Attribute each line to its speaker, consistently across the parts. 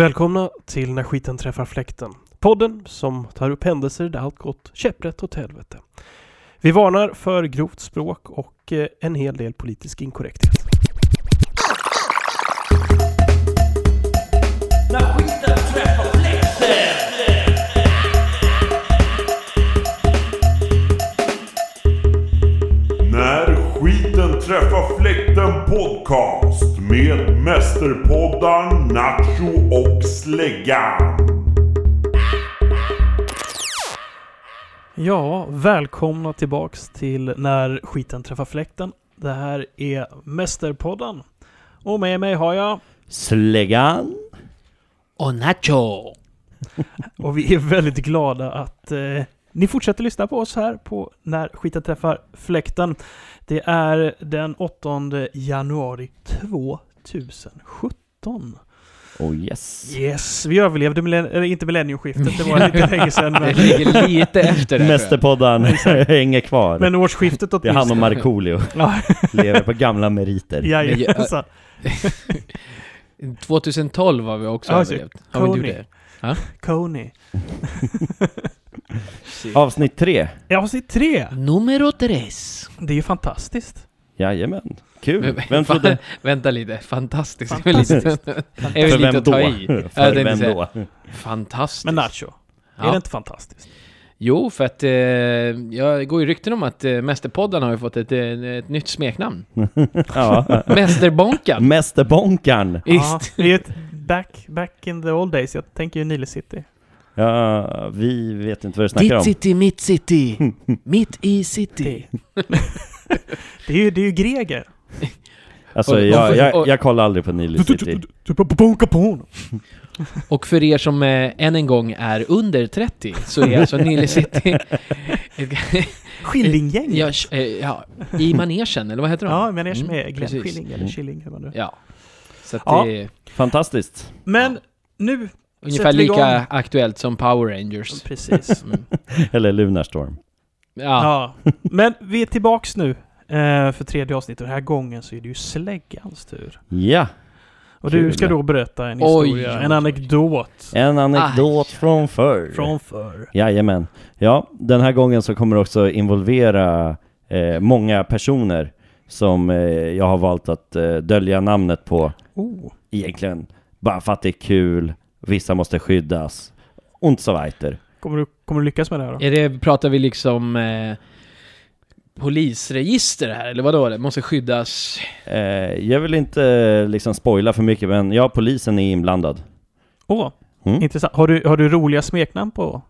Speaker 1: Välkomna till När skiten träffar fläkten. Podden som tar upp händelser där allt gått käpprätt åt helvete. Vi varnar för grovt språk och eh, en hel del politisk inkorrekthet.
Speaker 2: När skiten träffar fläkten podcast med mästerpoddar Nacho och Släggan.
Speaker 1: Ja, välkomna tillbaks till När skiten träffar fläkten. Det här är Mästerpodden. Och med mig har jag...
Speaker 3: Släggan.
Speaker 4: och Nacho.
Speaker 1: Och vi är väldigt glada att eh, ni fortsätter lyssna på oss här på När skiten träffar fläkten. Det är den 8 januari 2017.
Speaker 3: Oh yes.
Speaker 1: Yes, vi överlevde millenn- eller inte millenniumskiftet, det var lite länge sedan.
Speaker 4: Det
Speaker 1: Men,
Speaker 4: ligger lite efter det.
Speaker 3: Mästerpoddan hänger kvar.
Speaker 1: men årsskiftet
Speaker 3: det är han och
Speaker 1: åtminstone.
Speaker 3: Markoolio.
Speaker 1: Ja,
Speaker 3: Lever på gamla meriter.
Speaker 1: jajamensan.
Speaker 4: 2012 var vi också
Speaker 1: Ja, så-
Speaker 4: överlevt. Har vi
Speaker 1: Coney.
Speaker 4: gjort det?
Speaker 1: Kony.
Speaker 3: Avsnitt tre.
Speaker 1: Ja, avsnitt tre!
Speaker 4: Numero tres.
Speaker 1: Det är ju fantastiskt.
Speaker 3: Jajamän. Kul.
Speaker 4: Men-
Speaker 3: Vem
Speaker 4: fan-
Speaker 3: trodde...
Speaker 4: Vänta lite, fantastiskt.
Speaker 1: Fantastiskt.
Speaker 4: Fantastiskt. Är väl lite
Speaker 3: För vem
Speaker 4: att ta
Speaker 3: då?
Speaker 4: i. Ja,
Speaker 3: För
Speaker 4: jag tänkte
Speaker 3: vem
Speaker 4: säga,
Speaker 3: då?
Speaker 4: Fantastiskt.
Speaker 1: Men Nacho, är
Speaker 4: Ja.
Speaker 1: det inte fantastiskt?
Speaker 4: Jo, för att eh, jag går ju rykten om att eh, Mästerpodden har ju fått ett, eh, ett nytt smeknamn.
Speaker 3: Ja.
Speaker 4: Mästerbonkan.
Speaker 3: Mästerbonkan.
Speaker 1: Ja,
Speaker 4: Visst.
Speaker 1: det är ett back, back in the old days, jag tänker ju Nile City.
Speaker 3: Ja, vi vet inte vad du snackar om.
Speaker 4: city, mitt city. mitt i city.
Speaker 1: Det, det, är, ju, det är ju greger.
Speaker 3: Alltså,
Speaker 4: Och- och-
Speaker 3: jag, jag,
Speaker 4: och-
Speaker 3: jag kollar aldrig på Nile City.
Speaker 4: Och för er som eh, än en gång är under 30 så är alltså Nile City ett,
Speaker 1: Skillinggänget.
Speaker 4: Ja,
Speaker 1: Ja,
Speaker 4: sh- eh, ja, i manegen, eller vad heter de?
Speaker 1: men jag som är Glenn
Speaker 4: precis.
Speaker 1: Skilling eller Killing. hur man nu-
Speaker 4: Ja. Så att
Speaker 1: Ja.
Speaker 4: det är
Speaker 3: Fantastiskt.
Speaker 1: Men nu...
Speaker 4: ungefär
Speaker 1: sätter vi
Speaker 4: lika
Speaker 1: igång.
Speaker 4: aktuellt som Power Rangers.
Speaker 1: Precis.
Speaker 4: Mm.
Speaker 3: Eller Lunarstorm.
Speaker 4: Ja,
Speaker 1: Ja. Men vi är tillbaks nu eh, för tredje avsnittet. Den här gången så är det ju släggans tur.
Speaker 3: Ja,
Speaker 1: Och du
Speaker 3: Kul.
Speaker 1: ska då berätta en
Speaker 4: Oj,
Speaker 1: historia,
Speaker 4: oj,
Speaker 1: en
Speaker 4: oj.
Speaker 1: anekdot
Speaker 3: en
Speaker 4: Ah,
Speaker 3: anekdot från förr.
Speaker 1: från förr.
Speaker 3: Jajamän. Ja, den här gången så kommer det också involvera eh, många personer som eh, jag har valt att eh, dölja namnet på
Speaker 1: Oh.
Speaker 3: egentligen. Bara för att det är kul, vissa måste skyddas och så weiter.
Speaker 1: Kommer, du, kommer du lyckas med det här då?
Speaker 4: är det, pratar vi liksom eh, polisregister här, eller vadå? Det måste skyddas...
Speaker 3: Eh, jag vill inte eh, liksom spoila för mycket men ja, polisen är inblandad.
Speaker 1: Åh,
Speaker 3: Mm.
Speaker 1: intressant. Har du, har du roliga smeknamn på?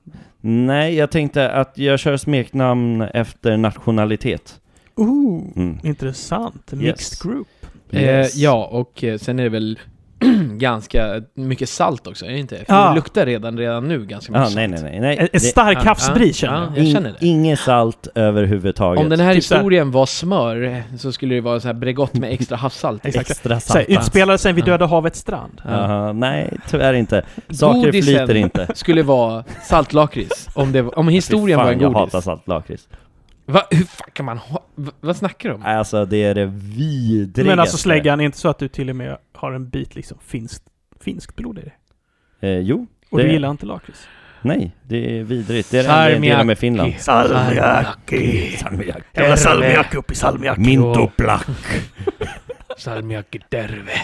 Speaker 3: Nej, jag tänkte att jag kör smeknamn efter nationalitet.
Speaker 1: Oh.
Speaker 3: Mm.
Speaker 1: Intressant. Mixed
Speaker 3: Yes.
Speaker 1: group.
Speaker 3: Yes.
Speaker 4: Eh, ja, och eh, sen är det väl ganska mycket salt också, är det inte? För
Speaker 1: Ja.
Speaker 4: det luktar redan, redan nu ganska mycket
Speaker 3: Ah, nej,
Speaker 4: salt.
Speaker 3: nej, nej. nej.
Speaker 1: En, en
Speaker 3: Det-
Speaker 1: stark
Speaker 4: ja,
Speaker 1: havsbris
Speaker 4: ja,
Speaker 1: känner jag.
Speaker 4: Jag känner det.
Speaker 3: Inget salt överhuvudtaget.
Speaker 4: Om den här
Speaker 1: Typ så här-
Speaker 4: historien var smör så skulle det vara så här Bregott med extra havssalt.
Speaker 1: Exakt.
Speaker 3: Extra
Speaker 1: Så här,
Speaker 3: salt.
Speaker 1: Utspelar sig vid
Speaker 4: Ja.
Speaker 1: Döda havets strand.
Speaker 4: Ja.
Speaker 3: Aha, nej, tyvärr inte. Saker
Speaker 4: Godisen.
Speaker 3: flyter inte.
Speaker 4: skulle vara saltlakrits om, det, om
Speaker 3: Fy
Speaker 4: historien
Speaker 3: fan,
Speaker 4: var en
Speaker 3: jag
Speaker 4: godis.
Speaker 3: hatar saltlakrits.
Speaker 4: Va, hur fan kan man ha... Va, vad snackar du om?
Speaker 3: Nej, Alltså det är det vidrigaste.
Speaker 1: Men alltså släggan, är inte så att du till och med har en bit liksom finskt, finskt blod i det?
Speaker 3: Eh, jo,
Speaker 1: Och
Speaker 3: Det-
Speaker 1: du gillar inte lakrits?
Speaker 3: nej, det är vidrigt. Det är det enda jag delar med Finland.
Speaker 1: Salmiakki!
Speaker 3: Salmiak.
Speaker 1: Jävla salmiak upp i salmiak!
Speaker 3: Mintoplack.
Speaker 4: Salmiakki derve.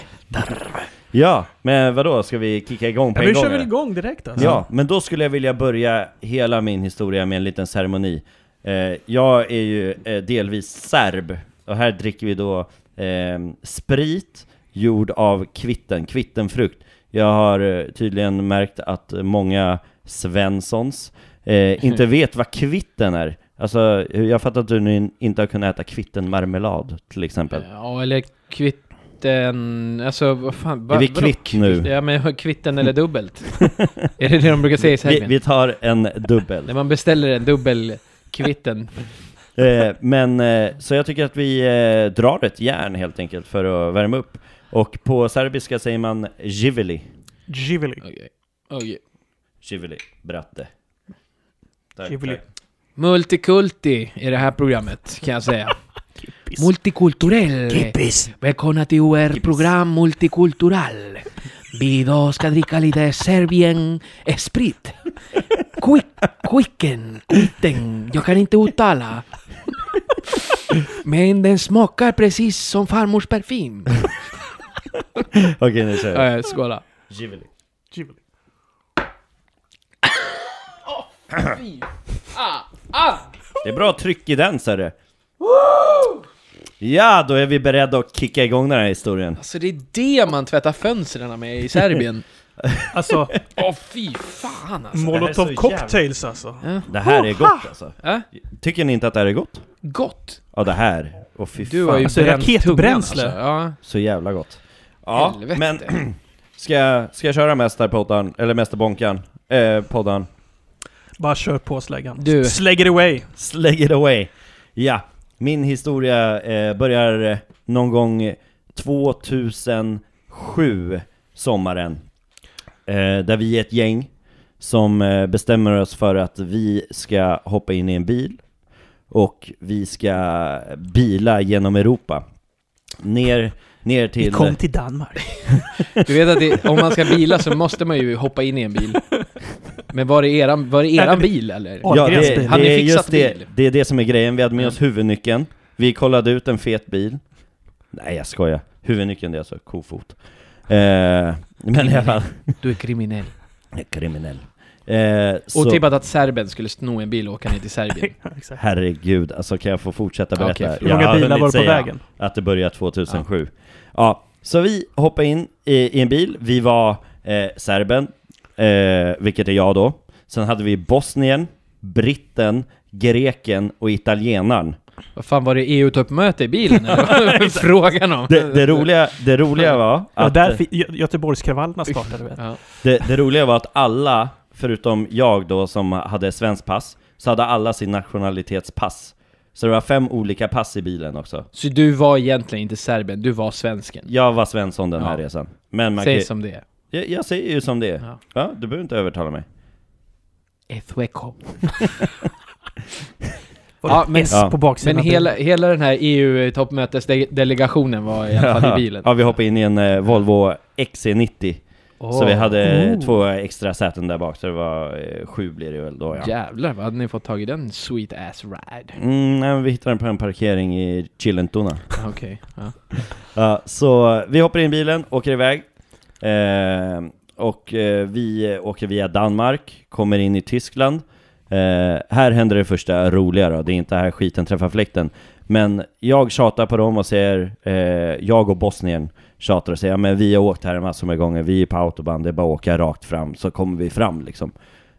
Speaker 3: Ja, men vadå, ska vi kicka igång på
Speaker 1: Ja,
Speaker 3: en
Speaker 1: vi
Speaker 3: gång?
Speaker 1: kör väl
Speaker 3: eller?
Speaker 1: igång direkt alltså?
Speaker 3: Ja, men då skulle jag vilja börja hela min historia med en liten ceremoni. Eh, jag är ju eh, delvis serb, och här dricker vi då eh, sprit gjord av kvitten, kvittenfrukt. Jag har eh, tydligen märkt att många Svenssons eh, inte vet vad kvitten är. Alltså, jag fattar att du nu inte har kunnat äta kvittenmarmelad till exempel.
Speaker 4: Ja, eller kvitten... Alltså, vad fan... Va,
Speaker 3: är vi
Speaker 4: vadå?
Speaker 3: kvitt nu?
Speaker 4: Ja, men kvitten eller dubbelt? är det det de brukar säga i
Speaker 3: Vi,
Speaker 4: Serbien?
Speaker 3: vi tar en dubbel.
Speaker 4: När man beställer en dubbel kvitten.
Speaker 3: Eh, men eh, så jag tycker att vi eh, drar ett järn helt enkelt för att värma upp. Och på serbiska säger man živeli.
Speaker 1: Givili.
Speaker 4: Okej. Okej.
Speaker 3: Živeli, bratte. Tack,
Speaker 1: Živeli.
Speaker 3: tack.
Speaker 4: Multikulti i det här programmet, kan jag säga. Multikulturell.
Speaker 1: Kippis!
Speaker 4: Välkomna till UR-program multikultural Vi då ska dricka lite Serbien Sprit. Quick, quicken, quitten. Jag kan inte uttala. Men den smakar precis som farmors parfym.
Speaker 3: Okej, nu kör vi.
Speaker 4: Äh, skåla.
Speaker 3: Giveli.
Speaker 1: Tivoli.
Speaker 3: Det är bra tryck i den, ser du. Ja, då är vi beredda att kicka igång den här historien.
Speaker 4: Alltså det är det man tvättar fönstren med i Serbien.
Speaker 1: Alltså,
Speaker 4: Åh fy fan alltså.
Speaker 1: molotov
Speaker 3: så
Speaker 1: cocktails alltså.
Speaker 3: Det här är gott alltså.
Speaker 4: Äh?
Speaker 3: Tycker ni inte att det här är gott?
Speaker 4: Gott.
Speaker 3: Ja, det här. Åh fy
Speaker 4: Du
Speaker 3: fan.
Speaker 4: har ju
Speaker 1: Alltså,
Speaker 4: bränt
Speaker 1: raketbränsle.
Speaker 4: tungan, Alltså.
Speaker 3: Så jävla gott.
Speaker 4: Ja,
Speaker 3: Ja,
Speaker 4: helvete.
Speaker 3: men ska, jag- ska jag köra mästarpoddan, eller mästerbonkan, eh, poddan?
Speaker 1: Bara kör på släggan.
Speaker 4: Du.
Speaker 1: Slägger away.
Speaker 3: Slägg it away! Ja, min historia eh, börjar eh, någon gång 2007, sommaren. Eh, där vi är ett gäng som eh, bestämmer oss för att vi ska hoppa in i en bil och vi ska bila genom Europa. Ner, ner till...
Speaker 1: till Danmark.
Speaker 4: Ja. Du vet att det, om man ska bila så måste man ju hoppa in i en bil. Men var det eran, var det eran bil eller?
Speaker 1: Ja,
Speaker 3: Ja,
Speaker 1: Ahlgrens
Speaker 3: det,
Speaker 1: bil.
Speaker 3: det,
Speaker 4: Hade
Speaker 3: är
Speaker 4: fixat
Speaker 3: just det,
Speaker 4: bil.
Speaker 3: det är det som är grejen. Vi hade med oss huvudnyckeln. Vi kollade ut en fet bil. Nej, jag skojar. Huvudnyckeln, det är alltså kofot. Eh, men i alla fall...
Speaker 4: Du är kriminell.
Speaker 3: Kriminell. Eh, så,
Speaker 4: Otippat typ att serben skulle sno en bil och åka ner till Serbien.
Speaker 1: Exakt.
Speaker 3: herregud, alltså kan jag få fortsätta berätta?
Speaker 4: Okej, förlåt.
Speaker 1: Hur
Speaker 3: Jag
Speaker 1: många
Speaker 3: har
Speaker 1: bilar
Speaker 3: hunnit
Speaker 1: var det på
Speaker 3: säga
Speaker 1: vägen?
Speaker 3: Att det började 2007. Ja. så vi hoppade in i, i en bil. Vi var eh, serben, eh, vilket är jag då. Sen hade vi Bosnien, britten, greken och italienaren.
Speaker 4: Vad fan var det EU-toppmöte i bilen eller? vad är Frågan om.
Speaker 3: Det, det, roliga, det roliga var
Speaker 1: Det var
Speaker 3: att,
Speaker 1: där fi- Gö- Göteborgskravallerna startade vet.
Speaker 4: Ja.
Speaker 3: det, det roliga var att alla, förutom jag då som hade svensk pass, så hade alla sin nationalitetspass. Så det var fem olika pass i bilen också.
Speaker 4: Så du var egentligen inte serben, du var svensken.
Speaker 3: Jag var Svensson den här
Speaker 4: Ja.
Speaker 3: resan. Men man
Speaker 4: Säg
Speaker 3: kan,
Speaker 4: som det är.
Speaker 3: jag, jag säger ju som det är.
Speaker 4: Ja.
Speaker 3: Ja. du behöver inte övertala mig.
Speaker 4: Ethueco.
Speaker 1: Var det
Speaker 4: Ja, men-
Speaker 1: S
Speaker 3: Ja.
Speaker 1: på baksidan.
Speaker 4: Men hela, hela den här EU-toppmötesdelegationen var i alla fall i bilen.
Speaker 3: Ja, vi hoppade in i en eh, Volvo XC90. Så vi hade eh,
Speaker 1: Oh.
Speaker 3: två extra säten där bak, så det var eh, sju blir det väl då ja.
Speaker 4: Jävlar, vad hade ni fått tag i den sweet ass ride?
Speaker 3: Mm, nej, men vi hittade den på en parkering i Chilentuna.
Speaker 4: Okej. Ja.
Speaker 3: Ja, så vi hoppar in i bilen, åker iväg. Eh, och eh, vi åker via Danmark, kommer in i Tyskland. Eh, här händer det första roliga då, det är inte här skiten träffar fläkten. Men jag tjatar på dem och säger, eh, jag och Bosnien tjatar och säger, "Ja, men vi har åkt här massor med gånger, vi är på autobahn, det är bara att åka rakt fram så kommer vi fram liksom.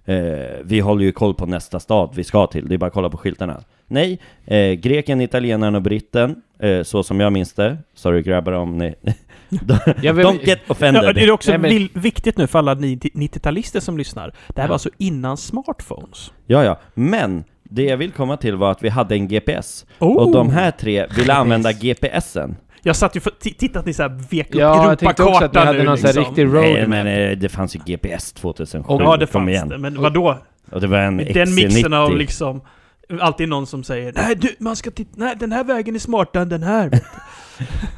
Speaker 3: Eh, vi håller ju koll på nästa stad vi ska till, det är bara att kolla på skyltarna. Nej, eh, greken, italienaren och britten, eh, så som jag minns det. Sorry grabbar om ni...
Speaker 4: Jag vill-
Speaker 3: Don't get offended.
Speaker 1: Ja, det är också
Speaker 4: Nej, men-
Speaker 1: vil- viktigt nu för alla ni- 90-talister som lyssnar. Det här var alltså innan smartphones.
Speaker 3: Ja, ja. Men det jag vill komma till var att vi hade en GPS.
Speaker 1: Oh.
Speaker 3: Och de här tre ville använda
Speaker 4: GPS.
Speaker 3: GPSen.
Speaker 1: Jag satt ju för... t- Titta att ni så här vek upp
Speaker 4: Ja, jag tänkte också att ni
Speaker 1: Europakartan
Speaker 4: hade
Speaker 1: nu
Speaker 4: någon sån här
Speaker 1: liksom.
Speaker 4: riktig
Speaker 3: Nej,
Speaker 4: roadmap.
Speaker 3: men eh, det fanns ju GPS 2007.
Speaker 1: Ja, det
Speaker 3: Kom
Speaker 1: fanns
Speaker 3: igen.
Speaker 1: det. Men vadå?
Speaker 3: Och det var en
Speaker 1: Den mixen av
Speaker 3: XC90.
Speaker 1: liksom... Alltid någon som säger Nej du, man ska titta... Nej, den här vägen är smartare än den här.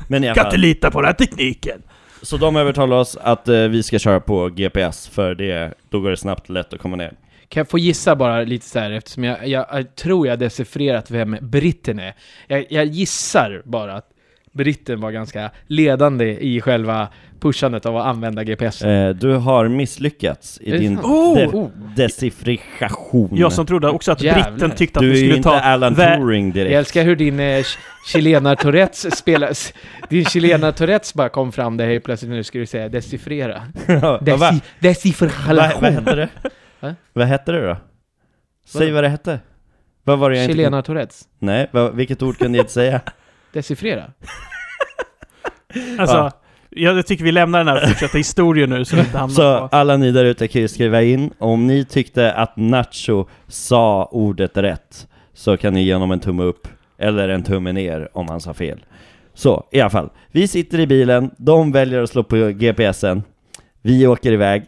Speaker 3: Men i alla
Speaker 1: Kan inte
Speaker 3: fall,
Speaker 1: lita på den här tekniken.
Speaker 3: så de övertalade oss att eh, vi ska köra på GPS, för det, då går det snabbt lätt att komma ner.
Speaker 4: Kan jag få gissa bara lite så här eftersom jag, jag, jag tror jag har decifrerat vem britten är. Jag, jag gissar bara att britten var ganska ledande i själva pushandet av att använda GPS.
Speaker 3: Eh, du har misslyckats i
Speaker 4: Är det
Speaker 3: din
Speaker 4: sant?
Speaker 1: Oh!
Speaker 3: de
Speaker 4: Oh.
Speaker 3: decifration.
Speaker 1: Jag som trodde också att
Speaker 4: Jävlar.
Speaker 1: britten tyckte att
Speaker 3: du
Speaker 1: vi
Speaker 3: är ju
Speaker 1: skulle
Speaker 3: inte
Speaker 1: ta...
Speaker 3: Alan
Speaker 1: vä-
Speaker 3: Turing direkt.
Speaker 4: Jag älskar hur din eh, ch- chilenar-tourettes spelas. Din chilenar-tourettes bara kom fram där helt plötsligt när du skulle säga decifrera.
Speaker 3: Vad va,
Speaker 4: Deci,
Speaker 3: va, vad
Speaker 4: decifralation.
Speaker 3: hette det?
Speaker 4: Va?
Speaker 3: vad hette det då? Säg vad det hette. Vad var det jag inte...
Speaker 4: Chilenar-tourettes.
Speaker 3: Nej, vad, vilket ord kunde jag inte säga?
Speaker 4: Decifrera.
Speaker 1: Alltså,
Speaker 3: Ja.
Speaker 1: jag tycker vi lämnar den här och fortsätter historien nu så vi inte hamnar
Speaker 3: Så
Speaker 1: på...
Speaker 3: alla ni där ute kan ju skriva in, om ni tyckte att Nacho sa ordet rätt, så kan ni ge honom en tumme upp, eller en tumme ner om han sa fel. Så, i alla fall. Vi sitter i bilen, de väljer att slå på GPSen, vi åker iväg,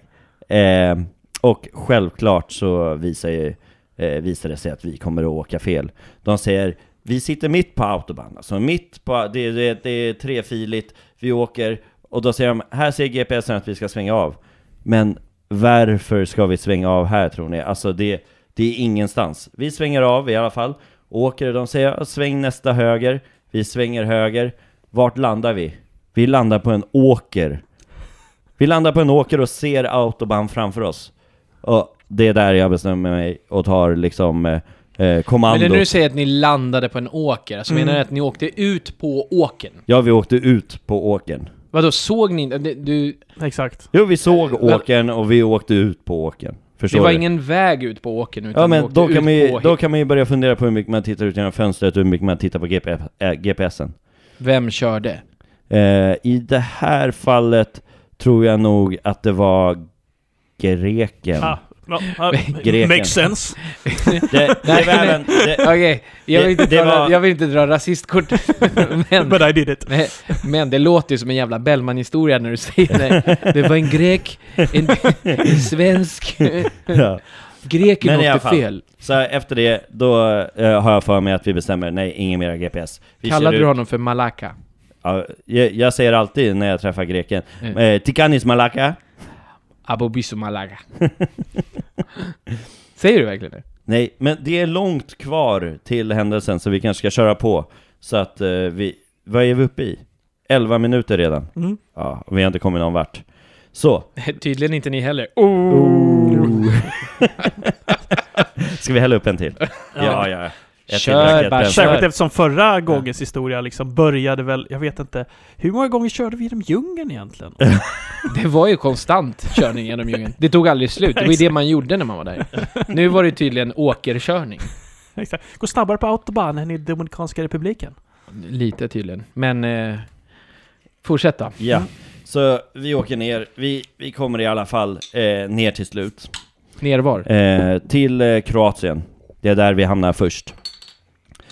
Speaker 3: eh, och självklart så visar, ju, eh, visar det sig att vi kommer att åka fel. De säger vi sitter mitt på autobahn, alltså mitt på, det, det, det är trefiligt, vi åker Och då säger de, här ser GPSen att vi ska svänga av. Men varför ska vi svänga av här tror ni? Alltså det, det är ingenstans. Vi svänger av i alla fall. Åker, de säger sväng nästa höger. Vi svänger höger. Vart landar vi? Vi landar på en åker. Vi landar på en åker och ser autobahn framför oss. Och det är där jag bestämmer mig och tar liksom eh, eh,
Speaker 4: Men
Speaker 3: kommandot.
Speaker 4: när du säger att ni landade på en åker, alltså menar
Speaker 3: Mm.
Speaker 4: du att ni åkte ut på åkern?
Speaker 3: Ja, vi åkte ut på åkern.
Speaker 4: Vadå, såg ni inte? Det- Du,
Speaker 1: Exakt.
Speaker 3: Jo, vi såg åkern och vi åkte ut på åkern.
Speaker 4: Eh, det
Speaker 3: Förstår
Speaker 4: var
Speaker 3: du?
Speaker 4: ingen väg ut på åkern utan
Speaker 3: Ja
Speaker 4: ni
Speaker 3: men
Speaker 4: åkte
Speaker 3: då
Speaker 4: ut
Speaker 3: kan, man ju,
Speaker 4: på
Speaker 3: då kan man ju börja fundera på hur mycket man tittar ut genom fönstret och hur mycket man tittar på GP, äh, GPSen.
Speaker 4: Vem körde?
Speaker 3: Eh, I det här fallet tror jag nog att det var greken.
Speaker 1: Ah, ja, ah,
Speaker 3: Greken.
Speaker 1: makes sense.
Speaker 3: Det, det
Speaker 4: Nej,
Speaker 3: var
Speaker 4: nej.
Speaker 3: även, det,
Speaker 4: Okej, jag,
Speaker 3: Det-
Speaker 4: vill inte
Speaker 3: det
Speaker 4: dra-
Speaker 3: var-
Speaker 4: jag vill inte dra rasistkort. men,
Speaker 1: But I did it.
Speaker 4: men, men det låter ju som en jävla Bellman-historia när du säger det. Det var en grek, en, en svensk.
Speaker 3: ja.
Speaker 4: Greken
Speaker 3: Men i alla
Speaker 4: åkte
Speaker 3: fall.
Speaker 4: fel.
Speaker 3: Så efter det, då eh, har jag för mig att vi bestämmer, nej, ingen mera GPS. Vi
Speaker 4: Kallade
Speaker 3: kör
Speaker 4: du
Speaker 3: ut-
Speaker 4: honom för Malaka?
Speaker 3: Ja, jag, jag säger alltid när jag träffar greken,
Speaker 4: Mm.
Speaker 3: eh, Tikanis Malaka?
Speaker 4: Abobisu Malaga. Säger du verkligen det?
Speaker 3: Nej, men det är långt kvar till händelsen så vi kanske ska köra på. Så att eh, vi, vad är vi uppe i? 11 minuter redan.
Speaker 1: Mm.
Speaker 3: Ja, och vi har inte kommit någon vart. Så,
Speaker 4: Tydligen inte ni heller. Oh.
Speaker 3: ska vi hälla upp en till? Ja, ja. Ett
Speaker 4: Kör,
Speaker 3: till racket,
Speaker 4: bara
Speaker 3: en-
Speaker 4: kör.
Speaker 1: Särskilt eftersom förra gångens historia liksom började väl, jag vet inte, hur många gånger körde vi genom djungeln egentligen?
Speaker 4: Det var ju konstant körning genom djungeln. Det tog aldrig slut. Det var ju det man gjorde när man var där. Nu var det tydligen åkerkörning.
Speaker 1: Exakt. Gå snabbare på autobahn än i Dominikanska republiken.
Speaker 4: Lite tydligen. Men... Eh, fortsätta.
Speaker 3: Ja, så vi åker ner. Vi, vi kommer i alla fall eh, ner till slut.
Speaker 4: Ner var.
Speaker 3: Eh, till eh, Kroatien. Det är där vi hamnar först.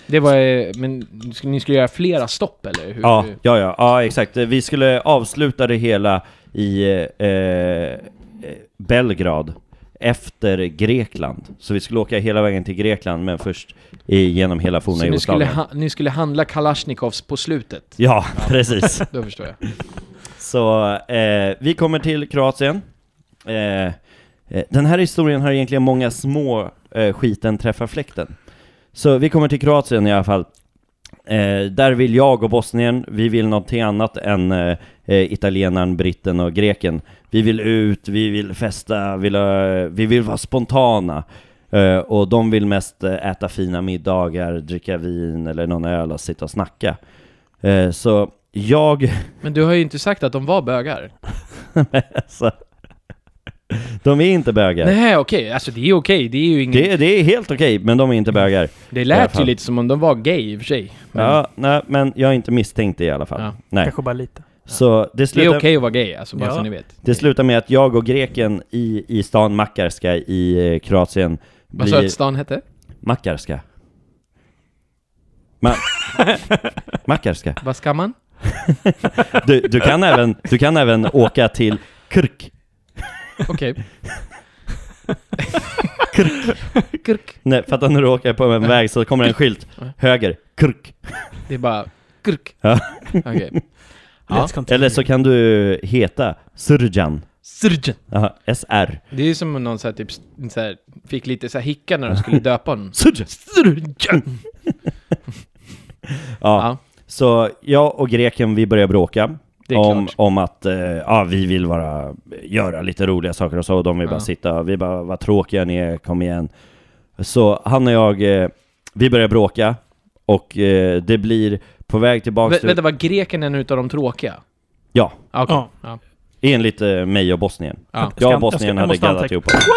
Speaker 4: Det var... eh, Men ni skulle göra flera stopp eller? Hur?
Speaker 3: Ja, ja, ja, ja, exakt. Eh, Vi skulle avsluta det hela i eh, eh, Belgrad efter Grekland. Så vi skulle åka hela vägen till Grekland, men först i, genom hela forna
Speaker 4: Så ni skulle,
Speaker 3: Jugoslavien.
Speaker 4: ha, ni skulle handla Kalashnikovs på slutet?
Speaker 3: Ja, precis.
Speaker 4: Då förstår jag.
Speaker 3: Så eh, vi kommer till Kroatien. Eh, eh, den här historien har egentligen många små eh, skiten träffar fläkten. Så vi kommer till Kroatien i alla fall. Eh, där vill jag och Bosnien, vi vill någonting annat än eh, eh, italienaren, britten och greken. Vi vill ut, vi vill festa, vill, eh, vi vill vara spontana. Eh, och de vill mest eh, äta fina middagar, dricka vin eller någon öl och sitta och snacka. Eh, så jag
Speaker 4: Men du har ju inte sagt att de var bögar.
Speaker 3: alltså, de är inte bögar.
Speaker 4: Nej, okej. Alltså det är okej. Det är ju ingen...
Speaker 3: Det, det är helt okej, men de är inte bögar.
Speaker 4: Det
Speaker 3: I alla
Speaker 4: lät ju
Speaker 3: fall.
Speaker 4: lite som om de var gay i och för sig. Men
Speaker 3: Ja, nej, men jag är inte misstänkt det i alla fall.
Speaker 4: Ja.
Speaker 3: Nej.
Speaker 1: Kanske bara lite.
Speaker 3: Så det
Speaker 4: det är okej
Speaker 3: slutar,
Speaker 4: att vara gay, alltså bara
Speaker 1: Ja.
Speaker 4: så ni vet.
Speaker 3: det slutar med att jag och greken i, i stan Makarska i eh, Kroatien
Speaker 4: Vad sa du
Speaker 3: blir
Speaker 4: att stan hette?
Speaker 3: Makarska. Ma Makarska.
Speaker 4: Vad ska man?
Speaker 3: Du, du, kan även, du kan även åka till Kyrk.
Speaker 4: Okej. Kurk. Kurk.
Speaker 3: Nej, fattar när du åker på en väg så kommer en skylt. Höger, Kyrk.
Speaker 4: Det är bara kurk.
Speaker 3: Ja.
Speaker 4: Okej. Ja.
Speaker 1: Let's continue.
Speaker 3: Eller så kan du heta Surjan.
Speaker 4: Surgeon.
Speaker 3: Jaha, SR.
Speaker 4: Det är ju som om någon så här, typ, så här, fick lite så här hicka när de skulle döpa honom.
Speaker 3: Surjan!
Speaker 4: Surgeon.
Speaker 3: Ja,
Speaker 4: Ja,
Speaker 3: så jag och greken vi började bråka
Speaker 4: det är
Speaker 3: om,
Speaker 4: klart.
Speaker 3: om att eh, ja, vi vill bara göra lite roliga saker och så, och de vill bara
Speaker 4: Ja.
Speaker 3: sitta, vi bara vad tråkiga ni är, kom igen. Så han och jag, eh, vi börjar bråka och eh, det blir på väg tillbaka
Speaker 4: Vä
Speaker 3: till,
Speaker 4: vänta, var greken en utav de tråkiga?
Speaker 3: ja,
Speaker 4: Ah, okej.
Speaker 1: Ja.
Speaker 4: Ja.
Speaker 3: enligt eh, mig och Bosnien.
Speaker 4: Ja.
Speaker 1: ska-
Speaker 3: Jag och
Speaker 1: jag ska-
Speaker 3: Bosnien
Speaker 1: jag
Speaker 3: hade
Speaker 1: måste
Speaker 3: gaddat
Speaker 1: anteckna.
Speaker 3: ihop oss.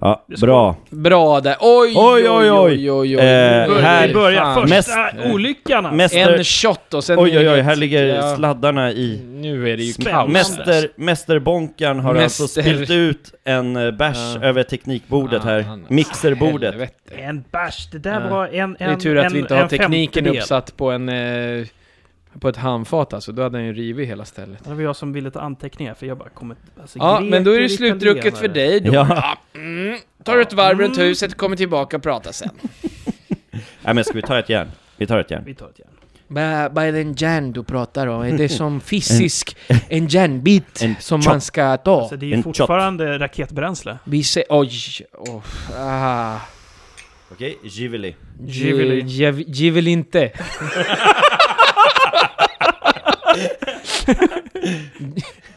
Speaker 3: Ja, bra.
Speaker 4: Bra där. Oj,
Speaker 3: Oj, oj, oj.
Speaker 4: oj, oj, oj.
Speaker 3: Eh,
Speaker 4: Oj,
Speaker 3: här-
Speaker 1: Vi börjar
Speaker 4: fan.
Speaker 1: första
Speaker 3: Mest-
Speaker 1: olyckan.
Speaker 4: En
Speaker 3: Mäster,
Speaker 4: shot och sen...
Speaker 3: oj oj oj, här ligger
Speaker 4: Ja.
Speaker 3: sladdarna i
Speaker 4: Nu är det ju
Speaker 1: Spänn-
Speaker 4: kaos.
Speaker 3: Mäster, mästerbonkan har
Speaker 4: Mäster-
Speaker 3: alltså spillt ut en eh, bärs
Speaker 4: Ja.
Speaker 3: över teknikbordet här,
Speaker 4: Ah,
Speaker 3: mixerbordet.
Speaker 4: helvete.
Speaker 1: En bärs, det där
Speaker 4: Ja.
Speaker 1: var en, en
Speaker 4: Det är tur att
Speaker 1: en,
Speaker 4: vi inte har
Speaker 1: en
Speaker 4: tekniken
Speaker 1: femtedel.
Speaker 4: uppsatt på en... Eh, på ett handfat alltså, då hade den ju rivit hela stället.
Speaker 1: Det var jag som ville ta anteckningar för jag bara kommer... Alltså,
Speaker 4: Ja, men då är det
Speaker 1: greker,
Speaker 4: slutdrucket för
Speaker 1: italienare.
Speaker 4: dig då.
Speaker 3: Ja.
Speaker 4: Mm. Tar du ett varv runt huset, kommer tillbaka och pratar sen.
Speaker 3: Nej men ska vi ta ett järn? Vi tar ett järn.
Speaker 1: Vi tar ett järn.
Speaker 4: Bara, bara en järn du pratar om, det är som fysisk, en järnbit
Speaker 3: En
Speaker 4: som
Speaker 3: chop.
Speaker 4: man ska ta.
Speaker 5: Alltså det är ju
Speaker 3: en chop.
Speaker 5: fortfarande raketbränsle.
Speaker 4: Vi säger... Oj! Oh, ah.
Speaker 3: Okej, Givili.
Speaker 5: Givili.
Speaker 4: Giv- Givil inte.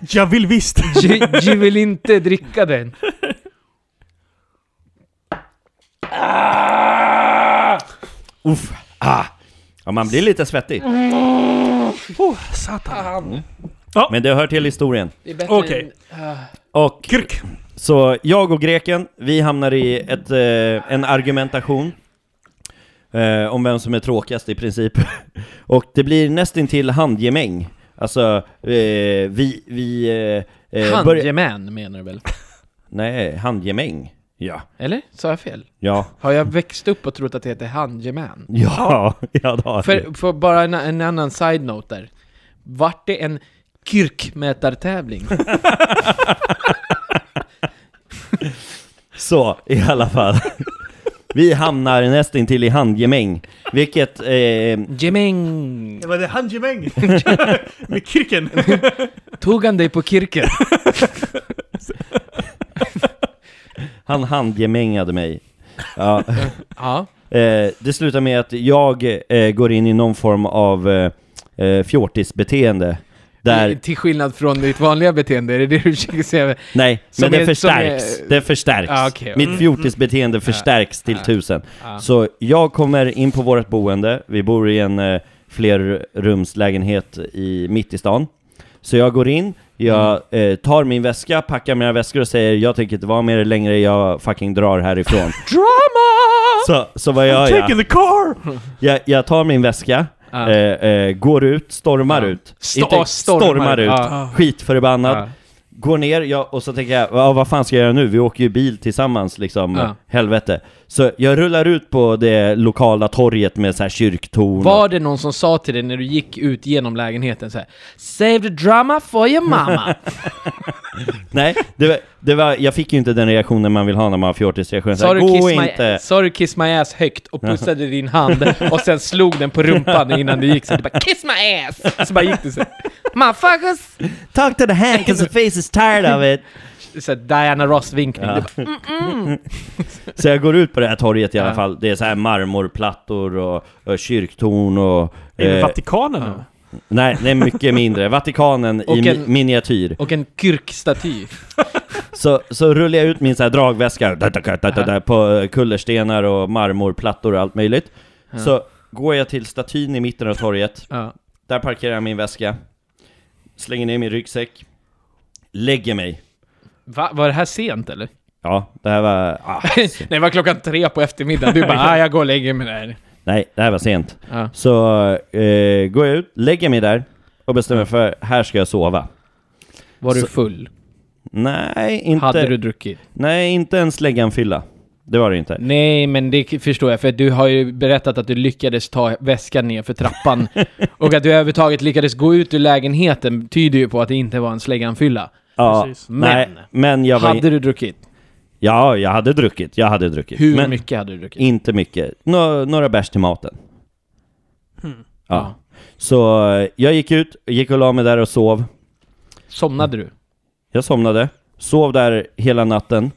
Speaker 1: Jag vill visst!
Speaker 4: Gi- Givil inte dricka den.
Speaker 3: Uff. Ah. Ja, man blir lite svettig.
Speaker 1: Oh, satan.
Speaker 3: Men det hör till historien.
Speaker 4: Ah, Det är bättre
Speaker 1: Okej.
Speaker 4: än- ah.
Speaker 3: Och
Speaker 1: Kirk.
Speaker 3: Så jag och greken, vi hamnar i ett, eh, en argumentation eh, om vem som är tråkigast i princip. och det blir nästintill handgemäng. Alltså, eh, vi... vi eh, eh, börjar-
Speaker 4: Handgemän menar du väl?
Speaker 3: Nej, handgemäng. Ja.
Speaker 4: Eller? Sa jag fel?
Speaker 3: Ja.
Speaker 4: Har jag växt upp och trott att det heter handgemän?
Speaker 3: Ja, ja det har du.
Speaker 4: För, för bara en, en annan side-note där. Vart det en kyrkmätartävling?
Speaker 3: Så, i alla fall. vi hamnar nästintill i handgemäng. Vilket... Eh,
Speaker 4: Gemäng!
Speaker 5: Det var det handgemäng! Med kirken!
Speaker 4: Tog han dig på kirken?
Speaker 3: han handgemängade mig. Ja.
Speaker 4: Ja.
Speaker 3: Eh, det slutar med att jag eh, går in i någon form av eh, eh, fjortisbeteende. Där,
Speaker 4: Till skillnad från ditt vanliga beteende, är det det du försöker säga?
Speaker 3: nej,
Speaker 4: som
Speaker 3: men det
Speaker 4: är-
Speaker 3: förstärks.
Speaker 4: som är-
Speaker 3: Det förstärks.
Speaker 4: Ah, okej.
Speaker 3: Mitt fjortisbeteende förstärks till
Speaker 4: ah,
Speaker 3: tusen.
Speaker 4: ah.
Speaker 3: Så jag kommer in på vårt boende. Vi bor i en eh, flerrumslägenhet i, mitt i stan. Så jag går in, jag
Speaker 4: Mm.
Speaker 3: eh, tar min väska, packar mina väskor och säger jag tänker inte vara med er längre, jag fucking drar härifrån.
Speaker 4: Drama!
Speaker 3: så, så vad gör jag?
Speaker 1: Taking the car!
Speaker 3: Jag, jag tar min väska,
Speaker 4: Ja.
Speaker 3: eh, eh, går ut, stormar
Speaker 4: Ah. Ja.
Speaker 3: ut.
Speaker 4: Sta- stormar ut. Ah.
Speaker 3: ut.
Speaker 4: Ja.
Speaker 3: Skitförbannad.
Speaker 4: Ja.
Speaker 3: Går ner jag, och så tänker jag, "Ja, vad fan ska jag göra nu? Vi åker ju bil tillsammans liksom.
Speaker 4: Ja.
Speaker 3: Helvete. Så jag rullar ut på det lokala torget med så här kyrktorn.
Speaker 4: Var det någon som sa till dig när du gick ut genom lägenheten så här, Save the drama for your mama!
Speaker 3: Nej, det, var- det var, jag fick ju inte den reaktionen man vill ha när man har fjortisreaktion. Så
Speaker 4: Sa
Speaker 3: här,
Speaker 4: du, kiss
Speaker 3: Gå
Speaker 4: my,
Speaker 3: inte.
Speaker 4: sa du kiss my ass högt och pussade din hand och sen slog den på rumpan innan du gick så du bara kiss my ass! Så bara gick du så här, Motherfuckers!
Speaker 3: Talk to the hand 'cause the face is tired of it.
Speaker 4: Så här, Diana Ross-vinkning.
Speaker 3: Ja.
Speaker 4: Du bara,
Speaker 3: Så jag går ut på det här torget i alla
Speaker 4: Ja.
Speaker 3: fall. Det är så här marmorplattor och, och kyrktorn och...
Speaker 1: Är det
Speaker 3: eh,
Speaker 1: Vatikanen nu?
Speaker 3: Nej, nej, mycket mindre. Vatikanen
Speaker 4: Och
Speaker 3: i mi-
Speaker 4: en-
Speaker 3: miniatyr.
Speaker 4: Och en kyrkstaty.
Speaker 3: Så, så rullar jag ut min så här dragväska da, da, da, da, da, på eh, kullerstenar och marmorplattor och allt möjligt. Så går jag till statyn i mitten av torget.
Speaker 4: Ja.
Speaker 3: Där parkerar jag min väska. Slänger ner min ryggsäck. Lägger mig.
Speaker 4: Va, var det här sent eller?
Speaker 3: Ja, det här var... Ah,
Speaker 4: Nej, det var klockan tre på eftermiddagen. Du bara ah, jag går och lägger mig där.
Speaker 3: nej, det här var sent.
Speaker 4: Ja.
Speaker 3: Så eh, går jag ut, lägger mig där och bestämmer för här ska jag sova.
Speaker 4: Var du
Speaker 3: Så-
Speaker 4: full?
Speaker 3: Nej, inte,
Speaker 4: Hade du druckit?
Speaker 3: nej, inte en slägganfylla. Det var det inte.
Speaker 4: Nej, men det k- förstår jag, för du har ju berättat att du lyckades ta väskan ner för trappan. och att du överhuvudtaget lyckades gå ut ur lägenheten tyder ju på att det inte var en slägganfylla.
Speaker 3: Ja,
Speaker 5: Precis.
Speaker 3: Nej,
Speaker 4: Men-
Speaker 3: men jag var
Speaker 4: Hade du druckit?
Speaker 3: Ja, jag hade druckit. Jag hade druckit.
Speaker 4: Hur
Speaker 3: men
Speaker 4: mycket hade du druckit?
Speaker 3: Inte mycket. Nå, några bärs till maten. Ja. Så eh, jag gick ut, gick och la mig där och sov.
Speaker 4: Somnade du?
Speaker 3: Jag somnade. Sov där hela natten.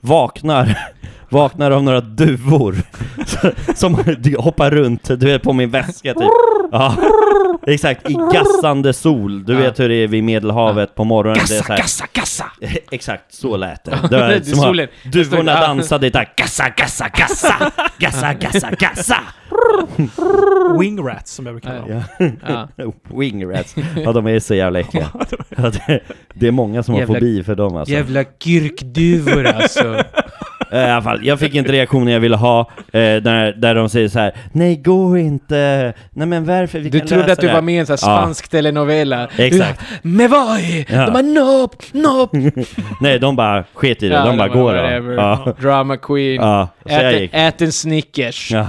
Speaker 3: Vaknar. Vaknar av några duvor. som hoppar runt, du vet, på min väska typ. Ja. Exakt, i gassande sol. Du
Speaker 4: Ja.
Speaker 3: vet hur det är vid Medelhavet på morgonen. det är så
Speaker 4: Kassa,
Speaker 3: här,
Speaker 4: kassa, kassa!
Speaker 3: Exakt, så lät det. Det var
Speaker 4: det är
Speaker 3: som att
Speaker 4: solen.
Speaker 3: Duvorna
Speaker 4: Jag står-
Speaker 3: dansade där. Gassa, gassa, gassa! Gassa, gassa, gassa!
Speaker 1: Wingrats som jag brukar kalla dem.
Speaker 4: Ja.
Speaker 3: Wingrats. Ja, de är så jävla äckliga. Ja, det, det är många som har
Speaker 4: Jävla-
Speaker 3: fobi för dem alltså.
Speaker 4: Jävla kyrkduvor alltså.
Speaker 3: Eh, I alla fall, jag fick inte reaktionen jag ville ha. Eh, där, där de säger så här: Nej, gå inte! Nej men varför? Vi
Speaker 4: Du
Speaker 3: kan
Speaker 4: trodde
Speaker 3: lösa
Speaker 4: att du
Speaker 3: det här."
Speaker 4: var med i en sån här
Speaker 3: Ja.
Speaker 4: spansk telenovela.
Speaker 3: Exakt.
Speaker 4: Men vad? De bara nope, nope.
Speaker 3: Nej, de bara sket i det.
Speaker 4: Ja,
Speaker 3: de bara
Speaker 4: de bara,
Speaker 3: går
Speaker 4: "Whatever."
Speaker 3: då. Ja.
Speaker 4: Drama queen.
Speaker 3: Ja, så jag
Speaker 4: ät,
Speaker 3: gick.
Speaker 4: ät en Snickers.
Speaker 3: Ja.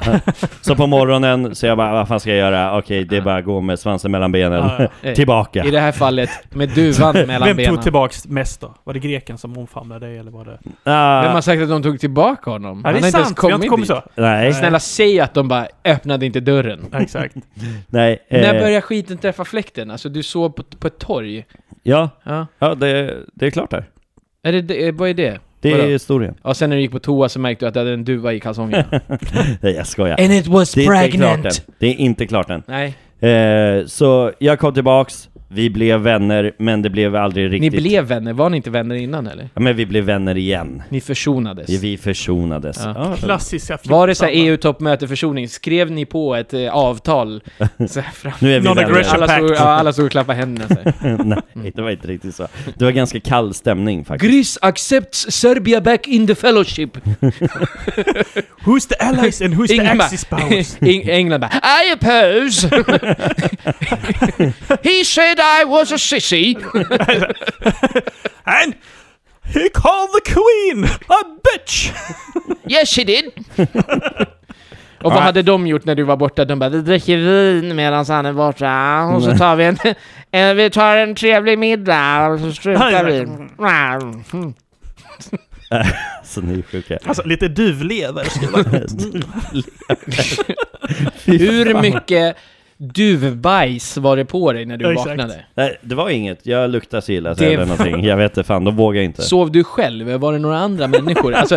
Speaker 3: Så på morgonen, så jag bara, vad fan ska jag göra? Okej, det är bara att gå med svansen mellan benen.
Speaker 1: Ja,
Speaker 3: Tillbaka.
Speaker 4: Eh, I det här fallet med duvan mellan
Speaker 1: Vem
Speaker 4: benen.
Speaker 1: tog tillbaks mest då? Var det greken som omfamnade dig eller var det...
Speaker 3: Ah,
Speaker 4: Vem har sagt att de tog tog tillbaka honom.
Speaker 1: Ja, det är
Speaker 4: har inte ens
Speaker 1: sant, vi har inte kommit
Speaker 4: dit.
Speaker 1: så. Eh.
Speaker 3: Nej,
Speaker 4: Snälla säg att de bara öppnade inte dörren.
Speaker 1: Ja, exakt.
Speaker 3: nej.
Speaker 4: När
Speaker 3: Eh,
Speaker 4: börjar skiten träffa fläkten? Alltså du såg på, på ett torg.
Speaker 3: ja,
Speaker 4: Ja.
Speaker 3: ja det, det är klart där.
Speaker 4: Är det- det, eh, vad är det?
Speaker 3: Det är
Speaker 4: Vadå?
Speaker 3: historien.
Speaker 4: Ja, sen när du gick på toa så märkte du att du hade en duva i kalsongerna.
Speaker 3: Nej, jag skojar.
Speaker 4: And it was
Speaker 3: Det är inte klart än.
Speaker 4: pregnant!
Speaker 3: Det är inte klart än.
Speaker 4: Nej,
Speaker 3: Eh, så jag kom tillbaks, vi blev vänner, men det blev aldrig
Speaker 4: ni
Speaker 3: riktigt...
Speaker 4: blev vänner. Var ni inte vänner innan eller?
Speaker 3: Ja, men vi blev vänner igen.
Speaker 4: Ni försonades.
Speaker 3: Vi- Vi försonades.
Speaker 4: Ja.
Speaker 3: Ja,
Speaker 5: Klassiska
Speaker 4: Var det så här E
Speaker 5: flytsamma.
Speaker 4: EU-toppmöte försoning? Skrev ni på ett eh, avtal? Så här fram-
Speaker 3: nu är vi
Speaker 5: Non-aggression.
Speaker 3: vänner.
Speaker 4: alla, stod,
Speaker 5: Pact.
Speaker 4: ja, alla stod och klappade händerna så här.
Speaker 3: Nej, det var inte riktigt så. Det var ganska kall stämning faktiskt.
Speaker 4: Greece accepts Serbia back in the fellowship.
Speaker 1: Who's the allies and who's the
Speaker 4: Ingmar.
Speaker 1: Axis spouse?
Speaker 4: Eng- England bara I oppose! He said I was a sissy!
Speaker 1: And he called the queen a bitch!
Speaker 4: Yes he did! Och vad hade de gjort när du var borta? De bara vi dricker vin medan han är borta och så tar vi en, en vi tar en trevlig middag och så struntar vi. Mm.
Speaker 3: Så ni är sjuka.
Speaker 1: Alltså lite duvlever. skulle jag
Speaker 4: Hur mycket duvbajs var det på dig när du
Speaker 1: Ja, exakt.
Speaker 4: vaknade?
Speaker 3: Nej, det var inget. Jag luktar så illa så
Speaker 4: Det var-
Speaker 3: eller någonting. Jag vet inte fan, de vågar inte.
Speaker 4: Sov du själv? Var det några andra människor? Alltså,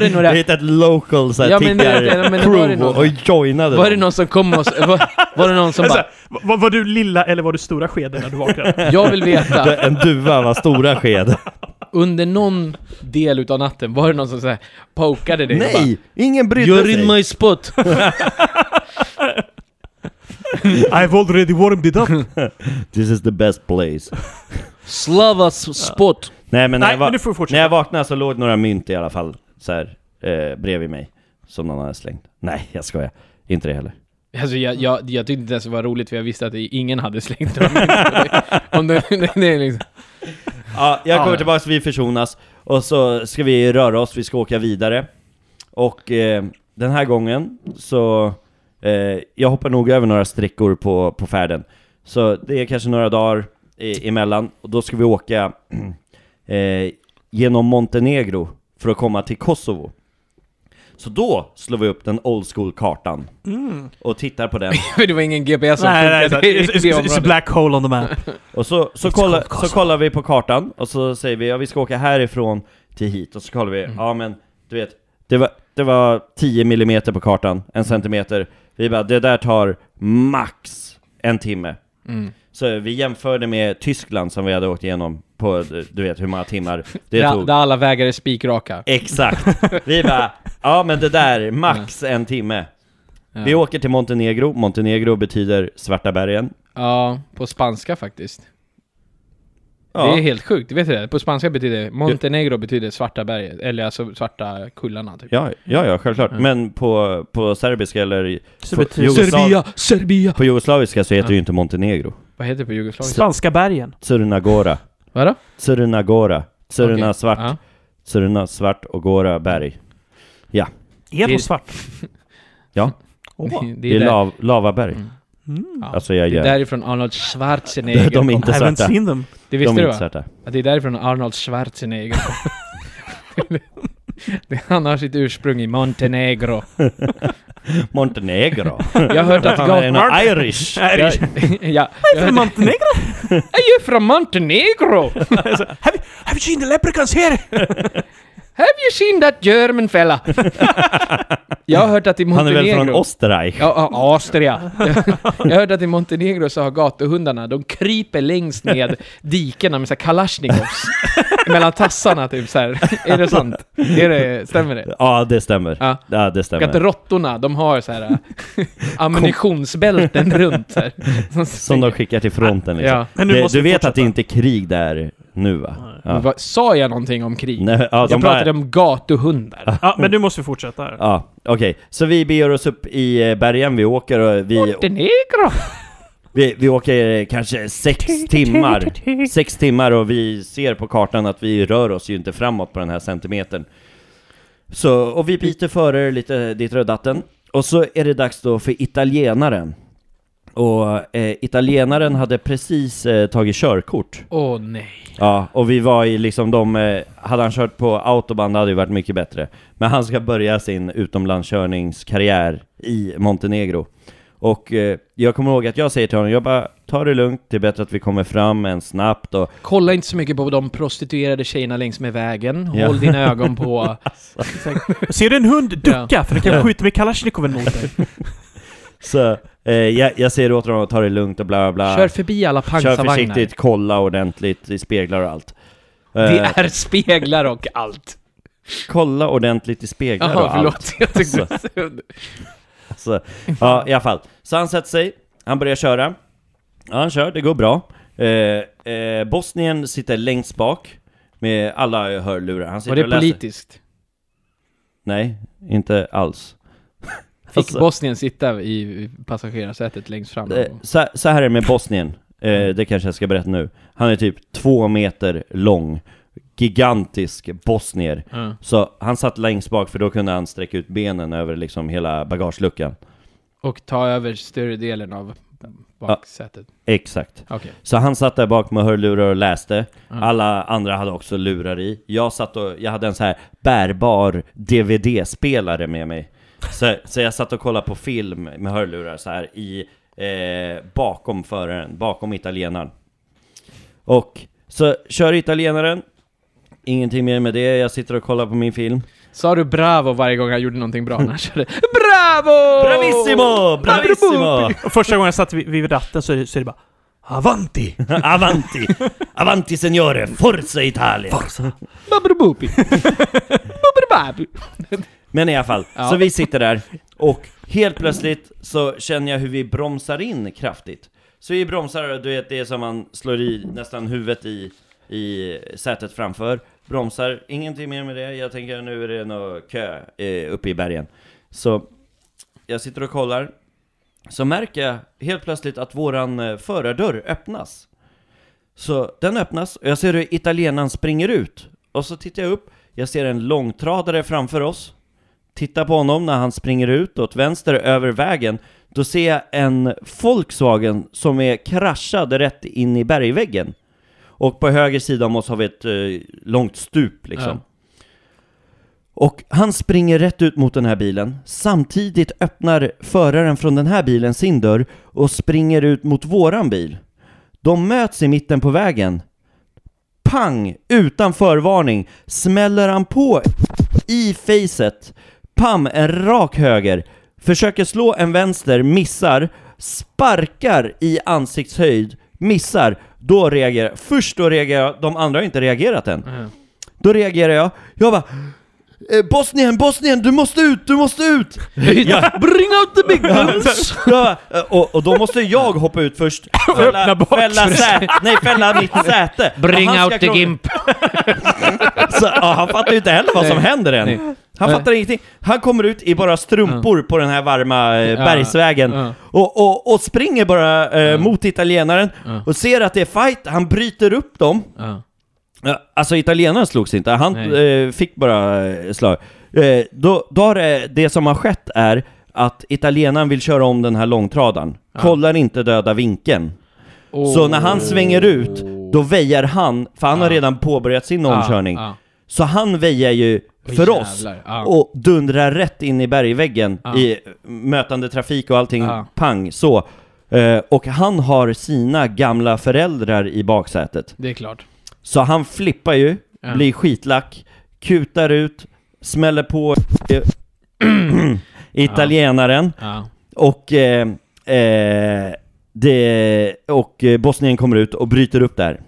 Speaker 4: det
Speaker 3: Jag
Speaker 4: några...
Speaker 3: hittade ett local så här,
Speaker 4: Ja, men-
Speaker 3: tiggar
Speaker 4: ja, men var det
Speaker 3: crew
Speaker 4: någon-
Speaker 3: och joinade
Speaker 4: Var det
Speaker 3: dem.
Speaker 4: någon som kom och... s- Var, var det någon som
Speaker 1: Alltså,
Speaker 4: bara...
Speaker 1: var, var du lilla eller var du stora skeden när du vaknade?
Speaker 4: Jag vill veta,
Speaker 3: En duva var stora sked.
Speaker 4: under någon del utav natten, var det någon som så här pokade dig? och bara,
Speaker 3: Nej, ingen brydde
Speaker 4: You're
Speaker 3: sig.
Speaker 4: in my spot!
Speaker 1: I've already warmed it up.
Speaker 3: This is the best place.
Speaker 4: Slavas spot!
Speaker 3: Nej, men när
Speaker 1: Nej,
Speaker 3: jag, va-
Speaker 1: men du får
Speaker 3: när
Speaker 1: fortsätta.
Speaker 3: jag vaknade så låg några mynt i alla fall så här, eh, bredvid mig. Som någon hade slängt. Nej, jag skojar. Inte det heller.
Speaker 4: Alltså jag, jag, jag tyckte inte ens det var roligt för jag visste att ingen hade slängt dem. Om det, det, det är liksom.
Speaker 3: Ja, jag kommer
Speaker 4: Ja.
Speaker 3: tillbaka så vi försonas och så ska vi röra oss, vi ska åka vidare. Och eh, den här gången så, eh, jag hoppar nog över några sträckor på, på färden. Så det är kanske några dagar eh, emellan och då ska vi åka eh, genom Montenegro för att komma till Kosovo. Så då slår vi upp den old school-kartan och tittar på den.
Speaker 4: För Alltså, det var ingen GPS som
Speaker 1: Nej, nej,
Speaker 4: funkade
Speaker 1: nej.
Speaker 4: i
Speaker 1: It's,
Speaker 4: det
Speaker 1: it's, it's a
Speaker 4: området.
Speaker 1: black hole on the map.
Speaker 3: Och så, så,
Speaker 1: It's
Speaker 3: kollar,
Speaker 1: called
Speaker 3: så
Speaker 1: Kosovo.
Speaker 3: kollar vi på kartan och så säger vi ja vi ska åka härifrån till hit och så kollar
Speaker 1: Mm.
Speaker 3: vi, ja men du vet Det var, det var 10 millimeter på kartan, en centimeter Vi bara det där tar max en timme
Speaker 4: Mm.
Speaker 3: Så vi jämförde med Tyskland som vi hade åkt igenom på du vet hur många timmar det
Speaker 4: Där,
Speaker 3: tog
Speaker 4: där alla vägar är spikraka.
Speaker 3: Exakt! Vi bara ja men det där, max en timme
Speaker 4: Ja.
Speaker 3: Vi åker till Montenegro, Montenegro betyder svarta bergen
Speaker 4: Ja, på spanska faktiskt.
Speaker 3: Ja.
Speaker 4: Det är helt sjukt, vet du det? På spanska betyder Montenegro betyder svarta berget, eller alltså svarta kullarna typ.
Speaker 3: Ja, ja, ja självklart. Men på, på serbiska eller i-
Speaker 1: Så
Speaker 3: på,
Speaker 1: betyder-
Speaker 3: Jugoslav-
Speaker 4: Serbia!
Speaker 3: på jugoslaviska så heter det ju inte Montenegro.
Speaker 4: Vad heter det på jugoslaviska?
Speaker 1: Spanska bergen.
Speaker 3: Crnagora.
Speaker 4: Vadå?
Speaker 3: Crnagora. Crna
Speaker 4: Okej.
Speaker 3: svart.
Speaker 4: Ja.
Speaker 3: Crna svart och Gora berg.
Speaker 1: Är
Speaker 4: Det-
Speaker 1: de svart?
Speaker 3: Ja,
Speaker 1: Åh.
Speaker 4: Det,
Speaker 3: det
Speaker 4: är
Speaker 3: är
Speaker 4: där,
Speaker 3: lav, lavaberg.
Speaker 4: ja.
Speaker 3: Alltså jag
Speaker 4: det är
Speaker 3: gör.
Speaker 4: därifrån Arnold Schwarzenegger
Speaker 3: De är
Speaker 4: kom.
Speaker 3: inte
Speaker 1: I haven't
Speaker 3: svarta.
Speaker 1: seen them.
Speaker 4: Det
Speaker 3: De
Speaker 4: visste
Speaker 3: är
Speaker 4: du
Speaker 3: inte
Speaker 4: va?
Speaker 3: svarta.
Speaker 4: Att det är därifrån Arnold Schwarzenegger kom. Det- Han har sitt ursprung i Montenegro.
Speaker 3: Montenegro.
Speaker 4: Jag har hört att
Speaker 3: Fan, är det
Speaker 4: gatan...
Speaker 3: någon Irish?
Speaker 1: Är
Speaker 4: Jag,
Speaker 1: det-
Speaker 4: ja, jag hörde,
Speaker 1: Montenegro?
Speaker 4: är från Montenegro!
Speaker 1: Have you, have you seen the leprechauns here?
Speaker 4: Have you seen that German fella? Jag har hört att i
Speaker 3: Han är
Speaker 4: Montenegro...
Speaker 3: väl från Österreich?
Speaker 4: Ja, ja, Austria. Jag hörde att i Montenegro så har gatuhundarna, de kryper längst ned dikena med så här kalasjnikovs. mellan tassarna typ så här. Är det sant? Är det, stämmer det?
Speaker 3: Ja, det stämmer.
Speaker 4: Ja.
Speaker 3: Ja, det
Speaker 4: Och att
Speaker 3: stämmer.
Speaker 4: råttorna, de har så här ammunitionsbälten runt så här. Som,
Speaker 3: Som de skickar till fronten liksom.
Speaker 4: Ja.
Speaker 1: Men nu
Speaker 3: Det,
Speaker 1: måste
Speaker 3: du
Speaker 1: vi
Speaker 3: vet
Speaker 1: fortsätta.
Speaker 3: att det inte är krig där nu va? Ja.
Speaker 4: Vad- Sa jag någonting om krig?
Speaker 3: Nej, ja, de
Speaker 4: jag
Speaker 3: bara-
Speaker 4: pratade om gatuhundar.
Speaker 1: Ja, men nu måste vi fortsätta här.
Speaker 3: Ja, okej. Så vi beger oss upp i eh, bergen, vi åker och vi,
Speaker 4: Montenegro!
Speaker 3: vi, vi åker eh, kanske sex timmar. Sex timmar och vi ser på kartan att vi rör oss ju inte framåt på den här centimetern. Så, och vi biter före lite dit och datten. Och så är det dags då för italienaren Och eh, italienaren hade precis eh, tagit körkort.
Speaker 4: Åh nej.
Speaker 3: Ja, och vi var i liksom de, eh, hade han kört på autobahn det hade ju varit mycket bättre. Men han ska börja sin utomlandskörningskarriär i Montenegro. Och eh, jag kommer ihåg att jag säger till honom, jag bara, ta det lugnt, det är bättre att vi kommer fram än snabbt och
Speaker 4: Kolla inte så mycket på de prostituerade tjejerna längs med vägen. Håll
Speaker 3: Ja.
Speaker 4: dina ögon på...
Speaker 1: Exakt. Ser du en hund, ducka! För den kanske skjuter med kalasjnikoven mot dig.
Speaker 3: så, eh, jag, jag säger åt honom, ta det lugnt och bla bla bla.
Speaker 4: Kör förbi alla
Speaker 3: Kör
Speaker 4: pansarvagnar.
Speaker 3: försiktigt, kolla ordentligt i speglar och allt.
Speaker 4: Det
Speaker 3: Eh,
Speaker 4: är speglar och allt.
Speaker 3: Kolla ordentligt i speglar och
Speaker 4: Jaha,
Speaker 3: allt. Alltså.
Speaker 4: förlåt. Jag tyckte...
Speaker 3: Så, ja, i alla fall. Så han sätter sig, han börjar köra. Ja, han kör, det går bra. Eh, eh, Bosnien sitter längst bak med alla hörlurar. Han sitter
Speaker 4: Var det
Speaker 3: och läser.
Speaker 4: politiskt?
Speaker 3: Nej, inte alls. Alltså,
Speaker 4: Fick Bosnien sitta i passagerarsätet längst fram?
Speaker 3: eh, så, så här är det med Bosnien.
Speaker 4: Mm.
Speaker 3: Eh, det kanske jag ska berätta nu. Han är typ två meter lång. Gigantisk bosnier.
Speaker 4: Ja.
Speaker 3: Så han satt längst bak för då kunde han sträcka ut benen över liksom hela bagageluckan.
Speaker 4: Och ta över större delen av baksätet?
Speaker 3: Exakt.
Speaker 4: Okej.
Speaker 3: Så han satt där bak med hörlurar och läste.
Speaker 4: Mm.
Speaker 3: Alla andra hade också lurar i. Jag satt och, jag hade en så här bärbar DVD-spelare med mig. Så, så jag satt och kollade på film med hörlurar så här i, eh, bakom föraren, bakom italienaren. Och så kör italienaren. Ingenting mer med det, jag sitter och kollar på min film.
Speaker 4: Sa du bravo varje gång han gjorde någonting bra när han körde? Bravo!
Speaker 3: Bravissimo! Bravissimo!
Speaker 1: Och första gången jag satt vid, vid ratten så är, det, så är det bara Avanti!
Speaker 3: Avanti! Avanti signore! Forza Italia!
Speaker 4: Babrubupi! Babrubabu!
Speaker 3: Men i alla fall,
Speaker 4: Ja.
Speaker 3: så vi sitter där och helt plötsligt så känner jag hur vi bromsar in kraftigt. Så vi bromsar, du vet det är som man slår i nästan huvudet i, i sätet framför. Bromsar, ingenting mer med det. Jag tänker nu är det någon kö eh, uppe i bergen. Så jag sitter och kollar. Så märker jag helt plötsligt att våran eh, förardörr öppnas. Så den öppnas och jag ser hur italienaren springer ut. Och så tittar jag upp, jag ser en långtradare framför oss. Tittar på honom när han springer ut åt vänster över vägen. Då ser jag en Volkswagen som är kraschad rätt in i bergväggen. Och på höger sida om oss har vi ett eh, långt stup liksom.
Speaker 4: Ja.
Speaker 3: Och han springer rätt ut mot den här bilen. Samtidigt öppnar föraren från den här bilen sin dörr och springer ut mot våran bil. De möts i mitten på vägen. Pang! Utan förvarning smäller han på i facet. Pam! En rak höger. Försöker slå en vänster, missar. Sparkar i ansiktshöjd, missar. Då reagerar Först då reagerar jag, de andra har inte reagerat än. Då reagerar jag. Jag bara eh, Bosnien, Bosnien, du måste ut, du måste ut!
Speaker 4: Bring out the big guns!
Speaker 3: Ja, eh, och, och då måste jag hoppa ut först,
Speaker 1: öppna
Speaker 3: fälla,
Speaker 1: bak-
Speaker 3: fälla, sä, nej, fälla mitt säte.
Speaker 4: Bring
Speaker 3: Och han
Speaker 4: out
Speaker 3: ska
Speaker 4: the
Speaker 3: krångla-
Speaker 4: gimp!
Speaker 3: Så, ja, han fattar ju inte heller vad som
Speaker 4: Nej.
Speaker 3: händer än.
Speaker 4: Nej.
Speaker 3: Han
Speaker 4: Nej.
Speaker 3: fattar ingenting. Han kommer ut i bara strumpor på den här varma eh,
Speaker 4: Ja,
Speaker 3: bergsvägen
Speaker 4: ja.
Speaker 3: Och, och, och springer bara eh, mot italienaren
Speaker 4: Ja.
Speaker 3: och ser att det är fight. Han bryter upp dem.
Speaker 4: Ja.
Speaker 3: Ja, Alltså italienaren slogs inte, han
Speaker 4: Nej.
Speaker 3: eh, fick bara eh, slag. Eh, då, då har det, det som har skett är att italienaren vill köra om den här långtradaren. Kollar inte döda vinkeln. Så när han svänger ut, då väjer han, för han har redan påbörjat sin
Speaker 4: Ja,
Speaker 3: omkörning.
Speaker 4: ja.
Speaker 3: Så han väjer ju
Speaker 4: Oj,
Speaker 3: för oss
Speaker 4: jävlar, ja.
Speaker 3: och dundrar rätt in i bergväggen
Speaker 4: Ja.
Speaker 3: i mötande trafik och allting.
Speaker 4: Ja.
Speaker 3: Pang, så. Eh, och han har sina gamla föräldrar i baksätet.
Speaker 4: Det är klart.
Speaker 3: Så han flippar ju,
Speaker 4: Ja.
Speaker 3: blir skitlack, kutar ut, smäller på italienaren
Speaker 4: Ja.
Speaker 3: och, eh, eh, det, och eh, Bosnien kommer ut och bryter upp där.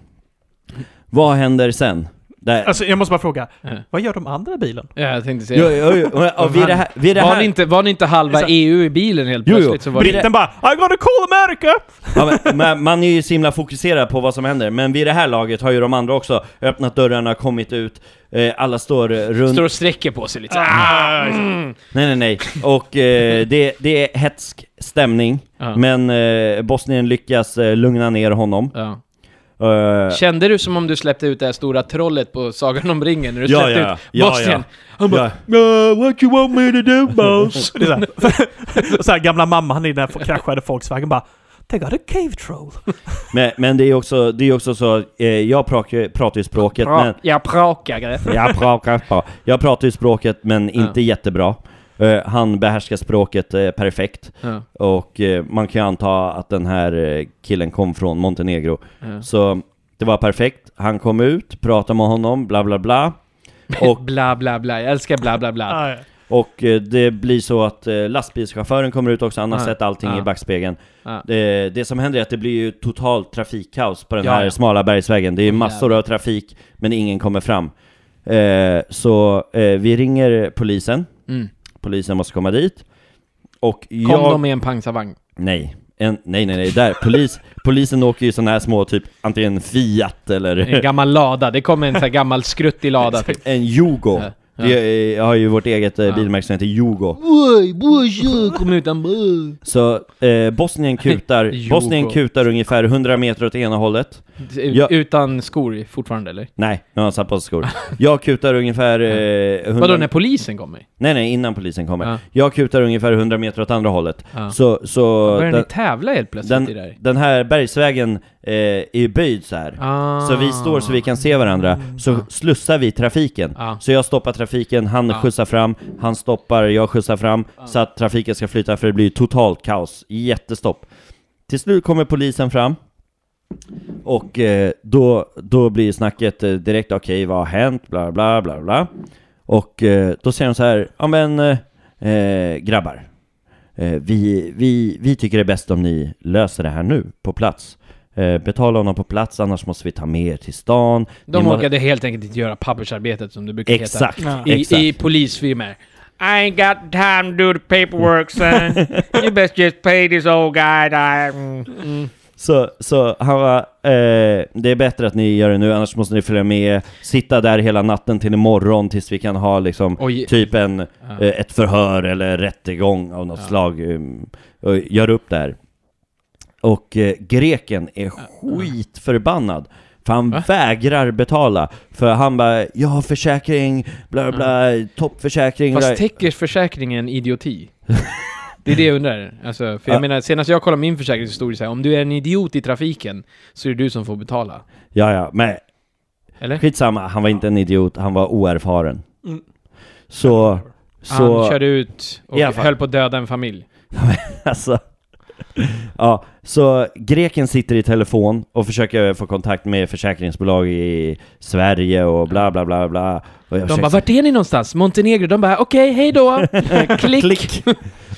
Speaker 3: Vad händer sen? Där.
Speaker 1: Alltså jag måste bara fråga,
Speaker 4: Ja.
Speaker 1: vad gör de andra i bilen?
Speaker 4: Ja, jag tänkte säga...
Speaker 3: Jo, jo, jo, men, ja, vid det här... Vid det
Speaker 4: var, ni
Speaker 3: här
Speaker 4: inte, var ni inte halva
Speaker 1: Så-
Speaker 4: EU i bilen helt
Speaker 3: Jo, jo.
Speaker 4: plötsligt så var det...
Speaker 1: Britten bara I'm gonna call America!
Speaker 3: ja, men, men, man är ju så himla fokuserad på vad som händer, men vid det här laget har ju de andra också öppnat dörrarna, kommit ut, eh, alla står eh, runt...
Speaker 4: Står och sträcker på sig lite så.
Speaker 3: Ah! Nej, nej, nej. Och eh, det, det är hetsk stämning.
Speaker 4: Ja.
Speaker 3: Men eh, Bosnien lyckas eh, lugna ner honom.
Speaker 4: Ja.
Speaker 3: Eh,
Speaker 4: Kände du som om du släppte ut det här stora trollet på Sagan om ringen? När du
Speaker 3: Ja,
Speaker 4: släppte
Speaker 3: ja,
Speaker 4: ut
Speaker 3: ja,
Speaker 4: Bosnien?
Speaker 3: ja.
Speaker 4: Han bara "Uh, What you want me to do boss?
Speaker 1: Det är så här. Och så här gamla mamman i den här kraschade Volkswagen bara They got a cave troll.
Speaker 3: Men, men det är ju också, det är ju också så, eh, jag pratar, ju- pratar ju språket, men...
Speaker 4: Jag prakar.
Speaker 3: Jag pratar, ja. jag pratar ju språket, men inte jättebra. Eh, han behärskar språket eh, perfekt.
Speaker 4: Ja,
Speaker 3: Och eh, man kan ju anta att den här eh, killen kom från Montenegro.
Speaker 4: ja.
Speaker 3: Så det var perfekt. Han kom ut, pratade med honom, bla bla bla. Och
Speaker 4: Bla bla bla, jag älskar bla bla bla.
Speaker 5: Ah, ja.
Speaker 3: Och eh, det blir så att eh, lastbilschauffören kommer ut också, han har
Speaker 4: Ja.
Speaker 3: sett allting
Speaker 4: Ja.
Speaker 3: i backspegeln.
Speaker 4: Ja.
Speaker 3: Det, det som händer är att det blir ju totalt trafikkaos på den
Speaker 4: Ja,
Speaker 3: här
Speaker 4: ja.
Speaker 3: smala bergsvägen. Det är massor av trafik, men ingen kommer fram. Eh, så eh, vi ringer polisen,
Speaker 4: Mm.
Speaker 3: polisen måste komma dit. Och
Speaker 4: Kom
Speaker 3: jag...
Speaker 4: de med en pansarvagn?
Speaker 3: Nej. En, nej, nej, nej, där. Polis, polisen åker ju sådana här små, typ antingen Fiat
Speaker 4: En
Speaker 3: eller
Speaker 4: gammal lada, det kom en sån här gammal skruttig lada. Typ.
Speaker 3: en Yugo.
Speaker 4: Ja. Ja.
Speaker 3: Vi, eh, har ju vårt eget eh,
Speaker 4: Ja.
Speaker 3: bilmärke som heter Yugo.
Speaker 4: Oj, boy, kom ut en boy.
Speaker 3: Så eh, Bosnien, kutar,
Speaker 4: Jogo.
Speaker 3: Bosnien kutar ungefär 100 meter åt ena hållet. Ja.
Speaker 4: Utan skor i- fortfarande eller?
Speaker 3: Nej, nu har han satt på sig skor. Jag kutar ungefär... Eh, 100...
Speaker 4: Vadå, när polisen kommer?
Speaker 3: Nej, nej, innan polisen kommer.
Speaker 4: Ja.
Speaker 3: Jag kutar ungefär 100 meter åt andra hållet.
Speaker 4: Ja.
Speaker 3: Så, så
Speaker 4: Börjar ni
Speaker 3: den,
Speaker 4: tävla helt plötsligt i det
Speaker 3: den,
Speaker 4: här?
Speaker 3: den här bergsvägen eh, är ju böjd så här.
Speaker 4: Ah.
Speaker 3: Så vi står så vi kan se varandra, så slussar vi trafiken.
Speaker 4: Ja.
Speaker 3: Så jag stoppar trafiken, han skjutsar fram, han stoppar, jag skjutsar fram, så att trafiken ska flyta för det blir totalt kaos. Jättestopp. Till slut kommer polisen fram, och eh, då, då blir snacket eh, direkt, okej vad har hänt, bla bla bla bla. Och eh, då säger de så här, ja men eh, eh, grabbar, eh, vi, vi, vi tycker det är bäst om ni löser det här nu, på plats. Eh, betala honom på plats, annars måste vi ta med er till stan.
Speaker 4: De
Speaker 3: Ni må-
Speaker 4: orkade helt enkelt inte göra pappersarbetet som det brukar
Speaker 3: Exakt,
Speaker 5: Ja.
Speaker 4: heta.
Speaker 3: exakt.
Speaker 4: I, i polisfilmer.
Speaker 6: I ain't got time to do the paperwork, son. you best just pay this old guy. That I,
Speaker 3: Så, så han var, eh, det är bättre att ni gör det nu, annars måste ni följa med, sitta där hela natten till imorgon tills vi kan ha liksom
Speaker 4: Oj.
Speaker 3: typ en, eh, ett förhör eller rättegång av något slag. Um, och gör upp där. Och eh, greken är skitförbannad. För han vägrar betala. För han bara, jag har försäkring, bla bla, toppförsäkring. bla."
Speaker 4: Fast täcker försäkringen idioti? Det är det jag undrar. Alltså, för jag
Speaker 3: Ja.
Speaker 4: menar, senast jag kollade min försäkringshistoria så här, om du är en idiot i trafiken så är det du som får betala.
Speaker 3: Ja, ja, men
Speaker 4: Eller?
Speaker 3: skitsamma. Han var inte en idiot, han var oerfaren. Så, så...
Speaker 4: Mm. Han körde ut och
Speaker 3: I alla fall.
Speaker 4: höll på att döda en familj.
Speaker 3: Alltså. Ja, så greken sitter i telefon och försöker få kontakt med försäkringsbolag i Sverige och bla bla bla bla. Och jag
Speaker 4: De
Speaker 3: försöker-
Speaker 4: bara, vart är ni någonstans? Montenegro? De bara, okej, hej då! Klick!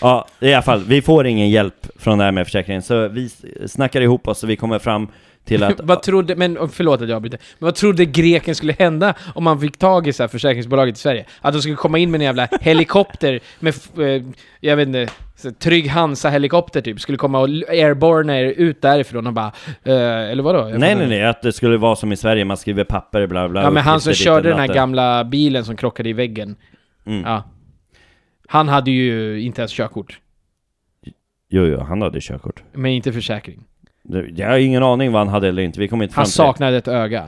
Speaker 3: Ja, i alla fall, vi får ingen hjälp från det här med försäkringen. Så vi s- snackar ihop oss och vi kommer fram till att...
Speaker 4: Vad trodde, men och förlåt att jag avbryter, men vad trodde greken skulle hända om man fick tag i så här försäkringsbolaget i Sverige? Att de skulle komma in med en jävla helikopter med, f- eh, jag vet inte, så här Trygg Hansa-helikopter typ, skulle komma och l- airborna er ut därifrån och bara, eh, eller vadå? Jag
Speaker 3: nej,
Speaker 4: fattar
Speaker 3: nej,
Speaker 4: inte.
Speaker 3: nej, att det skulle vara som i Sverige, man skriver papper, bla bla.
Speaker 4: Ja men han som
Speaker 3: uppgifter dit och
Speaker 4: körde den här
Speaker 3: datten.
Speaker 4: gamla bilen som krockade i väggen.
Speaker 3: Mm.
Speaker 4: Ja. Han hade ju inte ens körkort,
Speaker 3: Jo, jo, han hade körkort.
Speaker 4: men inte försäkring.
Speaker 3: Det- Jag har ingen aning vad han hade eller inte, vi kommer inte fram
Speaker 4: Han
Speaker 3: till det.
Speaker 4: saknade ett öga.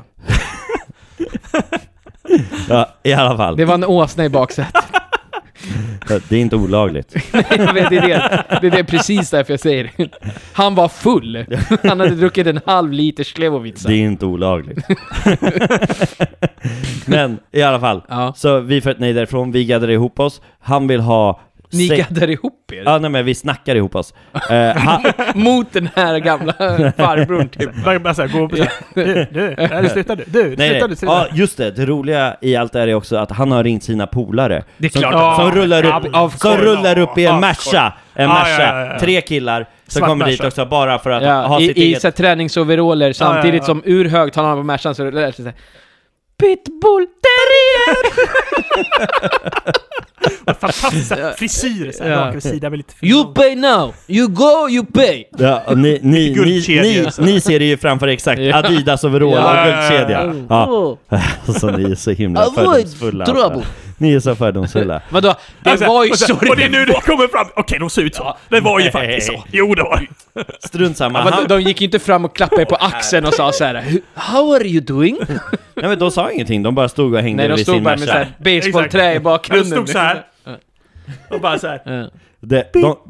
Speaker 3: Ja, i alla fall.
Speaker 4: Det var en åsna i baksätet.
Speaker 3: Det är inte olagligt.
Speaker 4: Jag vet, det, är det. det är det precis därför jag säger det. Han var full. Han hade druckit en halv liter Slevovica.
Speaker 3: Det är inte olagligt. Men i alla fall.
Speaker 4: Ja.
Speaker 3: Så vi flöt nej därifrån, vi gaddade ihop oss. Han vill ha...
Speaker 4: Ni
Speaker 3: sex-
Speaker 4: gaddar ihop er
Speaker 3: Ja, nej men vi snackar ihop oss. Eh, han,
Speaker 4: mot den här gamla farbrorn typ.
Speaker 5: Bara, bara såhär, gå upp och såhär. Du, du, nej, du, sluta du. Du,
Speaker 3: nej,
Speaker 5: sluta
Speaker 3: nej.
Speaker 5: du. Sluta.
Speaker 3: Ja, just det. Det roliga i allt det här är också att han har ringt sina polare.
Speaker 5: det är
Speaker 3: Som,
Speaker 5: klart.
Speaker 3: som rullar upp,
Speaker 5: Ja, of
Speaker 3: som
Speaker 5: course.
Speaker 3: rullar upp i en
Speaker 5: Of
Speaker 3: Merca. En
Speaker 5: Ja,
Speaker 3: Merca.
Speaker 5: ja, ja, ja.
Speaker 3: Tre killar som
Speaker 5: Svart
Speaker 3: kommer dit
Speaker 5: Merca.
Speaker 3: också bara för att
Speaker 4: Ja,
Speaker 3: ha sitt
Speaker 4: I i
Speaker 3: eget...
Speaker 4: så här träningsoveraller samtidigt
Speaker 5: ja.
Speaker 4: som ur högtalarna på Mercan så det lät det såhär Pitbull terrier!
Speaker 5: Fantastisk såhär, frisyr såhär,
Speaker 4: Ja.
Speaker 5: rakt över sidan med lite
Speaker 4: You pay now! You go, you pay!
Speaker 3: Ja, och ni, ni, ni,
Speaker 5: Guldkedja,
Speaker 3: ni,
Speaker 5: alltså.
Speaker 3: ni ser det ju framför exakt
Speaker 4: Ja.
Speaker 3: Adidas overall
Speaker 5: Ja,
Speaker 3: och
Speaker 5: ja, ja, ja.
Speaker 3: guldkedja. Ja.
Speaker 4: Oh.
Speaker 3: Alltså ni är så himla
Speaker 4: Avoid
Speaker 3: fördomsfulla. alltså.
Speaker 4: trouble.
Speaker 3: Ni är så fördomsfulla.
Speaker 4: Vadå? Det var ju så
Speaker 5: Alltså, Och det är
Speaker 4: det
Speaker 5: nu det kommer fram. Okej, de ser ut så. Det var ju faktiskt så. Jo, det var det.
Speaker 3: Strunt samma.
Speaker 4: Ja, men
Speaker 3: Han,
Speaker 4: de, de gick inte fram och klappade er på axeln och sa såhär How are you doing?
Speaker 3: nej men de sa ingenting, de bara stod och hängde
Speaker 4: Nej de
Speaker 3: vid
Speaker 4: stod
Speaker 3: sin
Speaker 4: bara med
Speaker 3: Merca.
Speaker 4: såhär basebollträ i bakgrunden
Speaker 5: De stod såhär. Och bara såhär.
Speaker 3: De,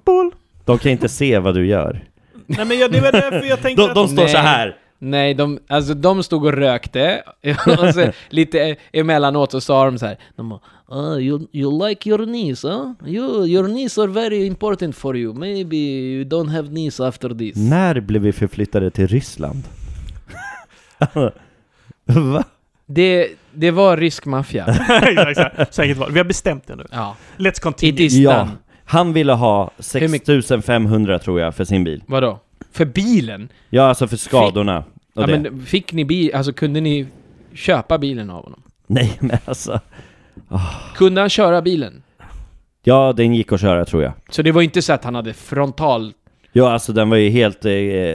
Speaker 3: de, de kan inte se vad du gör.
Speaker 1: Nej men jag, det var därför jag tänkte
Speaker 3: De, de står så
Speaker 4: Nej.
Speaker 3: här.
Speaker 4: Nej, de, alltså, de stod och rökte, och så, lite emellanåt och sa de så här, de bara, "Ah, you, you like your knees, huh? You, your knees are very important for you, maybe you don't have knees after this.
Speaker 3: När blev vi förflyttade till Ryssland? Va?
Speaker 4: Det, det var rysk maffia.
Speaker 1: att... exakt, exakt. Säkert var. Vi har bestämt det nu.
Speaker 4: ja.
Speaker 1: Let's
Speaker 4: It
Speaker 1: continue.
Speaker 4: is
Speaker 3: Ja,
Speaker 4: done.
Speaker 3: han ville ha
Speaker 4: Hur mycket-
Speaker 3: 6500 tror jag för sin bil.
Speaker 4: Vadå? För bilen?
Speaker 3: Ja, alltså för skadorna. Och
Speaker 4: Ja,
Speaker 3: det.
Speaker 4: men fick ni bil, alltså kunde ni köpa bilen av honom?
Speaker 3: Nej, men alltså.
Speaker 4: Kunde han köra bilen?
Speaker 3: Ja, den gick att köra tror jag.
Speaker 4: Så det var inte så att han hade frontal...
Speaker 3: Ja, alltså den var ju helt eh,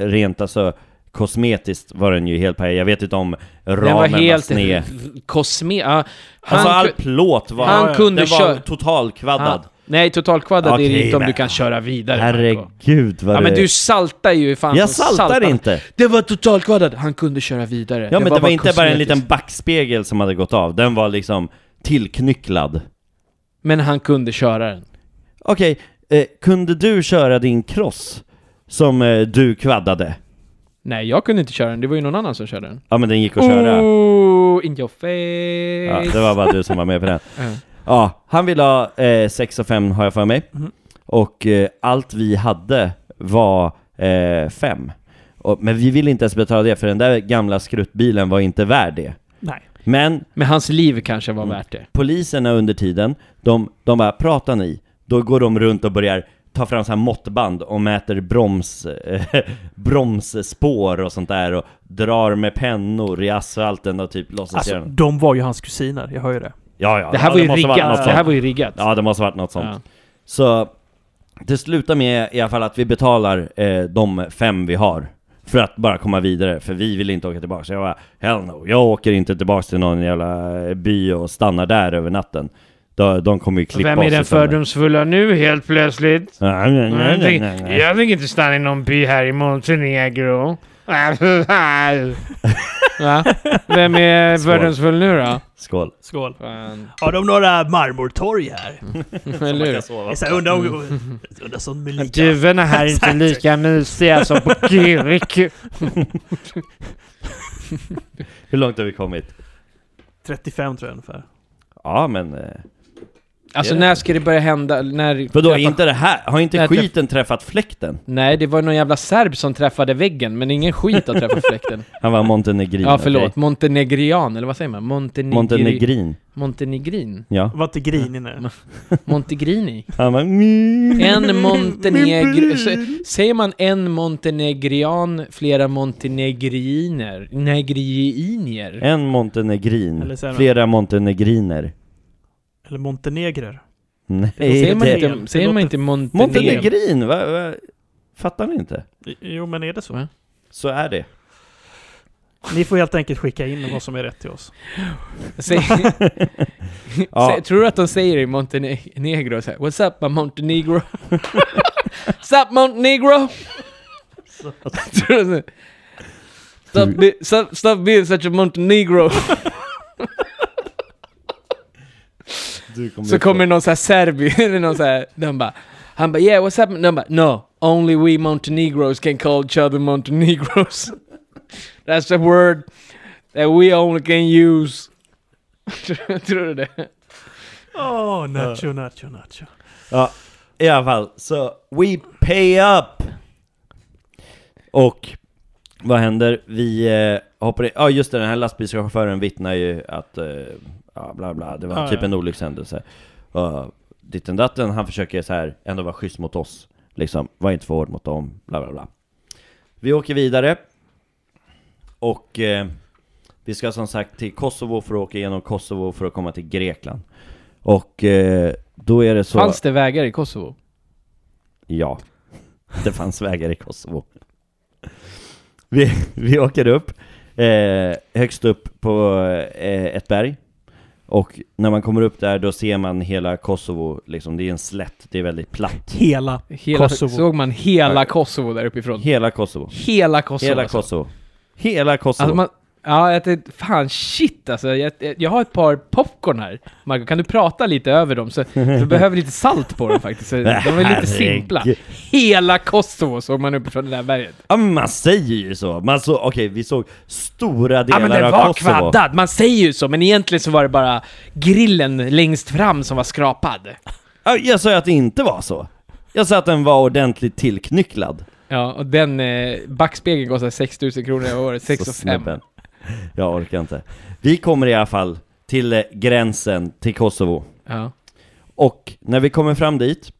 Speaker 3: rent, alltså kosmetiskt var den ju helt paj. Jag vet inte om ramen
Speaker 4: Den var helt
Speaker 3: sned.
Speaker 4: kosme... Ja, han
Speaker 3: Alltså all
Speaker 4: ku-
Speaker 3: plåt var,
Speaker 4: han kunde
Speaker 3: den var
Speaker 4: köra-
Speaker 3: totalkvaddad.
Speaker 4: han- Nej, totalkvaddad är det
Speaker 3: Okej,
Speaker 4: inte om
Speaker 3: men-
Speaker 4: du kan köra vidare. Marco.
Speaker 3: Herregud vad
Speaker 4: Ja
Speaker 3: det...
Speaker 4: men du saltar ju fan
Speaker 3: Jag
Speaker 4: som
Speaker 3: saltar
Speaker 4: satan.
Speaker 3: inte.
Speaker 4: Det var totalkvaddad, han kunde köra vidare.
Speaker 3: Ja men det var, inte bara en
Speaker 4: kosmetiskt.
Speaker 3: liten backspegel som hade gått av, den var liksom tillknycklad.
Speaker 4: Men han kunde köra den.
Speaker 3: Okej, eh, kunde du köra din cross som eh, du kvaddade?
Speaker 4: Nej, jag kunde inte köra den, det var ju någon annan som körde den.
Speaker 3: Ja men den gick att köra.
Speaker 4: Ooh, in your
Speaker 3: Ja,
Speaker 4: face!
Speaker 3: det var bara du som var med på den.
Speaker 4: Mm.
Speaker 3: Ja, han ville ha eh, 6 och 5 har jag för mig.
Speaker 4: Mhm.
Speaker 3: Och eh, allt vi hade var 5. men vi ville inte ens betala det för den där gamla skruttbilen var inte värd det.
Speaker 1: Nej.
Speaker 3: Men
Speaker 4: Men hans liv kanske
Speaker 3: Mm.
Speaker 4: var värt det.
Speaker 3: poliserna under tiden, de, de bara pratar ni? Då går de runt och börjar ta fram så här måttband och mäter broms, eh, bromsspår och sånt där och drar med pennor i asfalten och typ låtsas
Speaker 1: Alltså,
Speaker 3: göra något.
Speaker 1: de var ju hans kusiner, jag hör ju det.
Speaker 3: ja, ja,
Speaker 4: Det här
Speaker 3: ja,
Speaker 4: var ju
Speaker 3: måste varit något
Speaker 4: riggat. Det
Speaker 3: sånt.
Speaker 4: här var ju riggat.
Speaker 3: Ja, det måste ha varit något sånt.
Speaker 4: Ja.
Speaker 3: Så det slutar med i alla fall att vi betalar eh, de fem vi har. För att bara komma vidare, för vi vill inte åka tillbaka. Så jag bara, hell no, jag åker inte tillbaka till någon jävla eh, by och stannar där över natten. De, de kommer ju klippa
Speaker 6: Vem
Speaker 3: oss
Speaker 6: är den
Speaker 3: i sönder.
Speaker 6: fördomsfulla nu helt plötsligt?
Speaker 3: Nej, nej, nej,
Speaker 6: Jag
Speaker 3: nej,
Speaker 6: tänker-
Speaker 3: nej, nej.
Speaker 6: Jag tänker inte stanna i någon by här i Montenegro.
Speaker 4: Va? Vem är fördomsfull nu då?
Speaker 3: Skål.
Speaker 1: Skål.
Speaker 4: Fan.
Speaker 1: Har de några marmortorg här?
Speaker 4: Mm. Eller hur?
Speaker 1: Jag så här undrar om... Undrar som med lika.
Speaker 6: Duvorna här är inte lika mysiga som på Kirk.
Speaker 3: Hur långt har vi kommit?
Speaker 1: 35 tror jag ungefär.
Speaker 3: Ja, men... Eh,
Speaker 4: Alltså
Speaker 3: Ja.
Speaker 4: när ska det börja hända? När
Speaker 3: vadå, är
Speaker 4: träffar-
Speaker 3: inte det här? Har inte
Speaker 4: Jag träff-
Speaker 3: skiten träffat fläkten?
Speaker 4: Nej, det var någon jävla serb som träffade väggen, men ingen skit att träffa fläkten.
Speaker 3: Han var montenegrin.
Speaker 4: ja, förlåt.
Speaker 3: okej?
Speaker 4: Montenegrian, eller vad säger man? Montenegri...
Speaker 3: Montenegrin.
Speaker 4: Montenegrin?
Speaker 3: Ja.
Speaker 1: Var inte grinig
Speaker 4: Mm.
Speaker 1: nu.
Speaker 4: Montegrini?
Speaker 3: Han var... Mm.
Speaker 4: En montenegr... sä- Säger man en montenegrian, flera montenegriner? Negriinier?
Speaker 3: En montenegrin,
Speaker 1: Eller så är det-
Speaker 3: flera montenegriner.
Speaker 1: Eller montenegrer.
Speaker 3: Nej,
Speaker 4: Säger man
Speaker 3: det-
Speaker 4: inte, säger man inte montenegr?
Speaker 3: Montenegrin, va, va? Fattar ni inte?
Speaker 1: Jo men är det så?
Speaker 4: Va?
Speaker 3: Så är det.
Speaker 1: Ni får helt enkelt skicka in vad som är rätt till oss.
Speaker 4: Säger-
Speaker 3: Ja.
Speaker 4: Sä- Tror du att de säger i Montenegro så här, What's up my Montenegro? What's up Montenegro? Tror du det? Stop, be, stop, stop being such a Montenegro. Så kommer någon så här serbi, eller någon så här, de bara, han bara yeah what's up? De bara no, only we Montenegros can call each other Montenegros. That's a word that we only can use. Tror du det?
Speaker 1: Åh, nacho, nacho, nacho.
Speaker 3: Ja, i alla fall. Så, we pay up! Och vad händer? Vi eh, hoppar in. Ja, just det, den här lastbilschauffören vittnar ju att... Eh, ja, bla bla, det var
Speaker 1: Ja,
Speaker 3: typ
Speaker 1: ja.
Speaker 3: en olyckshändelse. Uh, ditten datten, han försöker så här ändå vara schysst mot oss. Liksom, var inte för hård mot dem, bla bla bla. Vi åker vidare. Och eh, vi ska som sagt till Kosovo för att åka igenom Kosovo för att komma till Grekland. Och eh, då är det så...
Speaker 4: Fanns det vägar i Kosovo?
Speaker 3: Ja, det fanns vägar i Kosovo. Vi, vi åker upp, eh, högst upp på eh, ett berg. Och när man kommer upp där då ser man hela Kosovo, liksom, det är en slätt, det är väldigt platt.
Speaker 1: Hela.
Speaker 4: Hela,
Speaker 1: Kosovo.
Speaker 4: Såg man hela Kosovo där uppifrån?
Speaker 3: Hela Kosovo.
Speaker 4: Hela Kosovo.
Speaker 3: Hela
Speaker 4: alltså.
Speaker 3: Kosovo. Hela Kosovo.
Speaker 4: Alltså man, Ja, jag tänkte, fan shit alltså. Jag, jag- jag har ett par popcorn här. Marco, kan du prata lite över dem? Så, så behöver lite salt på dem faktiskt. Så De är lite
Speaker 3: Herregud.
Speaker 4: simpla. Hela Kosovo såg man uppifrån det där berget.
Speaker 3: Ja, men man säger ju så. Man så Okej, vi såg stora
Speaker 4: Ja
Speaker 3: delar
Speaker 4: men den
Speaker 3: av
Speaker 4: var
Speaker 3: Kosovo.
Speaker 4: kvaddad, man säger ju så, men egentligen så var det bara grillen längst fram som var skrapad.
Speaker 3: Ja, Jag sa ju att det inte var så. Jag sa att den var ordentligt tillknycklad.
Speaker 4: Ja, och den eh, backspegeln kostar 6 000 kronor i året,
Speaker 3: Så
Speaker 4: 6 5.
Speaker 3: snubben. Jag orkar inte. Vi kommer i alla fall till eh, gränsen till Kosovo.
Speaker 4: Ja.
Speaker 3: Och när vi kommer fram dit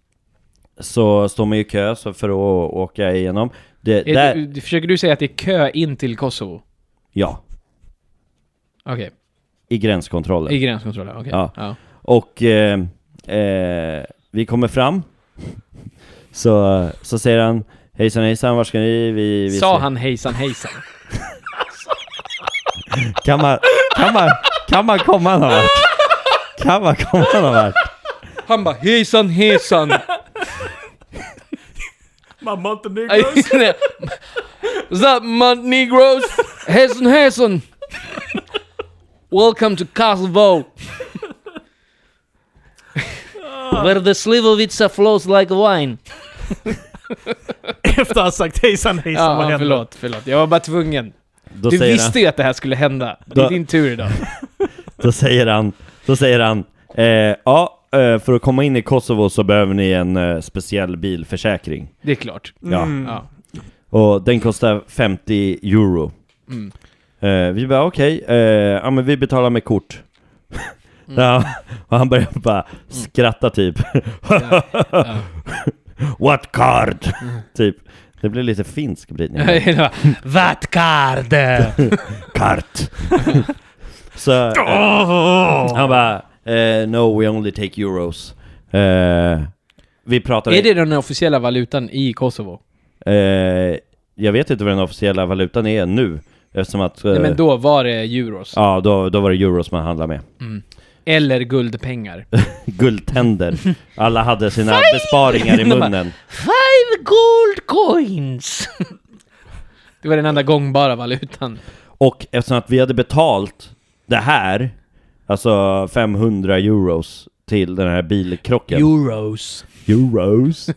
Speaker 3: så står man ju i kö så för att åka igenom. Det,
Speaker 4: Är
Speaker 3: där,
Speaker 4: Du, försöker du säga att det är kö in till Kosovo?
Speaker 3: Ja,
Speaker 4: Okej,
Speaker 3: i gränskontrollen.
Speaker 4: i gränskontrollen, okej.
Speaker 3: Ja.
Speaker 4: Ja.
Speaker 3: Och eh, eh, vi kommer fram. Så, så säger han Hejsan hejsan, var ska ni? Vi, vi
Speaker 4: Sa
Speaker 3: ses."
Speaker 4: han hejsan hejsan?
Speaker 3: Kan man, kan man, kan man komma någon vart? Kan man komma någon vart?
Speaker 4: Han bara hejsan hejsan!
Speaker 5: Mamma inte
Speaker 4: Aj,
Speaker 5: negros.
Speaker 4: nej. What's up man negros? Hejsan hejsan! Welcome to Kosovo! Where the slivovica flows like wine.
Speaker 5: Efter att ha sagt hejsan hejsan, vad
Speaker 4: Ja,
Speaker 5: händer?
Speaker 4: förlåt, förlåt. Jag var bara tvungen.
Speaker 3: Då
Speaker 4: Du
Speaker 3: säger
Speaker 4: visste ju att det här skulle hända. Det
Speaker 3: Då-
Speaker 4: är din tur idag.
Speaker 3: han, då säger han, då säger han eh, Ja, eh, för att komma in i Kosovo så behöver ni en eh, speciell bilförsäkring.
Speaker 4: Det är klart.
Speaker 3: Ja.
Speaker 5: Mm.
Speaker 4: Ja.
Speaker 3: Och den kostar 50 euro.
Speaker 4: Mm.
Speaker 3: Eh, vi bara okej, eh, ja men vi betalar med kort. ja, och han börjar bara skratta typ. What card? typ. Det blir lite finsk Britney.
Speaker 4: Det var, Vatkard!
Speaker 3: Kart! Så eh, han bara, eh, no we only take euros. Eh, vi pratar...
Speaker 4: Är det den officiella valutan i Kosovo?
Speaker 3: Eh, jag vet inte vad den officiella valutan är nu. Eftersom att... eh,
Speaker 4: Nej, men då var det euros.
Speaker 3: Ja, då, då var det euros man handlade med.
Speaker 4: Eller guldpengar.
Speaker 3: Guldtänder. Alla hade sina besparingar i munnen.
Speaker 4: Five gold coins! Det var den enda gångbara valutan.
Speaker 3: Och eftersom att vi hade betalt det här, alltså 500 euros till den här bilkrocken.
Speaker 4: Euros.
Speaker 3: euros.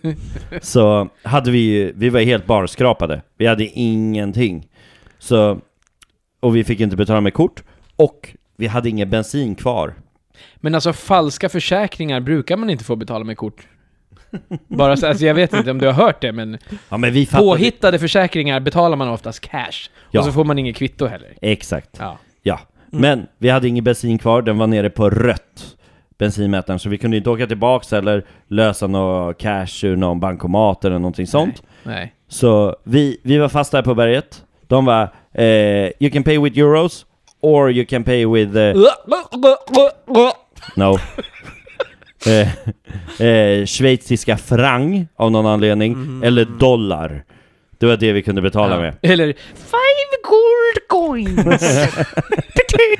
Speaker 3: så hade vi ju- vi var helt barskrapade. Vi hade ingenting. Så, och vi fick inte betala med kort. Och vi hade ingen bensin kvar.
Speaker 4: Men alltså falska försäkringar brukar man inte få betala med kort. Bara så, alltså jag vet inte om du har hört det, men
Speaker 3: Ja men vi fattade...
Speaker 4: påhittade försäkringar betalar man oftast cash.
Speaker 3: Ja.
Speaker 4: Och så får man inget kvitto heller.
Speaker 3: Exakt.
Speaker 4: Ja.
Speaker 3: Ja, men vi hade ingen bensin kvar, den var nere på rött bensinmätaren, så vi kunde inte åka tillbaks eller lösa någon cash ur någon bankomat eller någonting sånt.
Speaker 4: Nej.
Speaker 3: Så vi, vi var fast där på berget. De var eh, “You can pay with euros” or “You can pay with...” eh, No. eh, eh, schweiziska franc av någon anledning, eller dollar. Det var det vi kunde betala med.
Speaker 4: Eller Five gold coins!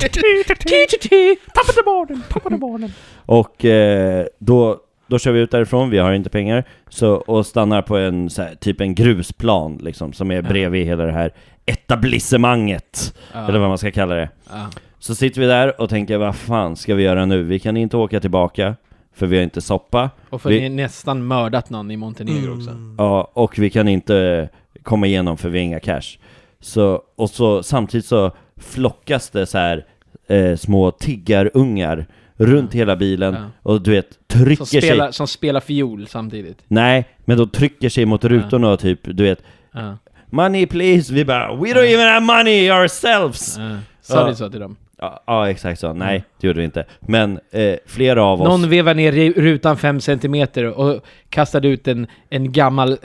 Speaker 4: Ti-ti-ti.
Speaker 5: Tappade barnen, tappade barnen.
Speaker 3: Och eh, då, då kör vi ut därifrån, vi har inte pengar, så, och stannar på en så här, typ en grusplan liksom, som är bredvid hela det här etablissemanget, eller vad man ska kalla det.
Speaker 4: Ja.
Speaker 3: Så sitter vi där och tänker, vad fan ska vi göra nu? Vi kan inte åka tillbaka, för vi har inte soppa,
Speaker 4: Och för
Speaker 3: Vi-
Speaker 4: ni har nästan mördat någon i Montenegro också.
Speaker 3: ja, och vi kan inte komma igenom för vi har inga cash. Så, och så, samtidigt så flockas det så här eh, små tiggarungar runt hela bilen
Speaker 4: Ja.
Speaker 3: och du vet,
Speaker 4: Som
Speaker 3: trycker sig
Speaker 4: spelar, som spelar fiol samtidigt.
Speaker 3: Nej, men de trycker sig mot rutorna och typ, du vet
Speaker 4: Ja.
Speaker 3: Money please! Vi bara We don't even have money ourselves!
Speaker 4: Ja. Sa
Speaker 3: Ja.
Speaker 4: du så till dem?
Speaker 3: Ja, ja exakt så. Nej, det gjorde vi inte. Men eh, flera av oss...
Speaker 4: Någon vevar ner i rutan 5 centimeter och kastade ut en, en gammal eh,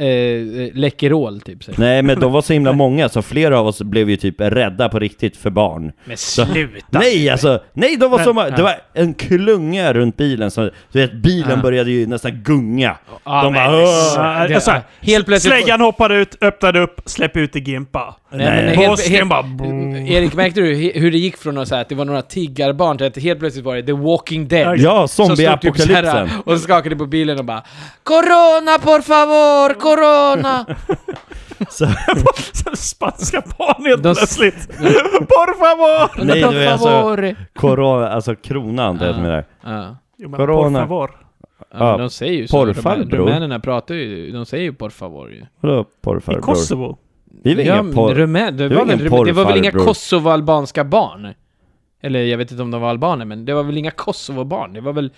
Speaker 4: Läkerol typ. Så.
Speaker 3: Nej, men de var så himla många så flera av oss blev ju typ rädda på riktigt för barn.
Speaker 4: Men
Speaker 3: Så-
Speaker 4: sluta!
Speaker 3: Nej, alltså! Nej, de var så många! Det
Speaker 4: ja.
Speaker 3: var en klunga runt bilen som... Du vet, bilen
Speaker 4: Ja.
Speaker 3: började ju nästan gunga.
Speaker 4: Ja,
Speaker 3: de
Speaker 4: men-
Speaker 3: bara "Åh!"
Speaker 4: Ja, det-
Speaker 5: Jag sa,
Speaker 4: helt plötsligt...
Speaker 5: Släggan hoppade ut, öppnade upp, släpp ut i Gimpa.
Speaker 4: Nej, men
Speaker 3: Nej.
Speaker 4: helt,
Speaker 5: Bosnien
Speaker 4: helt, Mm.
Speaker 5: bara...
Speaker 4: Erik, märkte du he- hur det gick från att, så här, att det var några tiggarbarn till att det helt plötsligt var det The Walking Dead?
Speaker 3: Ja,
Speaker 4: Som stod typ så här
Speaker 3: zombieapokalypsen!
Speaker 4: och skakade på bilen och bara Corona por favor, corona!
Speaker 3: Så,
Speaker 5: Så Spanska barnet
Speaker 4: De s-
Speaker 5: plötsligt. Por favor!
Speaker 3: nej, det är alltså
Speaker 4: favor!
Speaker 3: corona, alltså kronan, det är som är där.
Speaker 4: Ja.
Speaker 5: Jo, men
Speaker 3: Corona.
Speaker 5: por favor.
Speaker 4: Ja,
Speaker 3: Ja,
Speaker 4: men de säger ju
Speaker 3: por
Speaker 4: så. De här
Speaker 3: farbror.
Speaker 4: Rumänerna pratar ju, de säger ju por favor ju.
Speaker 3: Vadå
Speaker 5: I
Speaker 3: porrfarbror?
Speaker 5: Kosovo.
Speaker 3: Vi är väl
Speaker 4: ja,
Speaker 3: inga porr...
Speaker 4: rumän, det,
Speaker 3: var
Speaker 4: var väl,
Speaker 3: ingen
Speaker 4: rum- det var väl inga
Speaker 3: porrfarbror.
Speaker 4: kosovoalbanska barn? Eller jag vet inte om de var albaner, men det var väl inga kosovobarn? Det var väl...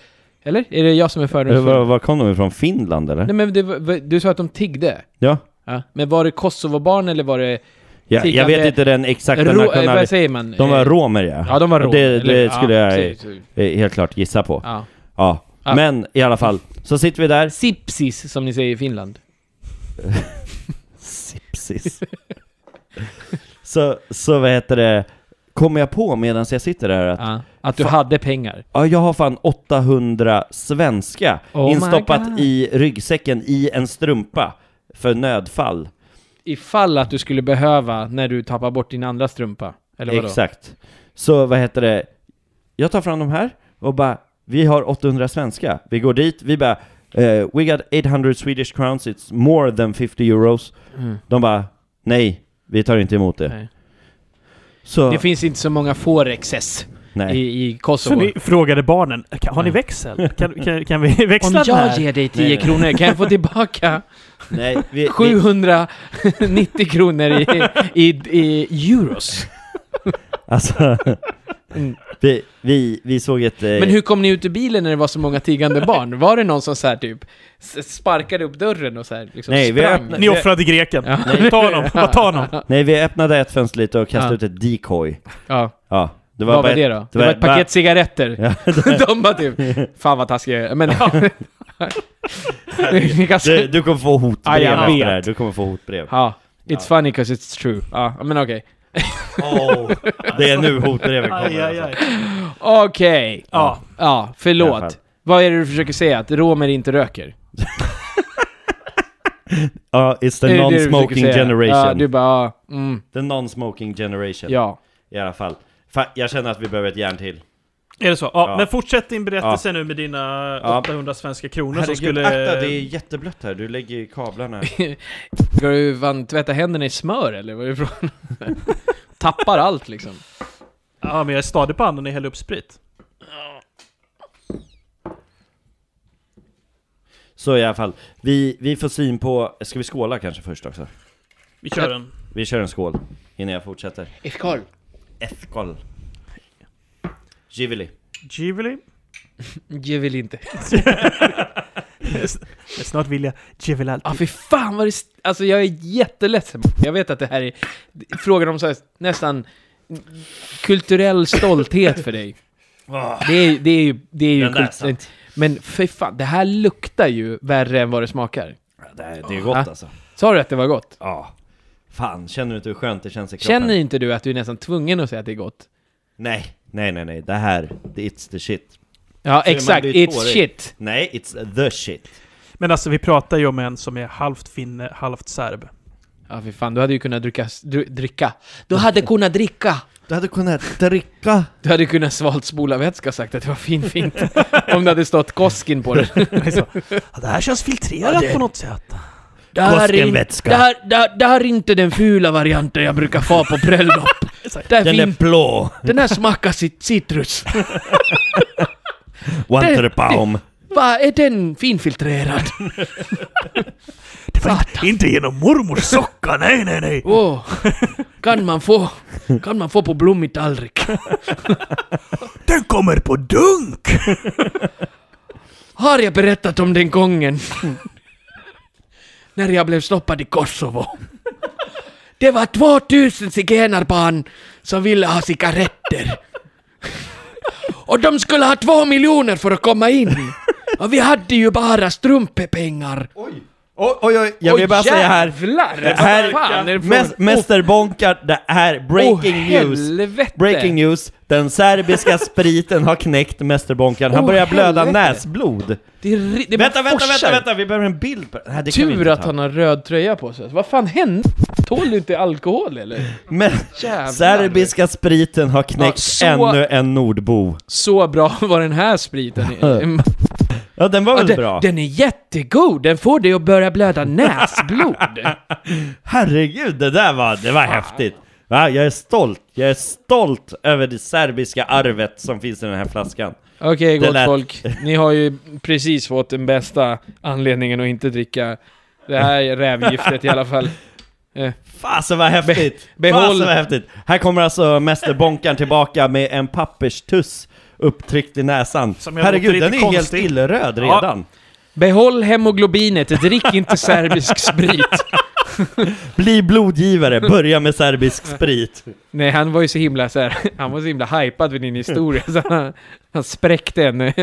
Speaker 4: Eller? Är det jag som är
Speaker 3: Eh, Var,
Speaker 4: fördomsfull?
Speaker 3: var kom de ifrån? Finland eller?
Speaker 4: Nej men det var, du sa att de tiggde?
Speaker 3: Ja.
Speaker 4: Ja. Men var det kosovobarn eller var det...
Speaker 3: ja jag
Speaker 4: Tiggande-
Speaker 3: vet inte den exakta
Speaker 4: Ro, eh, vad
Speaker 3: nationaliteten.
Speaker 4: säger man?
Speaker 3: De var
Speaker 4: Eh,
Speaker 3: romer ja.
Speaker 4: Ja, de var
Speaker 3: Och
Speaker 4: romer.
Speaker 3: Det,
Speaker 4: eller-
Speaker 3: det skulle
Speaker 4: ja,
Speaker 3: jag
Speaker 4: precis.
Speaker 3: eh, helt klart gissa på.
Speaker 4: Ja.
Speaker 3: Ja.
Speaker 4: Ja.
Speaker 3: Men i alla fall, så sitter vi där.
Speaker 4: Sipsis, som ni säger i Finland.
Speaker 3: Sipsis. så, så vad heter det? Kommer jag på medan jag sitter där att
Speaker 4: Ja. Att du
Speaker 3: Fan.
Speaker 4: hade pengar.
Speaker 3: ja, jag har fan 800 svenska
Speaker 4: Oh my
Speaker 3: instoppat
Speaker 4: God.
Speaker 3: i ryggsäcken i en strumpa för nödfall.
Speaker 4: Ifall att du skulle behöva när du tappar bort din andra strumpa. Eller vadå?
Speaker 3: Exakt. Så vad heter det? Jag tar fram de här och bara, vi har 800 svenska. Vi går dit, vi bara, eh, we got 800 Swedish crowns, it's more than 50 euros.
Speaker 4: Mm.
Speaker 3: De bara, nej, vi tar inte emot det.
Speaker 4: Nej.
Speaker 3: Så,
Speaker 4: Det finns inte så många forexes
Speaker 3: nej.
Speaker 4: i, i
Speaker 5: Så
Speaker 4: Kosovo.
Speaker 5: ni frågade barnen, "Kan- har ni växel? Kan, kan, kan vi
Speaker 4: Om
Speaker 5: växla den
Speaker 4: jag
Speaker 5: här?
Speaker 4: ger dig
Speaker 3: Nej,
Speaker 4: 10
Speaker 3: nej.
Speaker 4: kronor, kan jag få tillbaka
Speaker 3: nej vi, vi,
Speaker 4: 790 kronor i, i, i euros?
Speaker 3: alltså,
Speaker 4: Mm.
Speaker 3: vi, vi, vi såg ett... eh,
Speaker 4: Men hur kom ni ut ur bilen när det var så många tiggande barn? Var det någon som så här typ s- sparkade upp dörren och så här liksom
Speaker 3: Nej, vi
Speaker 4: sprang?
Speaker 3: öppnade-
Speaker 5: Ni offrade greken.
Speaker 4: Ja.
Speaker 5: Ta honom, bara ta honom.
Speaker 3: Nej, vi öppnade ett fönster lite och kastade
Speaker 4: Ja.
Speaker 3: ut ett decoy.
Speaker 4: Ja,
Speaker 3: Ja, det var
Speaker 4: vad var
Speaker 3: bara ett-
Speaker 4: det då? Det
Speaker 3: var
Speaker 4: var ett
Speaker 3: bara-
Speaker 4: paket cigaretter.
Speaker 3: Ja,
Speaker 4: De bara typ, fan vad taskiga jag är." Men ja. Ni kan se-
Speaker 3: Du, du kommer få
Speaker 4: Ja,
Speaker 3: hotbrev
Speaker 4: jag
Speaker 3: efter det
Speaker 4: vet.
Speaker 3: här. Du kommer få hotbrev.
Speaker 4: Ja, it's funny 'cause it's true. Ja, men okej.
Speaker 3: Oh, det är nu hotbreven kommer.
Speaker 5: Aj, aj,
Speaker 3: alltså.
Speaker 5: aj.
Speaker 4: Okej!
Speaker 5: Ja.
Speaker 4: Ja,
Speaker 3: I alla fall.
Speaker 4: förlåt. Vad är det du försöker säga? Att romer inte röker?
Speaker 3: Ja, it's the
Speaker 4: Är det det du försöker
Speaker 3: non-smoking
Speaker 4: säga?
Speaker 3: generation.
Speaker 4: Ja, du bara, ja, mm,
Speaker 3: The non-smoking generation.
Speaker 4: ja.
Speaker 3: I alla fall. Fa- jag känner att vi behöver ett järn till.
Speaker 5: Är det så? Ja,
Speaker 3: Ja.
Speaker 5: men fortsätt din berättelse nu med dina
Speaker 3: Ja.
Speaker 5: 800 svenska kronor
Speaker 3: Herregud,
Speaker 5: som skulle...
Speaker 3: akta, det är jätteblött här. Du lägger ju kablarna.
Speaker 4: Ska du fan tvätta händerna i smör eller? Vad är det från? Tappar allt liksom.
Speaker 5: Ja, men jag är stadig på handen när jag häller upp sprit.
Speaker 3: Så i alla fall. Vi, vi får syn på... Ska vi skåla kanske först också?
Speaker 5: Vi kör den.
Speaker 3: Vi kör en skål innan jag fortsätter.
Speaker 4: Ifkol.
Speaker 3: Efkol. Givili.
Speaker 5: Givili.
Speaker 4: Jag vill inte.
Speaker 5: Snart vill jag Givil
Speaker 4: Ja,
Speaker 5: alltid.
Speaker 4: Ah, fy fan vad det... st- Alltså jag är jätteledsen. Jag vet att det här är frågan om så här, nästan kulturell stolthet för dig. Det är, det är ju... Det är ju
Speaker 3: Den där
Speaker 4: kult-
Speaker 3: satt.
Speaker 4: Men för fan, det här luktar ju värre än vad det smakar.
Speaker 3: Ja, Det, här- det är gott
Speaker 4: Ah.
Speaker 3: alltså.
Speaker 4: Sa du att det var gott?
Speaker 3: Ja. Fan, känner du inte hur skönt det känns i kroppen?
Speaker 4: Känner inte du att du är nästan tvungen att säga att det är gott?
Speaker 3: Nej, nej, nej, nej. Det här, it's the shit.
Speaker 4: Ja,
Speaker 3: man
Speaker 4: exakt.
Speaker 3: blir
Speaker 4: It's
Speaker 3: tårig.
Speaker 4: shit.
Speaker 3: Nej, it's the shit.
Speaker 5: Men alltså, vi pratar ju om en som är halvt finne, halvt serb.
Speaker 4: Ja, fy fan. Du hade ju kunnat dricka... Dr, dricka. Du hade kunnat dricka!
Speaker 3: Du hade kunnat dricka.
Speaker 4: Du hade kunnat svalt spolarvätska och sagt att det var finfint. om det hade stått Koskin på den.
Speaker 5: Ja, det här känns filtrerat på något sätt.
Speaker 4: Det här, är in,
Speaker 3: Koskenvätska.
Speaker 4: det, här, det, här, det här är inte den fula varianten jag brukar få på bröllop. Det här
Speaker 3: Den är
Speaker 4: fin,
Speaker 3: blå.
Speaker 4: den här smakar sitt citrus.
Speaker 3: One to
Speaker 4: Det-
Speaker 3: the palm.
Speaker 4: Vad är den finfiltrerad?
Speaker 5: Det var inte, inte genom mormors socka, nej, nej, nej.
Speaker 4: Åh, kan man få, kan man få på blommig tallrik?
Speaker 5: Den kommer på dunk!
Speaker 4: Har jag berättat om den gången? När jag blev stoppad i Kosovo. Det var 2000 zigenarbarn som ville ha cigaretter. Och de skulle ha två miljoner för att komma in. Och vi hade ju bara strumpepengar.
Speaker 3: Oj, oj, oj. Jag vill
Speaker 4: Åh,
Speaker 3: bara säga här.
Speaker 4: jävlar!
Speaker 3: Det här,
Speaker 4: Fan, är det frågan?
Speaker 3: mäs- mästerbonkar, det här, breaking
Speaker 4: Åh,
Speaker 3: news.
Speaker 4: helvete.
Speaker 3: Breaking news, den serbiska spriten har knäckt mästerbonkaren. Han
Speaker 4: Åh,
Speaker 3: börjar blöda
Speaker 4: helvete.
Speaker 3: näsblod.
Speaker 4: Det är ri- det bara
Speaker 3: Vänta, vänta,
Speaker 4: forsar.
Speaker 3: vänta, vänta, vi behöver en bild på det här. Det kan vi
Speaker 4: Tur
Speaker 3: inte
Speaker 4: att
Speaker 3: ta.
Speaker 4: han har röd tröja på sig. Vad fan hände? Tål du inte alkohol eller?
Speaker 3: Men
Speaker 4: Jävlar.
Speaker 3: serbiska spriten har knäckt
Speaker 4: Ja, så-
Speaker 3: ännu en nordbo.
Speaker 4: Så bra var den här spriten.
Speaker 3: Ja, den var
Speaker 4: Ja,
Speaker 3: väl
Speaker 4: den,
Speaker 3: bra?
Speaker 4: den är jättegod, den får dig att börja blöda näsblod.
Speaker 3: Herregud, det där var, det var häftigt! Va? Jag är stolt, jag är stolt över det serbiska arvet som finns i den här flaskan.
Speaker 4: Okej
Speaker 3: Det
Speaker 4: gott
Speaker 3: lät-
Speaker 4: folk, ni har ju precis fått den bästa anledningen att inte dricka det här rävgiftet i alla fall.
Speaker 3: Fasen vad häftigt!
Speaker 4: behåll-
Speaker 3: Fasen vad häftigt! Här kommer alltså mästerbonkan tillbaka med en papperstuss upptryckt i näsan.
Speaker 5: Som jag låter
Speaker 3: Herregud,
Speaker 5: lite
Speaker 3: den är helt
Speaker 5: konstig.
Speaker 3: illröd
Speaker 5: Ja.
Speaker 3: redan.
Speaker 4: Behåll hemoglobinet, drick inte serbisk sprit.
Speaker 3: Bli blodgivare, börja med serbisk sprit.
Speaker 4: Nej, han var ju så himla så här, han var så himla hypad vid din historia så han, han spräckte en, en,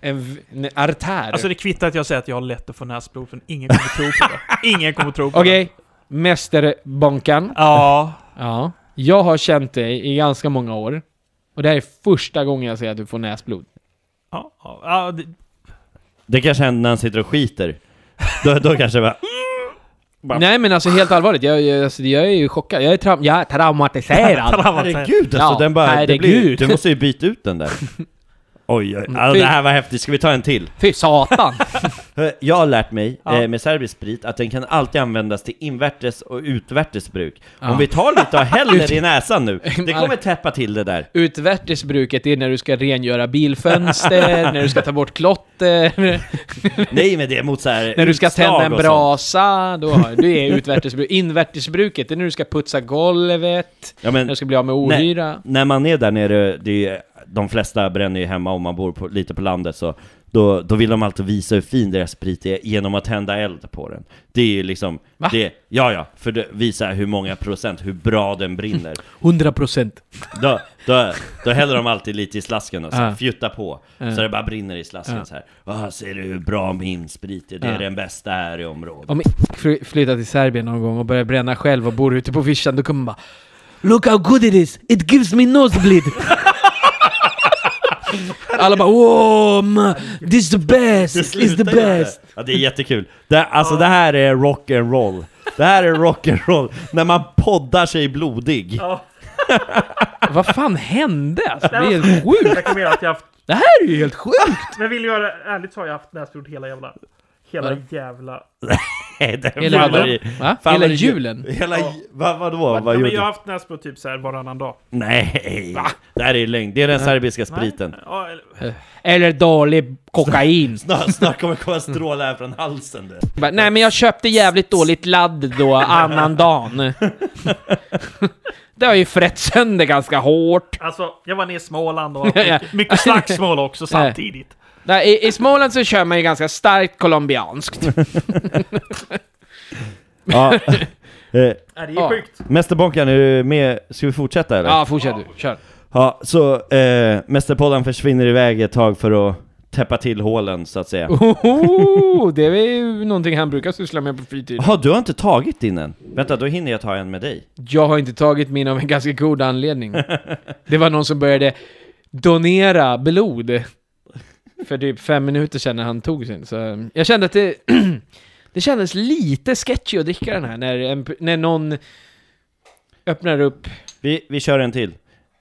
Speaker 4: en, en artär.
Speaker 5: Alltså det kvittar att jag säger att jag har lätt att få näsblod, för ingen kommer tro på det. Ingen kommer tro på det.
Speaker 4: Okej, mästerbonkan.
Speaker 5: Ja.
Speaker 4: Ja. Jag har känt dig i ganska många år. Och det här är första gången jag säger att du får näsblod.
Speaker 5: Ja, ja, ja, det-
Speaker 3: Det kanske händer när han sitter och skiter. Då, då kanske det bara... Va?
Speaker 4: Nej men alltså helt allvarligt, jag, jag, alltså, jag är ju chockad. Jag är, tra- jag är traumatiserad.
Speaker 3: Herregud alltså,
Speaker 4: Ja,
Speaker 3: den bara... Det blir,
Speaker 4: herregud.
Speaker 3: du måste ju byta ut den där. Oj, oj. Alltså, det här var häftigt. Ska vi ta en till?
Speaker 4: Fy satan!
Speaker 3: Hör, Jag har lärt mig eh, med serbisk sprit att den kan alltid användas till invärtes och utvärtes bruk. Om vi tar lite och häller i näsan nu, det kommer täppa till det där.
Speaker 4: Utvärtes bruket är när du ska rengöra bilfönster, när du ska ta bort klotter,
Speaker 3: Nej men det är mot så här
Speaker 4: när du ska
Speaker 3: utslag
Speaker 4: tända en
Speaker 3: och sånt.
Speaker 4: brasa. Då har, det är utvärtesbruket. Invärtesbruket, det är när du ska putsa golvet,
Speaker 3: Ja, men,
Speaker 4: när du ska bli av med ohyra.
Speaker 3: När man är där nere, det är, de flesta bränner ju hemma om man bor på, lite på landet så då, då vill de alltid visa hur fin deras sprit är genom att tända eld på den. Det är ju liksom,
Speaker 4: Va?
Speaker 3: det, ja ja, för att visa hur många procent, hur bra den brinner.
Speaker 4: 100 procent.
Speaker 3: Då, då, då häller de alltid lite i slasken och så
Speaker 4: Ja.
Speaker 3: här, fjuttar på Så
Speaker 4: Ja.
Speaker 3: det bara brinner i slasken så här ah, Ser du hur bra min sprit är? Det är
Speaker 4: Ja.
Speaker 3: den bästa här i området
Speaker 4: Om jag flyttar till Serbien någon gång och börjar bränna själv och bor ute på vischan, då kommer man bara Look how good it is! It gives me nosebleed! Alla bara wow, ma, this is the best!
Speaker 3: Det
Speaker 4: It's the
Speaker 3: slutar ju där.
Speaker 4: best!
Speaker 3: Ja, det är jättekul det, Alltså det här är rock'n'roll Det här är rock'n'roll När man poddar sig blodig
Speaker 4: Vad fan hände? Alltså, det är helt sjukt!
Speaker 5: Jag kommer ihåg att jag haft...
Speaker 4: Det här är ju helt sjukt!
Speaker 5: Men vill jag vara ärligt så har jag haft näsblod hela jävla... Hela
Speaker 4: Vad?
Speaker 5: jävla...
Speaker 3: Nej, det
Speaker 4: Hela,
Speaker 3: faller
Speaker 4: hela,
Speaker 3: i-
Speaker 4: va?
Speaker 3: faller
Speaker 4: hela
Speaker 3: i-
Speaker 4: julen?
Speaker 3: Hela,
Speaker 5: Ja.
Speaker 3: va, vadå?
Speaker 5: Nej,
Speaker 3: Vad
Speaker 5: men
Speaker 3: gjorde
Speaker 5: jag
Speaker 3: du?
Speaker 5: har haft näsblod typ så här varannan dag.
Speaker 3: Nej! Det här är lögn, det är den serbiska spriten
Speaker 5: Ja, eller-
Speaker 4: Eller dålig kokain.
Speaker 3: Snart, snart kommer det komma strålar här från halsen du.
Speaker 4: Bara, Nej men jag köpte jävligt dåligt ladd då, annandagen. Det har ju frätt sönder ganska hårt.
Speaker 5: Alltså, jag var nere i Småland och
Speaker 4: Ja.
Speaker 5: mycket, mycket slagsmål också samtidigt.
Speaker 4: Nej, i, I Småland så kör man ju ganska starkt colombianskt.
Speaker 3: Ja. Eh,
Speaker 5: Nej, det är
Speaker 4: Ja.
Speaker 5: sjukt.
Speaker 3: Mästerbonkan, är du med? Ska vi fortsätta eller?
Speaker 4: Ja, fortsätt du. Kör.
Speaker 3: Ja, så eh, Mästerpodden försvinner iväg ett tag för att täppa till hålen så att säga.
Speaker 4: Oh. Oho, det är ju någonting han brukar syssla med på fritiden.
Speaker 3: Jaha, du har inte tagit din än? Vänta, då hinner jag ta en med dig.
Speaker 4: Jag har inte tagit min av en ganska god anledning. Det var någon som började donera blod för typ fem minuter sedan när han tog sin. Så eh, jag kände att det, det kändes lite sketchy att dricka den här när, en, när någon öppnar upp.
Speaker 3: Vi, vi kör en till.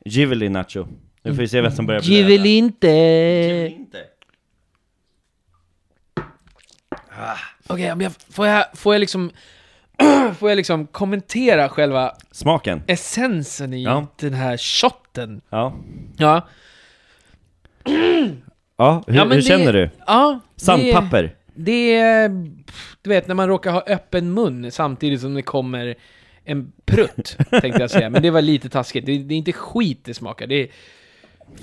Speaker 3: Giveli Nacho. Nu får vi se vem som börjar blöda.
Speaker 4: Givel inte!
Speaker 3: Giveli inte.
Speaker 4: Okej, men jag, får, jag, får, jag liksom, får jag liksom kommentera själva
Speaker 3: Smaken?
Speaker 4: essensen i
Speaker 3: Ja.
Speaker 4: den här shotten?
Speaker 3: Ja.
Speaker 4: Ja,
Speaker 3: Ja, hur,
Speaker 4: ja
Speaker 3: hur
Speaker 4: det-
Speaker 3: känner du?
Speaker 4: Ja, det-
Speaker 3: Sandpapper?
Speaker 4: Det är, du vet, när man råkar ha öppen mun samtidigt som det kommer en prutt, tänkte jag säga. Men det var lite taskigt. Det, det är inte skit det smakar. Det är,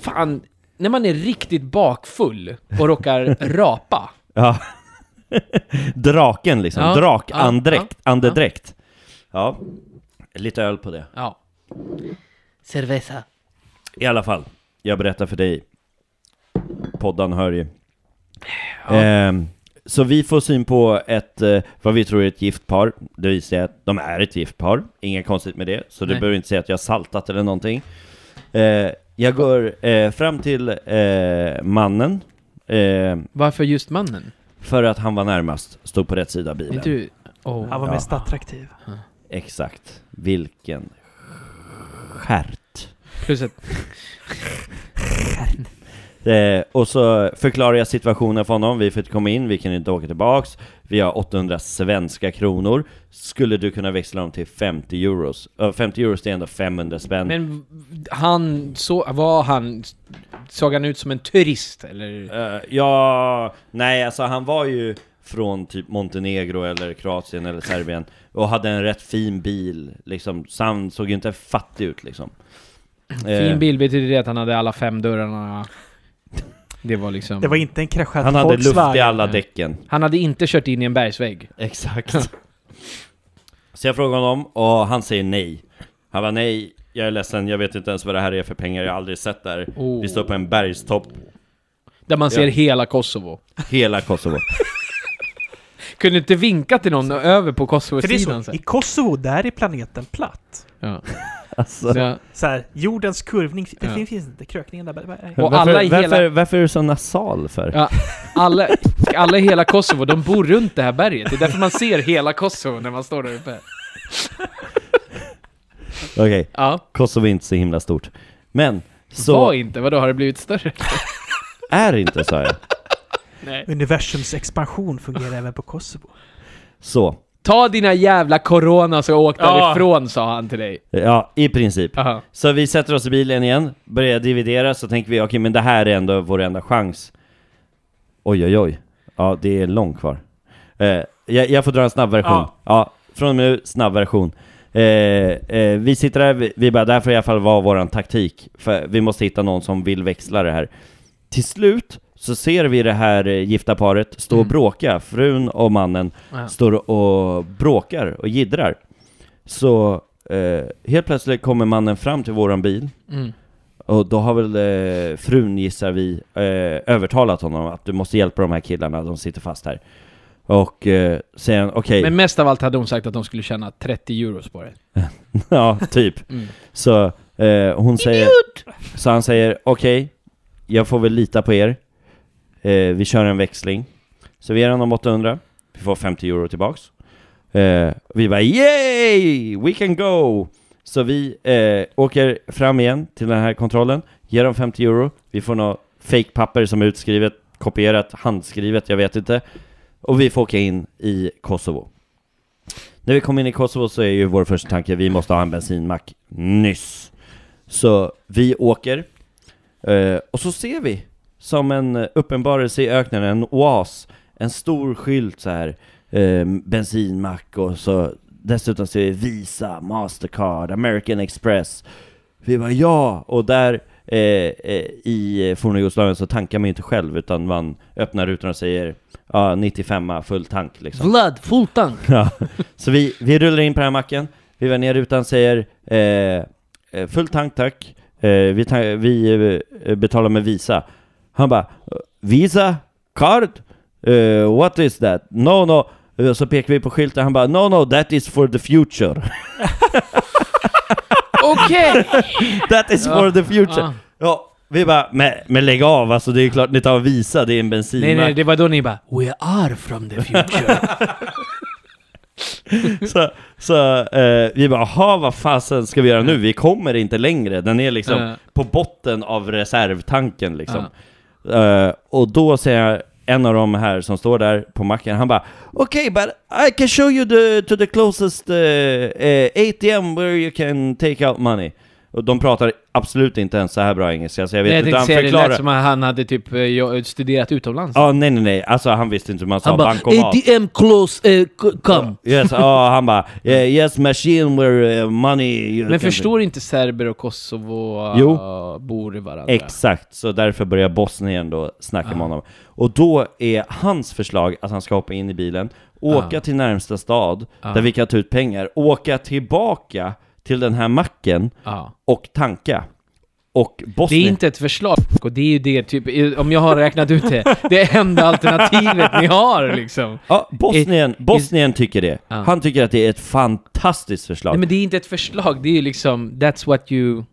Speaker 4: fan, när man är riktigt bakfull och råkar rapa.
Speaker 3: Ja. Draken liksom.
Speaker 4: Ja,
Speaker 3: Drakandräkt. Andedräkt. Ja. Lite öl på det.
Speaker 4: Ja.
Speaker 7: Cerveza.
Speaker 3: I alla fall, jag berättar för dig. Poddan hör ju.
Speaker 4: Ja.
Speaker 3: Ehm, så vi får syn på ett, eh, vad vi tror är ett gift par. Det visar sig att de är ett gift par. Inget konstigt med det. Så du
Speaker 4: Nej.
Speaker 3: behöver inte säga att jag har saltat eller någonting. Eh, jag går eh, fram till eh, mannen. Eh,
Speaker 4: Varför just mannen?
Speaker 3: för att han var närmast. Stod på rätt sida av bilen.
Speaker 4: Inte du? Åh.
Speaker 5: Han var
Speaker 3: Ja. Mm.
Speaker 5: mest attraktiv.
Speaker 3: Exakt. Vilken stjärt.
Speaker 4: Plus att...
Speaker 3: Eh, och så förklarar jag situationen för honom, vi får inte komma in, vi kan inte åka tillbaks, vi har 800 svenska kronor, skulle du kunna växla dem till 50 euros? Eh, 50 euros det är ändå 500 spänn.
Speaker 4: Men han, så, var han, såg han ut som en turist eller?
Speaker 3: Eh, ja, nej alltså han var ju från typ Montenegro eller Kroatien eller Serbien och hade en rätt fin bil liksom, så han såg ju inte fattig ut liksom. Eh,
Speaker 4: Fin bil betyder det att han hade alla fem dörrarna. Det var liksom...
Speaker 1: Det var inte en kraschad
Speaker 3: Eh, Han hade luft i
Speaker 1: Volkswagen.
Speaker 3: alla däcken.
Speaker 4: Han hade inte kört in i en bergsvägg.
Speaker 3: Exakt. Så jag frågade honom och han säger nej. Han var nej, jag är ledsen, jag vet inte ens vad det här är för pengar, jag har aldrig sett det här.
Speaker 4: Oh.
Speaker 3: Vi står på en bergstopp,
Speaker 4: Där man ser
Speaker 3: Ja.
Speaker 4: hela Kosovo.
Speaker 3: hela Kosovo.
Speaker 4: Kunde inte vinka till någon över på
Speaker 1: För det är
Speaker 4: Kosovo-sidan
Speaker 1: så,
Speaker 4: så
Speaker 1: i Kosovo, där är planeten platt.
Speaker 4: ja.
Speaker 3: Alltså.
Speaker 4: Ja.
Speaker 1: Så här, jordens kurvning, det
Speaker 4: Ja.
Speaker 1: finns inte, krökningen där. Nej.
Speaker 4: Och alla i hela-
Speaker 3: varför, varför är du så nasal för?
Speaker 4: Ja, alla, alla i hela Kosovo, de bor runt det här berget. Det är därför man ser hela Kosovo när man står där uppe.
Speaker 3: Okej,
Speaker 4: Ja.
Speaker 3: Kosovo är inte så himla stort. Men, så
Speaker 4: Var inte, vadå har det blivit större?
Speaker 3: är det inte sa jag.
Speaker 1: Universums expansion fungerar även på Kosovo.
Speaker 3: Så,
Speaker 4: Ta dina jävla corona så åk därifrån, sa han till dig.
Speaker 3: ja i princip.
Speaker 4: Aha.
Speaker 3: Så vi sätter oss i bilen igen, börjar dividera, så tänker vi okej men det här är ändå vår enda chans. Oj oj oj, ja det är långt kvar. Eh, jag, jag får dra en snabb version. Ja. från och med nu, snabb version. Eh, eh, vi sitter där, vi, vi bara, det här får i alla fall vara våran taktik. För vi måste hitta någon som vill växla det här. Till slut så ser vi det här eh, gifta paret stå och
Speaker 4: Mm.
Speaker 3: bråka, frun och mannen
Speaker 4: Ja.
Speaker 3: står och bråkar och jiddrar. Så eh, helt plötsligt kommer mannen fram till våran bil
Speaker 4: Mm.
Speaker 3: och då har väl eh, frun, gissar vi, eh, övertalat honom att du måste hjälpa de här killarna, de sitter fast här. Och eh, säger han, okej,
Speaker 4: Men mest av allt hade hon sagt att de skulle tjäna 30 euros på det.
Speaker 3: ja typ.
Speaker 4: Mm.
Speaker 3: Så eh, hon säger... Så han säger okej, jag får väl lita på er. Eh, vi kör en växling. Så vi ger honom 800. Vi får 50 euro tillbaks. Eh, vi bara yay! We can go! Så vi eh, åker fram igen till den här kontrollen, ger dem 50 euro. Vi får något fake papper som är utskrivet, kopierat, handskrivet, jag vet inte. Och vi får åka in i Kosovo. När vi kommer in i Kosovo så är ju vår första tanke, vi måste ha en bensinmack nyss. Så vi åker, eh, och så ser vi, som en eh, uppenbarelse i öknen, en oas, en stor skylt så här, eh, bensinmack och så dessutom ser vi Visa, Mastercard, American Express. Vi bara ja, och där eh, eh, i forna Jugoslavien så tankar man ju inte själv utan man öppnar rutan och säger ja, 95 full tank liksom.
Speaker 7: Vlad, full tank.
Speaker 3: Ja. Så vi, vi rullar in på den här macken, vi vänder ner rutan säger eh, eh, full tank tack, eh, vi, ta- vi eh, betalar med Visa. Han bara Visa? Card? Eh, what is that? No no. Eh, Så pekar vi på skylten, han bara no no that is for the future.
Speaker 4: Okej!
Speaker 3: That is for the future.
Speaker 4: Ja.
Speaker 3: Ja, vi bara men, men lägg av alltså det är klart ni tar Visa, det är en bensin.
Speaker 4: Nej, nej, det var då ni bara
Speaker 7: We are from the future.
Speaker 3: Så, så eh, vi bara, aha, vad fasen ska vi göra nu? Vi kommer inte längre. Den är liksom
Speaker 4: Ja.
Speaker 3: på botten av reservtanken liksom. Eh, och då säger en av de här som står där på macken, han bara Okej, okay, but I can show you the, to the closest eh, eh, ATM where you can take out money. Och de pratar absolut inte ens så här bra engelska, så jag vet
Speaker 4: Nej, jag tänkte
Speaker 3: inte hur han
Speaker 4: säga det
Speaker 3: förklarar.
Speaker 4: lät som att han hade typ eh, jag- studerat utomlands.
Speaker 3: Ja, nej, nej, nej. Alltså han visste inte hur man sa
Speaker 7: Han bara,
Speaker 3: bankomat.
Speaker 7: ATM close, eh, c- come.
Speaker 3: Yes, ja, han bara eh, Yes, machine where eh, money... you
Speaker 4: Men
Speaker 3: can-
Speaker 4: förstår inte serber och Kosovo
Speaker 3: Jo.
Speaker 4: eh, bor i varandra?
Speaker 3: Exakt, så därför börjar Bosnien då snacka med honom. Och då är hans förslag att han ska hoppa in i bilen, åka till närmsta stad där vi kan ta ut pengar, åka tillbaka till den här macken
Speaker 4: Ja.
Speaker 3: och tanka. Och
Speaker 4: Det är
Speaker 3: Bosnien...
Speaker 4: inte ett förslag, och det är ju det typ, om jag har räknat ut det, det är enda alternativet ni har liksom.
Speaker 3: Ja, Bosnien, Bosnien tycker det.
Speaker 4: Ja.
Speaker 3: Han tycker att det är ett fantastiskt förslag.
Speaker 4: Nej men det är inte ett förslag, det är ju liksom, that's what you...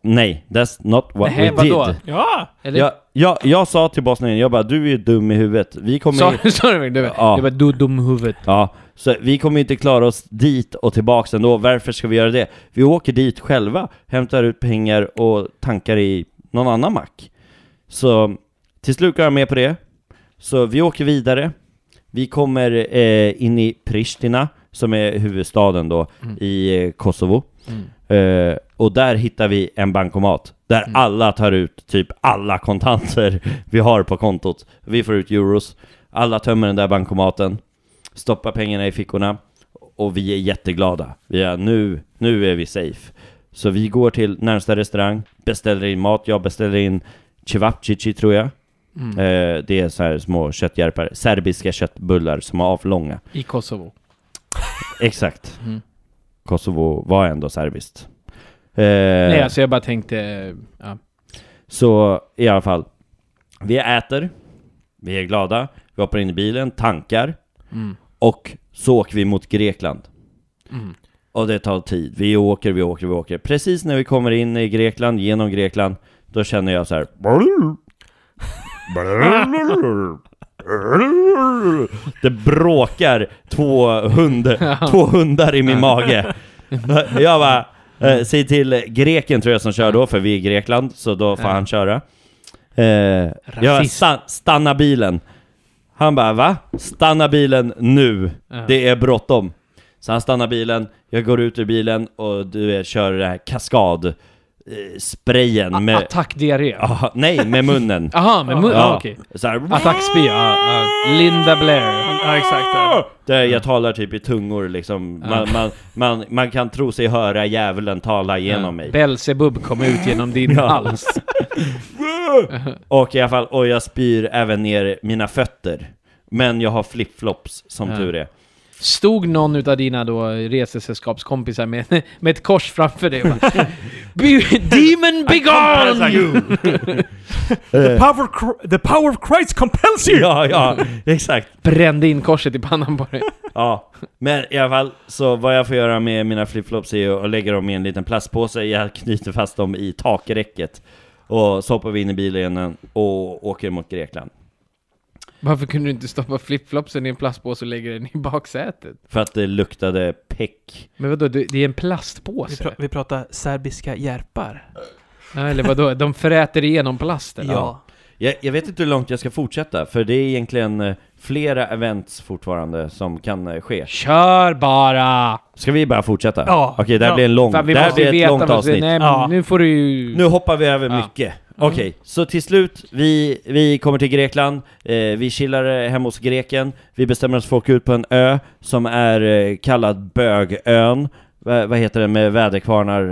Speaker 3: Nej, that's not what
Speaker 4: Nej,
Speaker 3: we
Speaker 4: vadå?
Speaker 3: did.
Speaker 1: Ja!
Speaker 4: Eller?
Speaker 3: Jag, jag, jag sa till Bosnien, jag bara du är ju dum i huvudet. Vi kommer
Speaker 4: Sa sa du det?
Speaker 3: Ja.
Speaker 4: Det var du dumhuvud.
Speaker 3: Ja, så vi kommer ju inte klara oss dit och tillbaks ändå. Varför ska vi göra det? Vi åker dit själva, hämtar ut pengar och tankar i någon annan mack. Så till slut går jag med på det. Så vi åker vidare. Vi kommer eh, in i Pristina, som är huvudstaden då i eh, Kosovo. Eh, och där hittar vi en bankomat där alla tar ut typ alla kontanter vi har på kontot. Vi får ut euros. Alla tömmer den där bankomaten, stoppar pengarna i fickorna och vi är jätteglada. Vi är, nu, nu är vi safe. Så vi går till närmsta restaurang, beställer in mat. Jag beställer in cevapcici tror jag.
Speaker 4: Mm.
Speaker 3: Eh, det är så här små köttjärpar, serbiska köttbullar som är avlånga.
Speaker 4: I Kosovo.
Speaker 3: Exakt.
Speaker 4: Mm.
Speaker 3: Kosovo var ändå serbiskt. Eh,
Speaker 4: Nej, alltså jag bara tänkte... Ja.
Speaker 3: Så i alla fall, vi äter, vi är glada, vi hoppar in i bilen, tankar
Speaker 4: Mm.
Speaker 3: och så åker vi mot Grekland.
Speaker 4: Mm.
Speaker 3: Och det tar tid. Vi åker, vi åker, vi åker. Precis när vi kommer in i Grekland, genom Grekland, då känner jag så här. Det bråkar två, hund, två hundar i min mage. Jag bara, eh, säg till greken tror jag som kör då, för vi är i Grekland, så då får han köra. Eh, jag
Speaker 4: Rasist.
Speaker 3: sta, stanna bilen. Han bara, va? Stanna bilen nu.
Speaker 4: Eh,
Speaker 3: Det är bråttom. Så han stannar bilen, jag går ut ur bilen och du eh, kör den här kaskad eh, sprayen med...
Speaker 4: Attackdiarré.
Speaker 3: Ah, nej, med munnen.
Speaker 4: Aha, men... mun- Ja, okej.
Speaker 3: så här,
Speaker 4: Attackspy, ja, ja. Linda Blair.
Speaker 5: Ja, exakt. ja.
Speaker 3: där jag talar typ i tungor liksom. Man, man, man, man kan tro sig höra djävulen tala genom mig.
Speaker 4: Belzebub kom ut genom din hals.
Speaker 3: Och i alla fall, och jag spyr även ner mina fötter. Men jag har flipflops som
Speaker 4: Ja.
Speaker 3: tur är.
Speaker 4: Stod någon utav dina då resesällskapskompisar med, med ett kors framför dig och bara, "Be- Demon begone!
Speaker 5: you!
Speaker 3: Eh.
Speaker 5: the, power of Chr- the power of Christ compels you!
Speaker 3: Ja, ja, exakt.
Speaker 4: Brände in korset i pannan på dig.
Speaker 3: Ja, men i alla fall så vad jag får göra med mina flipflops är att lägga dem i en liten plastpåse. Jag knyter fast dem i takräcket. Och så hoppar vi in i bilen igen och åker mot Grekland.
Speaker 4: Varför kunde du inte stoppa flipflopsen i en plastpåse och lägga den i baksätet?
Speaker 3: För att det luktade peck.
Speaker 4: Men vadå, det det är en
Speaker 1: Vi,
Speaker 4: plastpåse?
Speaker 1: pra- vi pratar serbiska järpar.
Speaker 4: Ja, Eller vadå, de fräter igenom plasten?
Speaker 1: Ja.
Speaker 3: Jag, jag vet inte hur långt jag ska fortsätta, för det är egentligen eh, flera events fortfarande som kan eh, ske.
Speaker 4: Kör bara!
Speaker 3: Ska vi bara fortsätta?
Speaker 1: Ja.
Speaker 3: Okej, det här
Speaker 1: Ja.
Speaker 3: blir en lång...
Speaker 4: Fan, vi
Speaker 3: det här
Speaker 4: måste
Speaker 3: blir
Speaker 4: ju
Speaker 3: ett
Speaker 4: veta
Speaker 3: långt
Speaker 4: vad som-
Speaker 3: avsnitt.
Speaker 4: Nej, men
Speaker 1: Ja.
Speaker 4: nu får du ju...
Speaker 3: Nu hoppar vi över
Speaker 4: Mm. Ja.
Speaker 3: mycket. Okej, så till slut, vi, vi kommer till Grekland, eh, vi chillar eh, hemma hos greken, vi bestämmer oss för att åka ut på en ö som är eh, kallad Bögön. Va, vad heter den med väderkvarnar?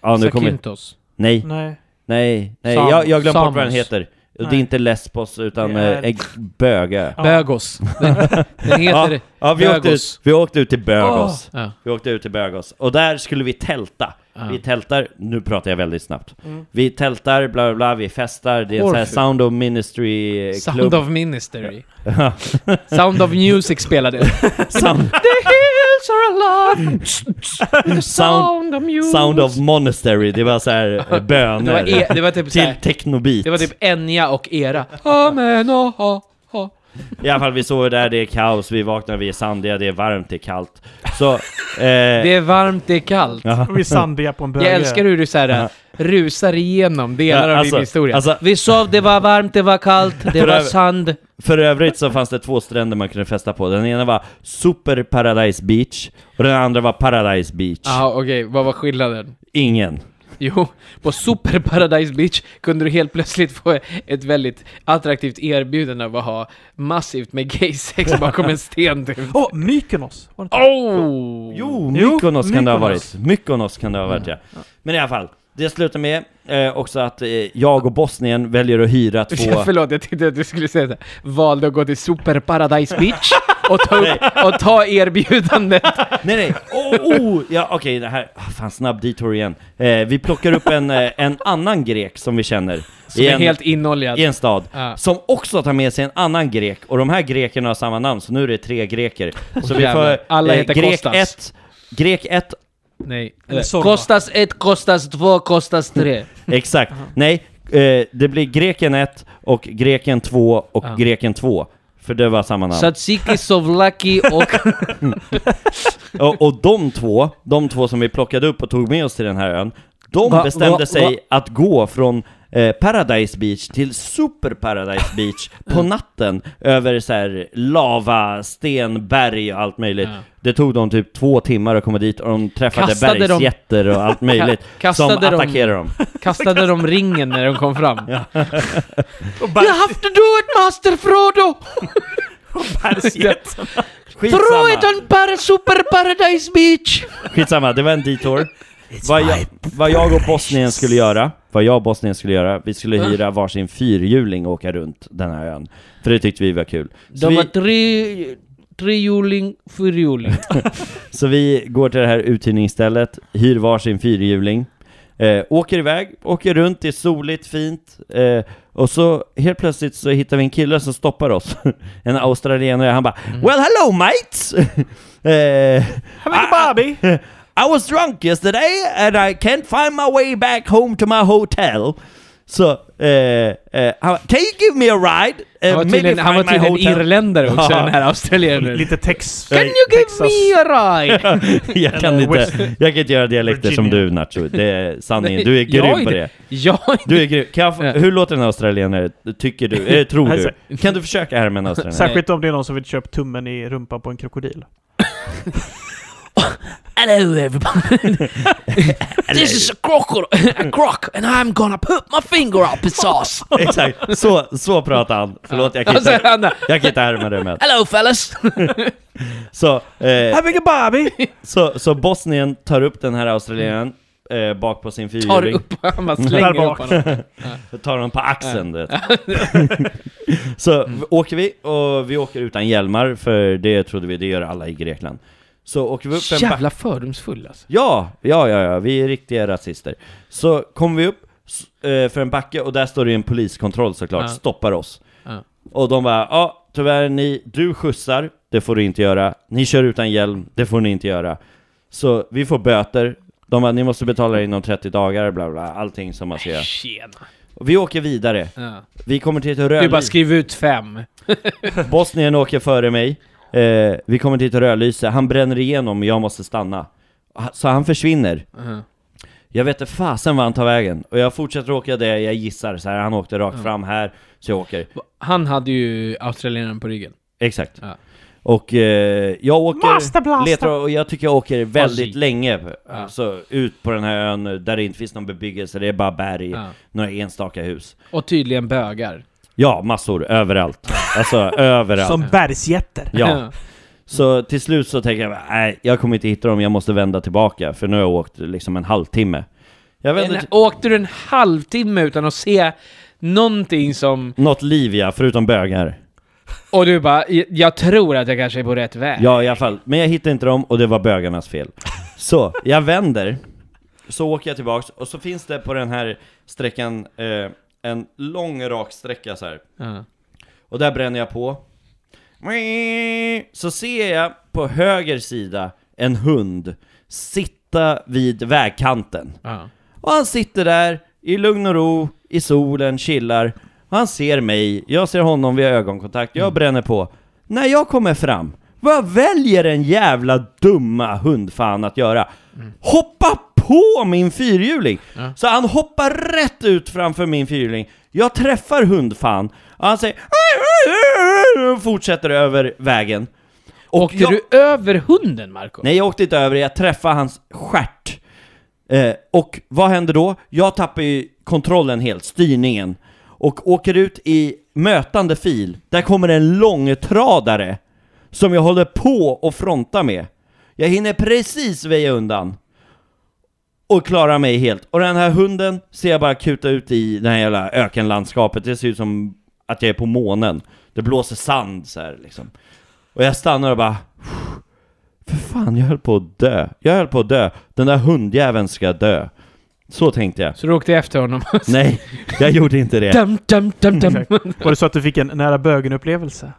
Speaker 3: Ja, nu kommer...
Speaker 4: Sakintos.
Speaker 3: Nej,
Speaker 1: Nej.
Speaker 3: nej, nej,
Speaker 4: Samos.
Speaker 3: jag, jag glömde bort vad den
Speaker 4: Samos.
Speaker 3: heter. Det är
Speaker 1: Nej.
Speaker 3: inte Lesbos utan
Speaker 1: Det är-
Speaker 3: eh, en bögö.
Speaker 1: Ja.
Speaker 4: Bögos. Den, den heter...
Speaker 3: Ja, ja vi, åkte ut,
Speaker 4: Bögos.
Speaker 3: vi åkte ut till Bögos.
Speaker 4: Ja.
Speaker 3: Vi åkte ut till Bögås och där skulle vi tälta.
Speaker 4: Ja.
Speaker 3: Vi tältar, nu pratar jag väldigt snabbt. Vi tältar, bla bla bla, vi festar, det är en sån här
Speaker 4: Orfeum.
Speaker 3: Sound of Ministry eh,
Speaker 4: Sound
Speaker 3: klubb.
Speaker 4: of Ministry. Sound of Music spelade.
Speaker 3: sound,
Speaker 4: Hills are alive,
Speaker 3: sound,
Speaker 4: of music.
Speaker 3: sound of Monastery, det var så här eh,
Speaker 4: det, var
Speaker 3: böner.
Speaker 4: e, det var typ
Speaker 3: till
Speaker 4: såhär,
Speaker 3: technobeat.
Speaker 4: Det var typ Enya och Era. Amen, oh, oh, oh.
Speaker 3: I alla fall vi sover där, det är kaos, vi vaknar, vi är sandiga, det är varmt, det är kallt. Så, eh,
Speaker 4: Det är varmt, det är kallt.
Speaker 1: Och vi är sandiga på en böge.
Speaker 4: Jag älskar hur du såhär, rusar igenom delar
Speaker 3: Ja,
Speaker 4: av
Speaker 3: alltså-
Speaker 4: din historia.
Speaker 3: alltså-
Speaker 4: Vi sov, det var varmt, det var kallt, det
Speaker 3: För
Speaker 4: var
Speaker 3: övrigt-
Speaker 4: sand.
Speaker 3: För övrigt så fanns det två stränder man kunde festa på. Den ena var Super Paradise Beach och den andra var Paradise Beach.
Speaker 4: Ja, okej, vad var skillnaden?
Speaker 3: Ingen.
Speaker 4: Jo, på Super Paradise Beach kunde du helt plötsligt få ett väldigt attraktivt erbjudande av att ha massivt med gay-sex bakom en sten typ.
Speaker 1: Åh, Mykonos! Var det inte?
Speaker 4: Oh!
Speaker 3: Jo,
Speaker 1: Jo,
Speaker 3: Mykonos kan det ha
Speaker 1: Mykonos.
Speaker 3: varit. Mykonos kan det ha varit, ja.
Speaker 4: Mm.
Speaker 3: Men i alla fall, det slutar med eh, också att eh, jag och Bosnien väljer att hyra två...
Speaker 4: Ja, förlåt, jag tänkte att du skulle säga det. Valde att gå till Super Paradise Beach och ta, upp, och ta erbjudandet.
Speaker 3: nej, nej! Oh, oh, ja, okej, det här... Ah, Fan, snabb detour igen. Eh, vi plockar upp en, eh, en annan grek som vi känner.
Speaker 4: Som
Speaker 3: i
Speaker 4: är
Speaker 3: en-
Speaker 4: helt inoljad.
Speaker 3: i en stad,
Speaker 4: Ja.
Speaker 3: som också tar med sig en annan grek, och de här grekerna har samma namn, så nu är det tre greker. Så vi
Speaker 4: jävlar.
Speaker 3: får... eh,
Speaker 4: Alla heter
Speaker 3: grek
Speaker 4: Kostas.
Speaker 3: Ett, grek 1,
Speaker 4: Nej.
Speaker 1: Eller Zorba.
Speaker 7: Kostas ett, kostas två, kostas tre.
Speaker 3: Exakt. Nej, eh, det blir greken 1 och greken 2 och
Speaker 4: Ja.
Speaker 3: greken 2. För det var samma namn.
Speaker 7: Tsatsiki, sovlaki och...
Speaker 3: Och, och de två, de två som vi plockade upp och tog med oss till den här ön, de
Speaker 7: Va-
Speaker 3: bestämde
Speaker 7: va-
Speaker 3: sig att gå från eh, Paradise Beach till Super Paradise Beach på natten över så här lava, stenberg och allt möjligt.
Speaker 4: Ja.
Speaker 3: Det tog dem typ två timmar att komma dit och de träffade
Speaker 7: Kastade de-
Speaker 3: bergsjätter och allt möjligt som
Speaker 7: kastade de-
Speaker 3: attackerade dem.
Speaker 7: Kastade de ringen när de kom fram?
Speaker 5: Och bär,
Speaker 7: You have to do it master Frodo!
Speaker 5: bärsjätten.
Speaker 7: Throw
Speaker 3: Skitsamma!
Speaker 7: it on para super paradise beach!
Speaker 3: Skitsamma, det var en detour. Vad jag, vad jag och Bosnien skulle göra, vad jag och Bosnien skulle göra, vi skulle
Speaker 7: Mm.
Speaker 3: hyra varsin fyrhjuling och åka runt den här ön. För det tyckte vi var kul. Så
Speaker 7: De var
Speaker 3: vi,
Speaker 7: tre... Trehjuling, fyrhjuling.
Speaker 3: så vi går till det här uthyrningsstället, hyr varsin fyrhjuling, eh, åker iväg, åker runt, det är soligt, fint, eh, och så helt plötsligt så hittar vi en kille som stoppar oss. en australienare, han bara
Speaker 7: Mm.
Speaker 3: ”Well hello mates!” eh, I-
Speaker 5: Bobby!
Speaker 3: I was drunk yesterday and I can't find my way back home to my hotel. Så, eh, eh, han bara, can you give me a ride? Eh,
Speaker 4: Han var
Speaker 3: maybe
Speaker 4: tydligen,
Speaker 3: find
Speaker 4: han var
Speaker 3: my
Speaker 4: tydligen
Speaker 3: hotel."
Speaker 4: irländare också,
Speaker 3: Ja.
Speaker 4: den här australienaren.
Speaker 1: Lite text.
Speaker 7: Can you give me a ride?
Speaker 3: jag, kan inte,
Speaker 1: West-
Speaker 3: jag kan inte göra dialekter som du Nacho, det är sanningen. Du är
Speaker 4: Jag
Speaker 3: grym på
Speaker 4: inte-
Speaker 3: det.
Speaker 4: Jag är inte...
Speaker 3: Du är grym. Kan jag få,
Speaker 4: Ja.
Speaker 3: hur låter en australienare, tycker du? Eh, tror du? Kan du försöka härma en australienare?
Speaker 1: Särskilt om det är någon som vill köpa tummen i rumpan på en krokodil.
Speaker 7: Hello everybody. this is a crocodile, a croc, and I'm gonna put my finger up its ass.
Speaker 3: Exakt, så, så pratar han. Förlåt, jag kan
Speaker 4: Alltså,
Speaker 3: inte,
Speaker 4: han,
Speaker 3: jag kan inte härma det med.
Speaker 7: Hello fellas.
Speaker 3: Så, eh,
Speaker 1: Having a Bobby!
Speaker 3: Så, så Bosnien tar upp den här australienaren eh, bak på sin
Speaker 4: tar
Speaker 3: fyrhjuling,
Speaker 4: upp han bara slänger upp
Speaker 1: bak.
Speaker 4: honom.
Speaker 3: tar, tar honom på axeln du vet. Så v- åker vi, och vi åker utan hjälmar för det trodde vi, det gör alla i Grekland Så åker vi upp en backe
Speaker 4: Jävla fördomsfull alltså.
Speaker 3: Ja, ja, ja, ja, vi är riktiga rasister Så kommer vi upp s- eh, för en backe och där står det en poliskontroll såklart,
Speaker 4: Ja.
Speaker 3: stoppar oss
Speaker 4: Ja.
Speaker 3: Och de bara, ja tyvärr ni, du skjutsar, det får du inte göra Ni kör utan hjälm, det får ni inte göra Så vi får böter De bara, ni måste betala inom 30 dagar, bla bla, allting som man ska göra
Speaker 4: Tjena.
Speaker 3: Och Vi åker vidare,
Speaker 4: Ja.
Speaker 3: vi kommer till ett
Speaker 4: Du bara
Speaker 3: rödlyse
Speaker 4: skriv ut fem.
Speaker 3: Bosnien åker före mig eh, Vi kommer till ett rödlyse, han bränner igenom och jag måste stanna Ha- Så han försvinner
Speaker 4: Mhm.
Speaker 3: jag vet inte fasen var han tar vägen, och jag fortsätter åka det jag gissar så här, han åkte rakt fram här, så jag åker
Speaker 4: Han hade ju australienaren på ryggen.
Speaker 3: Exakt.
Speaker 4: Ja.
Speaker 3: Och eh, jag
Speaker 1: Master
Speaker 3: åker,
Speaker 1: Blaster!
Speaker 3: letar och jag tycker jag åker väldigt
Speaker 4: Fuzzy.
Speaker 3: länge
Speaker 4: Ja.
Speaker 3: så ut på den här ön där det inte finns någon bebyggelse, det är bara berg,
Speaker 4: Ja.
Speaker 3: några enstaka hus.
Speaker 4: Och tydligen bögar.
Speaker 3: Ja, massor, överallt. Alltså överallt.
Speaker 1: Som bergsjätter.
Speaker 3: Ja. Så till slut så tänker jag, nej, jag kommer inte hitta dem, jag måste vända tillbaka, för nu har jag åkt liksom en halvtimme. Jag vänder
Speaker 4: En,
Speaker 3: till...
Speaker 4: åkte du en halvtimme utan att se någonting som...
Speaker 3: Något liv ja, förutom bögar.
Speaker 4: Och du bara, "Jag- jag tror att jag kanske är på rätt väg.
Speaker 3: Ja, i alla fall. Men jag hittade inte dem och det var bögarnas fel. Så, jag vänder. Så åker jag tillbaks och så finns det på den här sträckan eh, en lång rak sträcka så här.
Speaker 4: Ja.
Speaker 3: Och där bränner jag på. Så ser jag på höger sida en hund sitta vid vägkanten.
Speaker 4: Ja.
Speaker 3: Och han sitter där i lugn och ro, i solen, chillar. Och han ser mig, jag ser honom, vi har ögonkontakt, jag bränner på. När jag kommer fram, vad väljer den jävla dumma hundfan att göra? Hoppa på min fyrhjuling! Så han hoppar rätt ut framför min fyrhjuling. Jag träffar hundfan, och han säger och fortsätter över vägen. Och
Speaker 4: Åkte
Speaker 3: jag-
Speaker 4: du över hunden, Marco?
Speaker 3: Nej, jag åkte inte över det. Jag träffade hans stjärt. Eh, och vad händer då? Jag tappar ju kontrollen helt, styrningen. Och åker ut i mötande fil. Där kommer en långtradare som jag håller på och fronta med. Jag hinner precis väja undan. Och klarar mig helt. Och den här hunden ser jag bara kuta ut i det här jävla ökenlandskapet. Det ser ut som att jag är på månen. Det blåser sand så här liksom. Och jag stannar och bara... För fan, jag höll på att dö. Jag höll på att dö. Den där hundjäveln ska dö. Så tänkte jag.
Speaker 4: Så du åkte efter honom?
Speaker 3: Nej, jag gjorde inte det.
Speaker 4: dum, dum, dum, dum.
Speaker 1: Exakt. Var det så att du fick en nära bögen-upplevelse?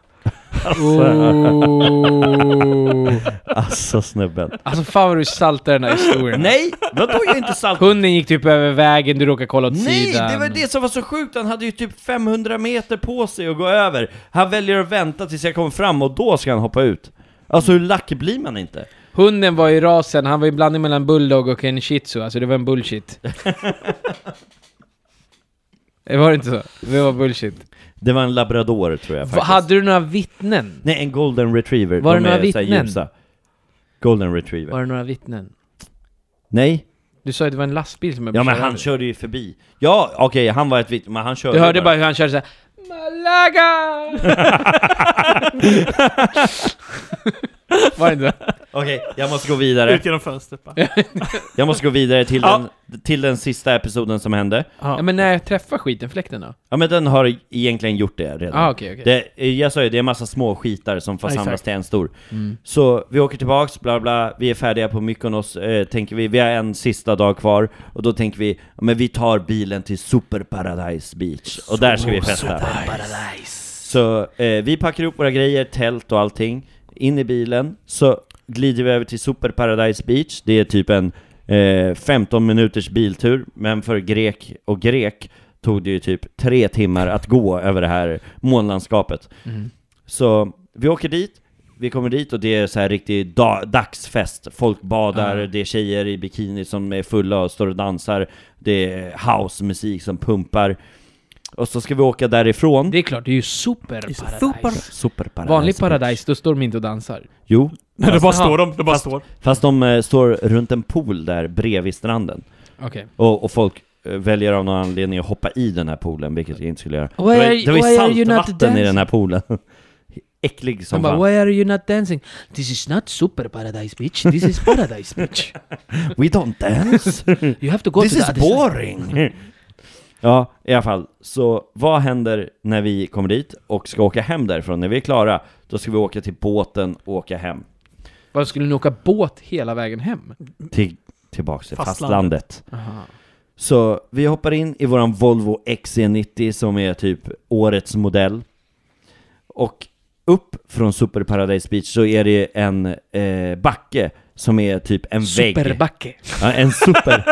Speaker 4: Oh.
Speaker 3: Alltså snubben.
Speaker 4: Alltså fan vad du saltar den här historien.
Speaker 3: Nej, vadå jag är inte salt?
Speaker 4: Hunden gick typ över vägen, du råkade kolla åt
Speaker 3: Nej,
Speaker 4: sidan.
Speaker 3: det var det som var så sjukt. Han hade ju typ 500 meter på sig att gå över. Han väljer att vänta tills jag kommer fram och då ska han hoppa ut. Alltså hur lack blir man inte?
Speaker 4: Hunden var i rasen, han var i blandning mellan bulldog och en shih tzu, alltså det var en bullshit. Det var inte så. Det var bullshit.
Speaker 3: Det var en labrador tror jag
Speaker 4: Va,
Speaker 3: faktiskt.
Speaker 4: hade du några vittnen?
Speaker 3: Nej, en golden retriever.
Speaker 4: Var
Speaker 3: De
Speaker 4: det några
Speaker 3: är så här
Speaker 4: vittnen?
Speaker 3: ljusa. Golden retriever.
Speaker 4: Var det några vittnen?
Speaker 3: Nej,
Speaker 4: Du sa ju att det var en lastbil som jag
Speaker 3: ja
Speaker 4: blev
Speaker 3: men
Speaker 4: körd
Speaker 3: han
Speaker 4: över.
Speaker 3: körde ju förbi. Ja, okej, han var ett vittne, men han körde
Speaker 4: Du hörde bara hur han körde såhär Malaga! var det inte så?
Speaker 3: Okej, jag måste gå vidare.
Speaker 1: Ut genom fönstret bara.
Speaker 3: Jag måste gå vidare till,
Speaker 1: Ja.
Speaker 3: den, till den sista episoden som hände.
Speaker 4: Ja men när jag träffar skiten, fläkten då?
Speaker 3: Ja men den har egentligen gjort det redan.
Speaker 4: Ah, okej, okej.
Speaker 3: Det, jag sa ju, det är en massa små skitar som får
Speaker 1: Ja,
Speaker 3: samlas
Speaker 1: exakt.
Speaker 3: till en stor.
Speaker 4: Mm.
Speaker 3: Så vi åker tillbaks, bla bla, vi är färdiga på Mykonos, eh, tänker vi. Vi har en sista dag kvar, och då tänker vi, ja, men vi tar bilen till Super Paradise Beach, och där ska vi festa. Så eh, vi packar upp våra grejer, tält och allting, in i bilen, så glider vi över till Super Paradise Beach, det är typ en eh, 15 minuters biltur, men för grek och grek tog det ju typ tre timmar att gå över det här månlandskapet. Så vi åker dit, vi kommer dit och det är så här riktig da- dagsfest. Folk badar, det är tjejer i bikini som är fulla och står och dansar, det är housemusik som pumpar. Och så ska vi åka därifrån.
Speaker 4: Det är klart, det är ju superparadis.
Speaker 3: Superparadis.
Speaker 4: Vanlig paradis, då står de inte och dansar.
Speaker 3: Jo,
Speaker 1: Nej, då bara
Speaker 4: Jaha.
Speaker 1: står de. De bara står.
Speaker 3: fast de eh, står runt en pool där bredvid stranden.
Speaker 4: Okej.
Speaker 3: Och, och folk eh, väljer av någon anledning att hoppa i den här poolen, vilket jag inte skulle göra.
Speaker 4: Why
Speaker 3: det var,
Speaker 4: are
Speaker 3: ju-
Speaker 4: you-
Speaker 3: det var
Speaker 4: why are
Speaker 3: ju
Speaker 4: you not
Speaker 3: saltvatten i
Speaker 4: dancing?
Speaker 3: den här poolen. Äcklig som
Speaker 4: Han bara
Speaker 3: fan.
Speaker 4: 'Why are you not dancing?' This is not super paradise bitch, this is paradise bitch.
Speaker 3: We don't dance.
Speaker 4: You have to go
Speaker 3: This
Speaker 4: to
Speaker 3: is
Speaker 4: the other side."
Speaker 3: boring! ja, i alla fall. Så vad händer när vi kommer dit och ska åka hem därifrån? När vi är klara, då ska vi åka till båten och åka hem.
Speaker 4: Varför skulle ni åka båt hela vägen hem?
Speaker 3: Till, tillbaks till
Speaker 1: Fastlandet.
Speaker 3: fastlandet. Så vi hoppar in i våran Volvo XC90 som är typ årets modell. Och upp från Super Paradise Beach så är det en eh, backe som är typ en vägg.
Speaker 4: Superbacke.
Speaker 3: Ja, en super.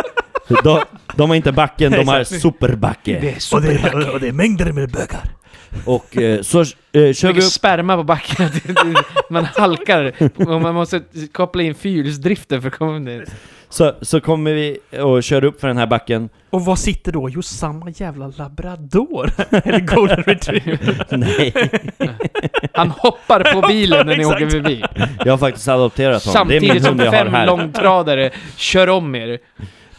Speaker 3: de, de har inte backen, de har superbacke.
Speaker 4: är
Speaker 5: Och det, är, och det är mängder med bögar.
Speaker 3: Och eh, så eh, kör vi
Speaker 4: mycket
Speaker 3: upp
Speaker 4: sperma på backen. Det- det- man halkar och man måste koppla in fyrhjulsdriften för att komma ner.
Speaker 3: Så, så kommer vi och kör upp för den här backen.
Speaker 1: Och vad sitter då? Jo, samma jävla labrador. Eller golden retriever.
Speaker 3: Nej,
Speaker 4: Han hoppar på bilen när ni
Speaker 1: exakt.
Speaker 4: åker förbi.
Speaker 3: jag har faktiskt adopterat honom. det är min
Speaker 4: Samtidigt som
Speaker 3: hund jag har
Speaker 4: fem
Speaker 3: här.
Speaker 4: långtradare kör om er.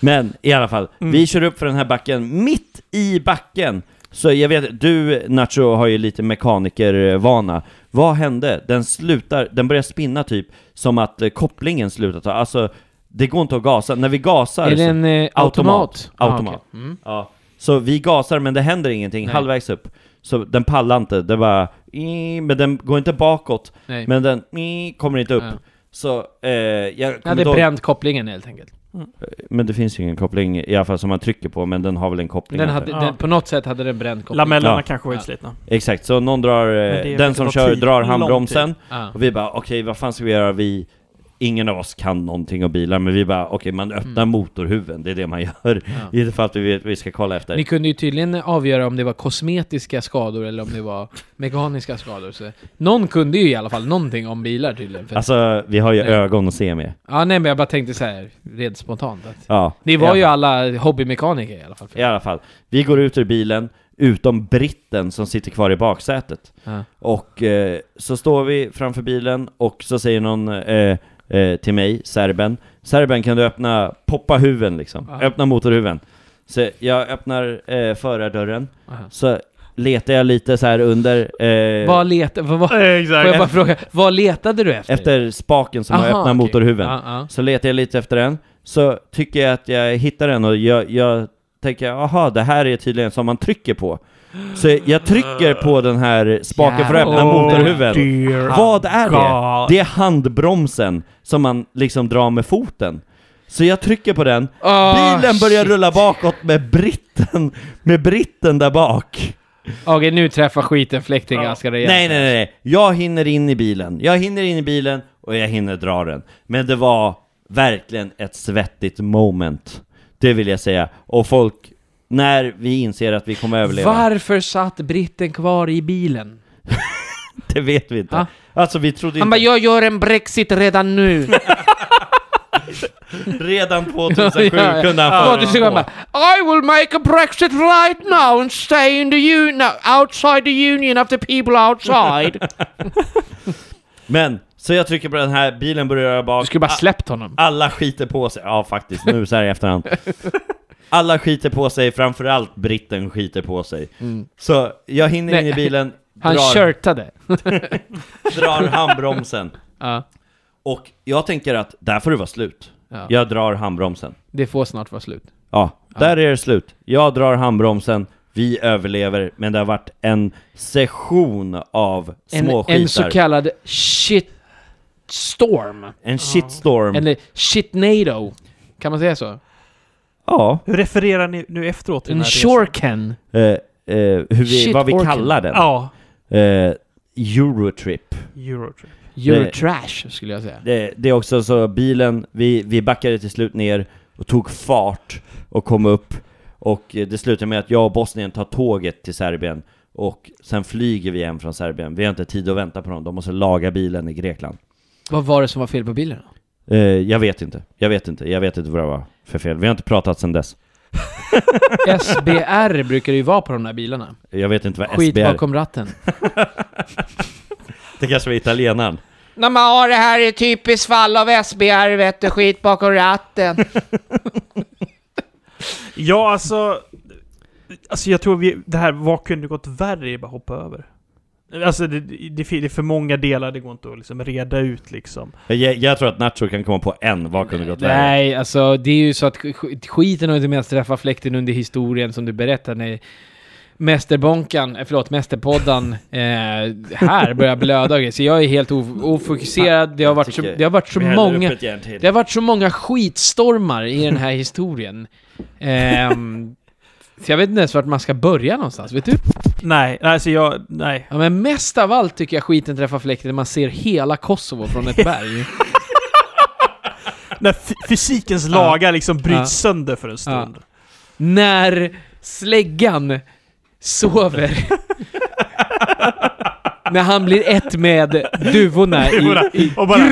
Speaker 3: Men i alla fall,
Speaker 4: Mm.
Speaker 3: vi kör upp för den här backen, mitt i backen. Så jag vet, du Nacho har ju lite mekanikervana. Vad hände? Den slutar, den börjar spinna typ som att eh, kopplingen slutar ta. Alltså, det går inte att gasa. När vi gasar
Speaker 4: Är det
Speaker 3: så-
Speaker 4: en eh, automat?
Speaker 3: Automat. Automat.
Speaker 4: Ah, okej. Mm.
Speaker 3: Ja. Så vi gasar men det händer ingenting
Speaker 4: Nej.
Speaker 3: halvvägs upp. Så den pallar inte, det bara... "Ii", Men den går inte bakåt,
Speaker 4: Nej.
Speaker 3: men den "Ii" kommer inte upp.
Speaker 4: Ja.
Speaker 3: Så eh, jag
Speaker 4: Jag
Speaker 3: kommer
Speaker 4: hade
Speaker 3: inte ihåg,
Speaker 4: bränt kopplingen helt enkelt.
Speaker 3: Men det finns ju ingen koppling, i alla fall som man trycker på, men den har väl en koppling?
Speaker 4: Den
Speaker 3: antar
Speaker 4: hade,
Speaker 3: jag.
Speaker 1: Ja.
Speaker 4: den, på något sätt hade den bränt kopplingen.
Speaker 1: Lamellerna
Speaker 3: Ja.
Speaker 1: kanske var
Speaker 4: Ja.
Speaker 1: utslitna.
Speaker 3: Exakt, så någon drar,
Speaker 1: Men det
Speaker 3: eh, den
Speaker 1: verkar
Speaker 3: som
Speaker 1: ta
Speaker 3: kör
Speaker 1: tid,
Speaker 3: drar
Speaker 1: lång
Speaker 3: handbromsen,
Speaker 4: Ah.
Speaker 3: och vi bara okej, vad fan ska vi göra? Vi, ingen av oss kan någonting om bilar, men vi bara okej, man öppnar motorhuven, det är det man gör. I det fallet vi vet vi ska kolla efter.
Speaker 4: Ni kunde ju tydligen avgöra om det var kosmetiska skador eller om det var mekaniska skador. Så någon kunde ju i alla fall någonting om bilar tydligen. För,
Speaker 3: Alltså, vi har ju
Speaker 4: Nej.
Speaker 3: ögon att se med.
Speaker 4: ja, nej, men jag bara tänkte så här rent spontant. Att,
Speaker 3: Ja.
Speaker 4: Ni var
Speaker 3: Ja.
Speaker 4: ju alla hobbymekaniker i alla fall.
Speaker 3: I alla fall, vi går ut ur bilen, utom britten som sitter kvar i baksätet.
Speaker 4: Ja.
Speaker 3: Och eh, så står vi framför bilen och så säger någon eh, eh, till mig, serben, serben kan du öppna, poppa huven liksom,
Speaker 4: Ja.
Speaker 3: öppna motorhuven. Så jag öppnar eh, förardörren,
Speaker 4: Aha.
Speaker 3: så letar jag lite så här under, eh,
Speaker 4: Vad leta, vad, vad, får jag bara
Speaker 1: Exakt.
Speaker 4: fråga, vad letade du efter?
Speaker 3: efter spaken som har
Speaker 4: Aha,
Speaker 3: öppnat
Speaker 4: okej.
Speaker 3: motorhuven.
Speaker 4: Ja, ja.
Speaker 3: Så letar jag lite efter den, så tycker jag att jag hittar den och jag, jag tänker aha, det här är tydligen som man trycker på. Så jag trycker på den här spaken för att öppna
Speaker 4: Jävlar.
Speaker 3: motorhuven. Vad är det?
Speaker 1: Oh, God.
Speaker 3: Det är handbromsen som man liksom drar med foten. Så jag trycker på den,
Speaker 4: Ah,
Speaker 3: bilen börjar
Speaker 4: shit.
Speaker 3: rulla bakåt med britten, med britten där bak.
Speaker 4: Okej, nu träffar skiten fläkten ganska rejält.
Speaker 3: Nej, nej, nej, nej. Jag hinner in i bilen. Jag hinner in i bilen och jag hinner dra den. Men det var verkligen ett svettigt moment. Det vill jag säga. Och folk, när vi inser att vi kommer överleva,
Speaker 4: Varför satt britten kvar i bilen?
Speaker 3: det vet vi inte.
Speaker 4: Ja.
Speaker 3: Alltså vi trodde
Speaker 4: Ah. Han
Speaker 3: inte...
Speaker 4: bara, jag gör en Brexit redan nu.
Speaker 3: Redan 2007
Speaker 4: Ja, ja.
Speaker 3: kunde
Speaker 4: Ja.
Speaker 3: han
Speaker 4: 2007 han
Speaker 3: förutspå.
Speaker 4: bara I will make a Brexit right now and stay in the union, outside the union of the people outside.
Speaker 3: Men, så jag trycker på den här, bilen börjar röra bak.
Speaker 4: Du skulle bara släppt honom.
Speaker 3: Alla skiter på sig, ja faktiskt, nu så här i efterhand. Alla skiter på sig, framförallt britten skiter på sig. Så jag hinner in
Speaker 4: Mm. Nej.
Speaker 3: i bilen,
Speaker 4: Han
Speaker 3: drar,
Speaker 4: shirtade.
Speaker 3: drar handbromsen.
Speaker 4: Ja,
Speaker 3: Och jag tänker att där får det vara slut.
Speaker 4: Ja.
Speaker 3: Jag drar handbromsen.
Speaker 4: det får snart vara slut.
Speaker 3: Ja, där är det slut. Jag drar handbromsen, vi överlever, men det har varit en session av
Speaker 4: En,
Speaker 3: småskitar.
Speaker 4: en så kallad shit storm.
Speaker 3: En shitstorm.
Speaker 4: Eller shitnado. Kan man säga så?
Speaker 3: Ja,
Speaker 1: Hur refererar ni nu efteråt till
Speaker 4: En
Speaker 1: den här resan?
Speaker 4: shorken.
Speaker 3: eh, eh, hur vi,
Speaker 4: Shit
Speaker 3: vad vi
Speaker 4: orken.
Speaker 3: kallar den.
Speaker 1: Ja,
Speaker 3: Eh, Eurotrip.
Speaker 1: Eurotrip.
Speaker 4: You're
Speaker 3: Nej.
Speaker 4: trash, skulle jag säga.
Speaker 3: Det, det är också så bilen, vi, vi backade till slut ner och tog fart och kom upp. Och eh, det slutar med att jag och Bosnien tar tåget till Serbien och sen flyger vi hem från Serbien. Vi har inte tid att vänta på dem, de måste laga bilen i Grekland.
Speaker 4: Vad var det som var fel på bilen? då?
Speaker 3: Eh, jag vet inte, jag vet inte, jag vet inte vad det var för fel. Vi har inte pratat sedan dess.
Speaker 4: SBR brukar det ju vara på de där bilarna.
Speaker 3: Jag vet inte vad
Speaker 4: Skit
Speaker 3: SBR...
Speaker 4: bakom ratten.
Speaker 3: Det kanske var italienaren.
Speaker 6: Nej men ja, det här är typiskt fall av SBR vet du, skit bakom ratten.
Speaker 1: Ja, alltså... Alltså jag tror vi, det här, vad kunde gått värre? Det är bara att hoppa över. Alltså det, det, det är för många delar, det går inte att liksom reda ut liksom.
Speaker 3: Jag, jag tror att Nacho kan komma på en, vad kunde gått värre?
Speaker 4: Nej, alltså det är ju så att sk- skiten har inte mest träffat fläkten under historien som du berättar när Mästerbonkan, eh, förlåt, Mästerpoddan eh, här börjar blöda och grejer. Så jag är helt of- ofokuserad. Det har varit så, det har varit så
Speaker 3: Vi häller upp
Speaker 4: många...
Speaker 3: ett järn till.
Speaker 4: Det har varit så många skitstormar i den här historien. Ehm, så jag vet inte ens vart man ska börja någonstans, vet du?
Speaker 1: Nej, alltså jag, nej.
Speaker 4: Ja, men mest av allt tycker jag skiten träffar fläkten när man ser hela Kosovo från ett berg.
Speaker 1: När fy- fysikens lagar liksom bryts sönder för en stund.
Speaker 4: när släggan sover. när han blir ett med duvorna i... i
Speaker 1: och bara...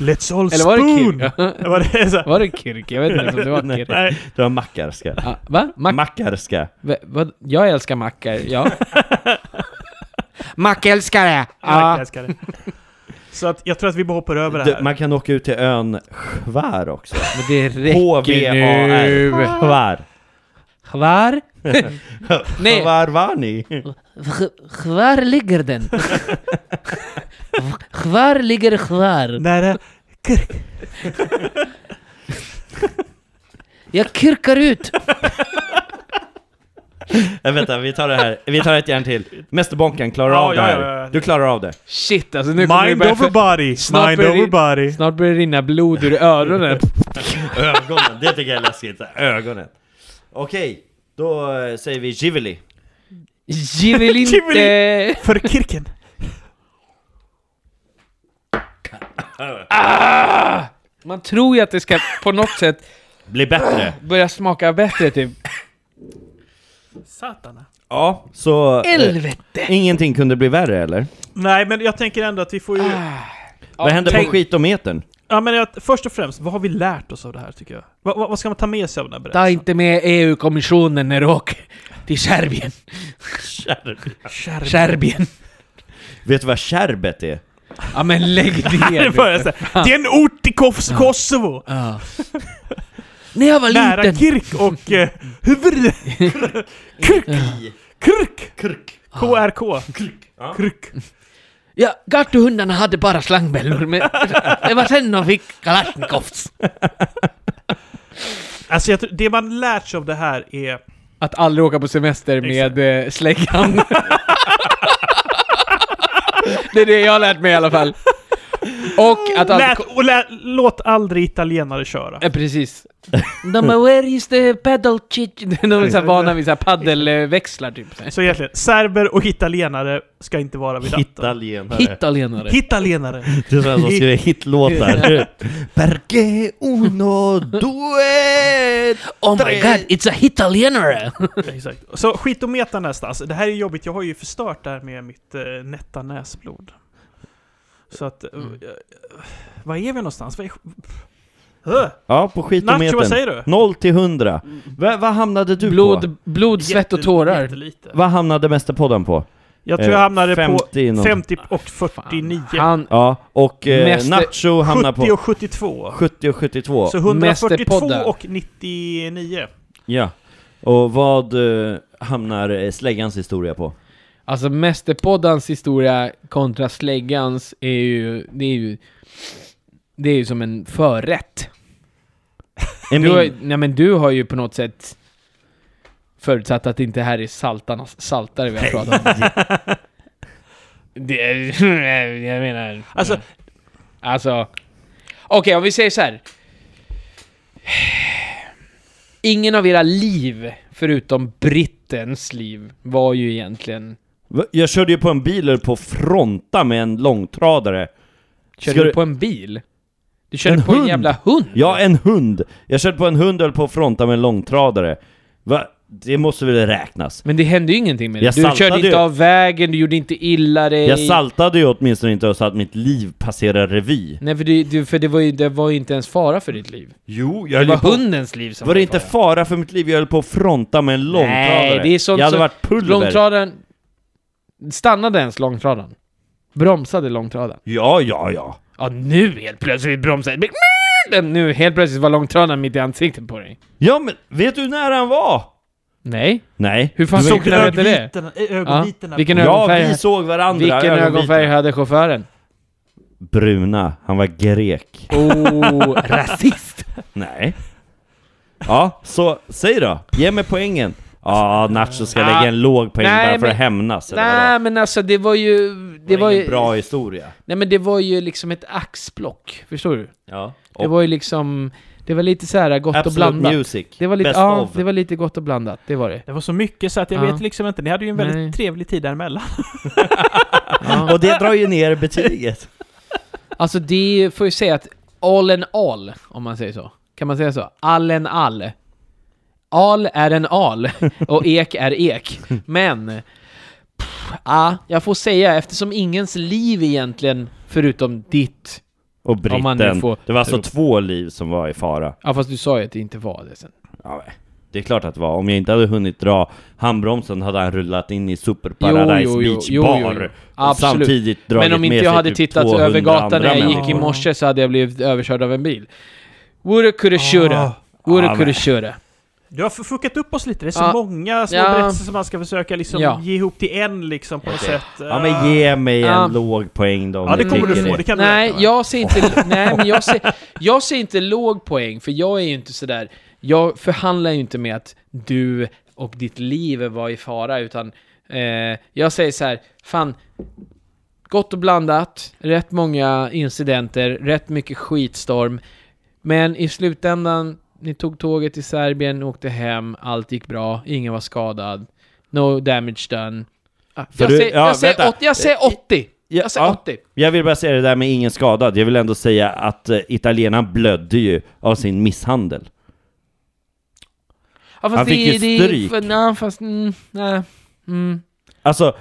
Speaker 1: Let's all
Speaker 4: eller var det
Speaker 1: spoon!
Speaker 4: Kirk? Ja,
Speaker 1: Var det så?
Speaker 4: var det Kirk? Jag vet inte ens om det var Kirk.
Speaker 1: Nej.
Speaker 3: Det var Makarska.
Speaker 4: Ja, va? Mac-
Speaker 3: Makarska.
Speaker 4: va, vad- Jag älskar mackor, ja.
Speaker 6: Mackälskare!
Speaker 1: Ja.
Speaker 4: ja.
Speaker 1: Jag älskar det. Så att jag tror att vi bara hoppar över det
Speaker 3: Du,
Speaker 1: här.
Speaker 3: man kan åka ut till ön Skvär också.
Speaker 4: Men det räcker nu.
Speaker 3: H-V-A-R. Skvär.
Speaker 4: Kvar? Nej.
Speaker 3: Skvär var ni?
Speaker 7: Kvar ligger den. Kvar ligger kvar.
Speaker 1: Nära Kirk.
Speaker 7: Jag kirkar ut.
Speaker 3: Nej, Eh, vänta, vi tar det här. Vi tar ett järn till. Mästerbonken, klarar
Speaker 1: Ja,
Speaker 3: av det
Speaker 1: ja,
Speaker 3: här.
Speaker 1: ja, ja.
Speaker 3: Du klarar av det.
Speaker 4: Shit alltså, nu kommer det
Speaker 1: Mind
Speaker 4: börja...
Speaker 1: over
Speaker 4: För...
Speaker 1: body!
Speaker 4: Snart
Speaker 1: Mind
Speaker 4: börjar vi-
Speaker 1: over body!
Speaker 4: Snart börjar det rinna blod ur öronen.
Speaker 3: Ögonen, det tycker jag är läskigt. så här, Ögonen. Okej, då eh, säger vi Giveli.
Speaker 4: Ge väl inte...
Speaker 1: För Kirken!
Speaker 4: Man tror ju att det ska på något sätt
Speaker 3: Bli bättre.
Speaker 4: börja smaka bättre typ.
Speaker 1: Satana.
Speaker 3: Ja, så... eh, Ingenting kunde bli värre, eller?
Speaker 1: Nej, men jag tänker ändå att vi får ju...
Speaker 4: Ah.
Speaker 3: Vad hände
Speaker 1: tänk-
Speaker 3: på skitometern?
Speaker 1: Ja, men jag, först och främst, vad har vi lärt oss av det här tycker jag? Vad- vad- vad ska man ta med sig av den här
Speaker 4: Ta
Speaker 1: berättelsen?
Speaker 4: Eh, inte med EU-kommissionen när du åker till Serbien. Serbien.
Speaker 3: Vet du vad kärbet är?
Speaker 4: Ja men lägg
Speaker 1: Det
Speaker 4: ner. liksom.
Speaker 1: börjar så här, Det är en ort i Kos- Kosovo!
Speaker 4: Ja. När jag var
Speaker 1: Nära
Speaker 4: liten.
Speaker 1: Kirk och eh, huvud... Kirk! Kirk!
Speaker 3: Kirk.
Speaker 4: Ah.
Speaker 1: KRK.
Speaker 3: Ja.
Speaker 1: Kirk.
Speaker 7: Ja, gatuhundarna hade bara slangbällor. Men det var sen de fick kalasjnikovs.
Speaker 1: Alltså, jag, tror- det man lärt sig av det här är...
Speaker 4: Att aldrig åka på semester med eh, släggan. det är det jag har lärt mig i alla fall. Och att aldrig... Eh.
Speaker 1: Lät, och lä, låt aldrig italienare köra.
Speaker 4: Ja, precis.
Speaker 7: De bara, where is the pedal chit?
Speaker 4: De är så här vana vid så här paddelväxlar typ.
Speaker 1: Så egentligen, serber och italienare ska inte vara vid ratten.
Speaker 3: Italienare.
Speaker 7: Hittalenare.
Speaker 1: Italienare.
Speaker 3: Det är sådana som skriver hitlåtar. Perché uno due...
Speaker 7: Oh my god, it's a hittalenare!
Speaker 1: Exakt. Så skitometern nästan. Alltså, det här är jobbigt, jag har ju förstört det här med mitt eh, nätta näsblod. Så att... eh, eh, Var är vi någonstans? Vad är, Huh.
Speaker 3: Ja, på skitometern.
Speaker 1: Nacho, vad säger du?
Speaker 3: 0 till 100. Va, vad hamnade du på?
Speaker 4: Mm. Blod, blod svett och
Speaker 1: Jätte-
Speaker 4: tårar.
Speaker 1: jättelite.
Speaker 3: Vad hamnade Mästerpodden på?
Speaker 1: Jag tror jag
Speaker 3: Eh,
Speaker 1: hamnade
Speaker 3: 50
Speaker 1: på
Speaker 3: någon-
Speaker 1: 50
Speaker 4: Ah,
Speaker 1: och 49.
Speaker 4: Han,
Speaker 3: Ja, och eh,
Speaker 4: Mäster-
Speaker 3: Nacho hamnar
Speaker 1: 70
Speaker 3: på
Speaker 1: och 72.
Speaker 3: 70 och 72.
Speaker 1: Så 142
Speaker 4: Mästerpodden.
Speaker 1: och 99.
Speaker 3: Ja. Och vad eh, hamnar eh, Släggans historia på?
Speaker 4: alltså Mästerpoddans historia kontra Släggans är ju, det är ju, det är ju som en förrätt.
Speaker 3: Är
Speaker 4: Du har,
Speaker 3: min,
Speaker 4: ju- nej men du har ju på något sätt förutsatt att det inte här är saltarnas saltare vi har pratat om. Det, är- jag menar...
Speaker 1: Alltså,
Speaker 4: Alltså... Okej, om vi säger så här. Ingen av era liv, förutom brittens liv, var ju egentligen...
Speaker 3: Va- jag körde ju på en bil och på fronta med en långtradare.
Speaker 4: Körde
Speaker 3: Ska
Speaker 4: du
Speaker 3: du-
Speaker 4: på en bil? Du körde
Speaker 3: En
Speaker 4: på en
Speaker 3: hund.
Speaker 4: jävla hund?
Speaker 3: Ja, en hund! Jag körde på en hund och höll på att fronta med en långtradare. Va? Det måste väl räknas?
Speaker 4: Men det hände ju ingenting med det.
Speaker 3: Jag
Speaker 4: Du körde
Speaker 3: saltade
Speaker 4: inte
Speaker 3: ju.
Speaker 4: av vägen, du gjorde inte illa dig.
Speaker 3: Jag saltade ju åtminstone inte och så att mitt liv passerar revy.
Speaker 4: Nej, för, det, du, för det, var ju, det var ju inte ens fara för ditt liv.
Speaker 3: Jo,
Speaker 4: Det
Speaker 3: jag
Speaker 4: var hundens liv som
Speaker 3: Var det
Speaker 4: i
Speaker 3: inte
Speaker 4: fara.
Speaker 3: fara för mitt liv? Jag höll på att fronta med en långtradare.
Speaker 4: Nej, det är sånt
Speaker 3: Jag hade
Speaker 4: som-
Speaker 3: varit pulver.
Speaker 4: Långtradaren... Stannade ens långtradaren? Bromsade långtradaren?
Speaker 3: Ja, ja, ja.
Speaker 4: Ja, nu helt plötsligt bromsade Men- men Nu helt plötsligt var långtradaren mitt i ansiktet på dig.
Speaker 3: Ja, men vet du hur nära han var?
Speaker 4: Nej.
Speaker 3: Nej.
Speaker 4: Hur fan
Speaker 3: Du-
Speaker 4: såg du
Speaker 1: ögonvitorna-
Speaker 4: veta det?
Speaker 1: eh,
Speaker 4: Ja.
Speaker 1: ögonvitorna.
Speaker 4: Vilken
Speaker 3: Ja,
Speaker 4: ögonfärg,
Speaker 3: vi såg varandra.
Speaker 4: vilken
Speaker 3: ögonvitorna.
Speaker 4: ögonfärg hade chauffören?
Speaker 3: Bruna. Han var grek.
Speaker 4: Oh, rasist!
Speaker 3: Nej. Ja, så säg då. Ge mig poängen. Ja, Nacho ska
Speaker 4: Ja.
Speaker 3: lägga en låg poäng
Speaker 4: Nej,
Speaker 3: bara för
Speaker 4: men-
Speaker 3: att hämnas. eller vadå?
Speaker 4: Nej men alltså det var ju... Det var
Speaker 3: ingen
Speaker 4: ju...
Speaker 3: bra historia.
Speaker 4: Nej men det var ju liksom ett axplock, förstår du?
Speaker 3: Ja.
Speaker 4: Det var ju liksom... Det var lite så här gott och
Speaker 3: Absolute
Speaker 4: blandat.
Speaker 3: Music.
Speaker 4: Det var lite,
Speaker 3: Best
Speaker 4: ja,
Speaker 3: of.
Speaker 4: det var lite gott och blandat, det var det.
Speaker 1: Det var så mycket så att jag
Speaker 4: Ja.
Speaker 1: vet liksom inte. Ni hade ju en väldigt
Speaker 4: Nej.
Speaker 1: trevlig tid däremellan.
Speaker 4: Ja.
Speaker 3: Och det drar ju ner betyget.
Speaker 4: Alltså det får ju säga att all en all, om man säger så. Kan man säga så? All en all. Al är en al och ek är ek. Men... pff, Ah, jag får säga, eftersom ingens liv egentligen, förutom ditt...
Speaker 3: Och
Speaker 4: Om man nu
Speaker 3: britten.
Speaker 4: får
Speaker 3: Det var alltså
Speaker 4: tro.
Speaker 3: två liv som var i fara.
Speaker 4: Ja, fast du sa ju att det inte var det sen.
Speaker 3: Ja, nej. det är klart att det var. Om jag inte hade hunnit dra handbromsen hade han rullat in i Super Paradise
Speaker 4: Jo, jo, jo,
Speaker 3: Beach
Speaker 4: jo,
Speaker 3: Bar.
Speaker 4: jo, jo.
Speaker 3: Och
Speaker 4: Absolut.
Speaker 3: Samtidigt dragit
Speaker 4: Men om
Speaker 3: med
Speaker 4: inte jag
Speaker 3: sig
Speaker 4: hade
Speaker 3: typ
Speaker 4: tittat
Speaker 3: 200
Speaker 4: över gatan
Speaker 3: andra
Speaker 4: när jag
Speaker 3: människor.
Speaker 4: gick i morse så hade jag blivit överkörd av en bil. Woulda, coulda, shoulda.
Speaker 3: Ah,
Speaker 4: Woulda,
Speaker 3: men-
Speaker 4: coulda, shoulda.
Speaker 1: Du har fuckat upp oss lite. Det är så
Speaker 4: Ja.
Speaker 1: många små
Speaker 4: Ja.
Speaker 1: berättelser som man ska försöka liksom
Speaker 4: Ja.
Speaker 1: ge ihop till en liksom på något sätt.
Speaker 3: Ja men ge mig en
Speaker 4: Ja.
Speaker 3: låg poäng då om
Speaker 1: Ja, det
Speaker 3: ni
Speaker 1: kommer du
Speaker 3: tycker
Speaker 1: få. Det kan du
Speaker 4: nej,
Speaker 1: räkna med.
Speaker 4: jag ser inte, nej, men jag ser, jag ser inte låg poäng, för jag är ju inte sådär... Jag förhandlar ju inte med att du och ditt liv var i fara, utan eh, jag säger så här, fan, gott och blandat, rätt många incidenter, rätt mycket skitstorm, men i slutändan, ni tog tåget till Serbien, åkte hem, allt gick bra, ingen var skadad, no damage done. Ah,
Speaker 3: För
Speaker 4: Jag,
Speaker 3: du-
Speaker 4: säger,
Speaker 3: ja,
Speaker 4: jag, säger,
Speaker 3: vänta.
Speaker 4: åt, jag
Speaker 1: Eh,
Speaker 4: säger 80!
Speaker 3: Ja,
Speaker 4: Jag säger
Speaker 3: ja.
Speaker 4: 80!
Speaker 3: Jag vill bara säga det där med ingen skadad. Jag vill ändå säga att eh, italienaren blödde ju av sin misshandel.
Speaker 4: Ja, fast
Speaker 3: Han
Speaker 4: det,
Speaker 3: fick ju
Speaker 4: det,
Speaker 3: stryk.
Speaker 4: För, nej, fast... Mm, nej. Mm.
Speaker 3: Alltså,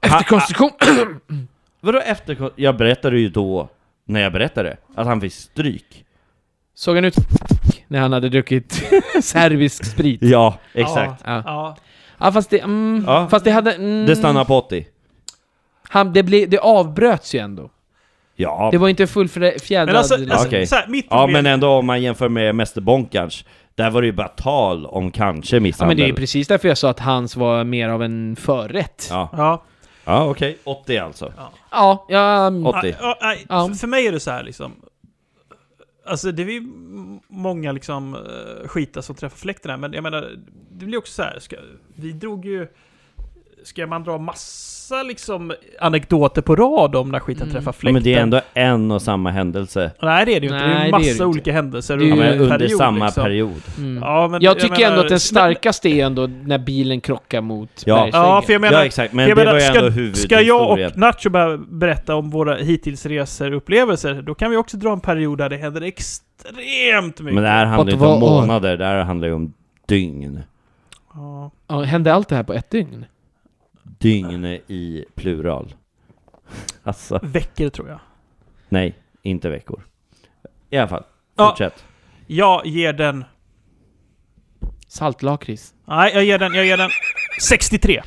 Speaker 4: Efter konstruktion...
Speaker 3: vadå efter... Jag berättade ju då, när jag berättade, att han fick stryk.
Speaker 4: Såg han ut när han hade druckit serbisk sprit?
Speaker 3: Ja, exakt.
Speaker 4: Ja.
Speaker 1: Ja.
Speaker 4: Ja, fast det... Mm,
Speaker 3: Ja.
Speaker 4: Fast det hade... Mm,
Speaker 3: Det stannar på 80.
Speaker 4: han, det, ble, det avbröts ju ändå.
Speaker 3: Ja,
Speaker 4: Det var inte fullfjädrad...
Speaker 1: Men alltså, alltså
Speaker 3: Okej.
Speaker 1: så här, mitt
Speaker 3: ja
Speaker 1: problem-
Speaker 3: men ändå om man jämför med Mästerbonkarns, där var det ju bara tal om kanske
Speaker 4: ja, men
Speaker 3: misshandel.
Speaker 4: det är ju precis därför jag sa att hans var mer av en förrätt. Ja,
Speaker 3: Ja,
Speaker 1: Ja.
Speaker 3: ja okej. 80 alltså.
Speaker 4: ja, mm,
Speaker 3: 80.
Speaker 1: Ja, ja, nej,
Speaker 4: Ja.
Speaker 1: f- För mig är det så här liksom. Alltså det är ju m- många liksom eh, skitar som träffar fläkten här, men jag menar, det blir också så här. Ska, vi drog ju... Ska man dra massa liksom anekdoter på rad om när skiten
Speaker 4: Mm.
Speaker 1: träffar
Speaker 3: Ja,
Speaker 1: fläkten?
Speaker 3: men det är ändå en och samma händelse.
Speaker 1: Nej det är det ju inte. det är ju
Speaker 4: Nej, det är det
Speaker 1: massa
Speaker 4: ju inte.
Speaker 1: olika händelser
Speaker 4: Det är
Speaker 3: Ja,
Speaker 4: ju
Speaker 1: under
Speaker 3: men
Speaker 1: en
Speaker 3: under
Speaker 1: period,
Speaker 3: samma
Speaker 1: liksom.
Speaker 3: period.
Speaker 4: mm.
Speaker 1: Ja, men,
Speaker 4: Jag tycker
Speaker 1: menar-
Speaker 4: ändå att den
Speaker 1: Men-
Speaker 4: starkaste är ändå när bilen krockar mot
Speaker 3: Ja.
Speaker 4: bergsväggen.
Speaker 1: Ja, för jag menar...
Speaker 3: ja exakt, men
Speaker 1: jag
Speaker 3: det
Speaker 1: menar,
Speaker 3: var ju
Speaker 1: ska-
Speaker 3: ändå
Speaker 1: Ska jag
Speaker 3: huvudhistorien.
Speaker 1: och Nacho börja berätta om våra hitillsresor och upplevelser, då kan vi också dra en period där det händer extremt mycket.
Speaker 3: Men det här handlar ju inte
Speaker 4: vad
Speaker 3: om
Speaker 4: år?
Speaker 3: månader, det här handlar ju om dygn.
Speaker 1: Ja.
Speaker 4: Ja, hände allt det här på ett dygn?
Speaker 3: Dygn i plural. Alltså,
Speaker 1: Veckor tror jag.
Speaker 3: nej, inte veckor. I alla fall,
Speaker 1: Ja.
Speaker 3: fortsätt.
Speaker 1: Jag ger den...
Speaker 4: Saltlakrits.
Speaker 1: Nej, jag ger den, jag ger den 63.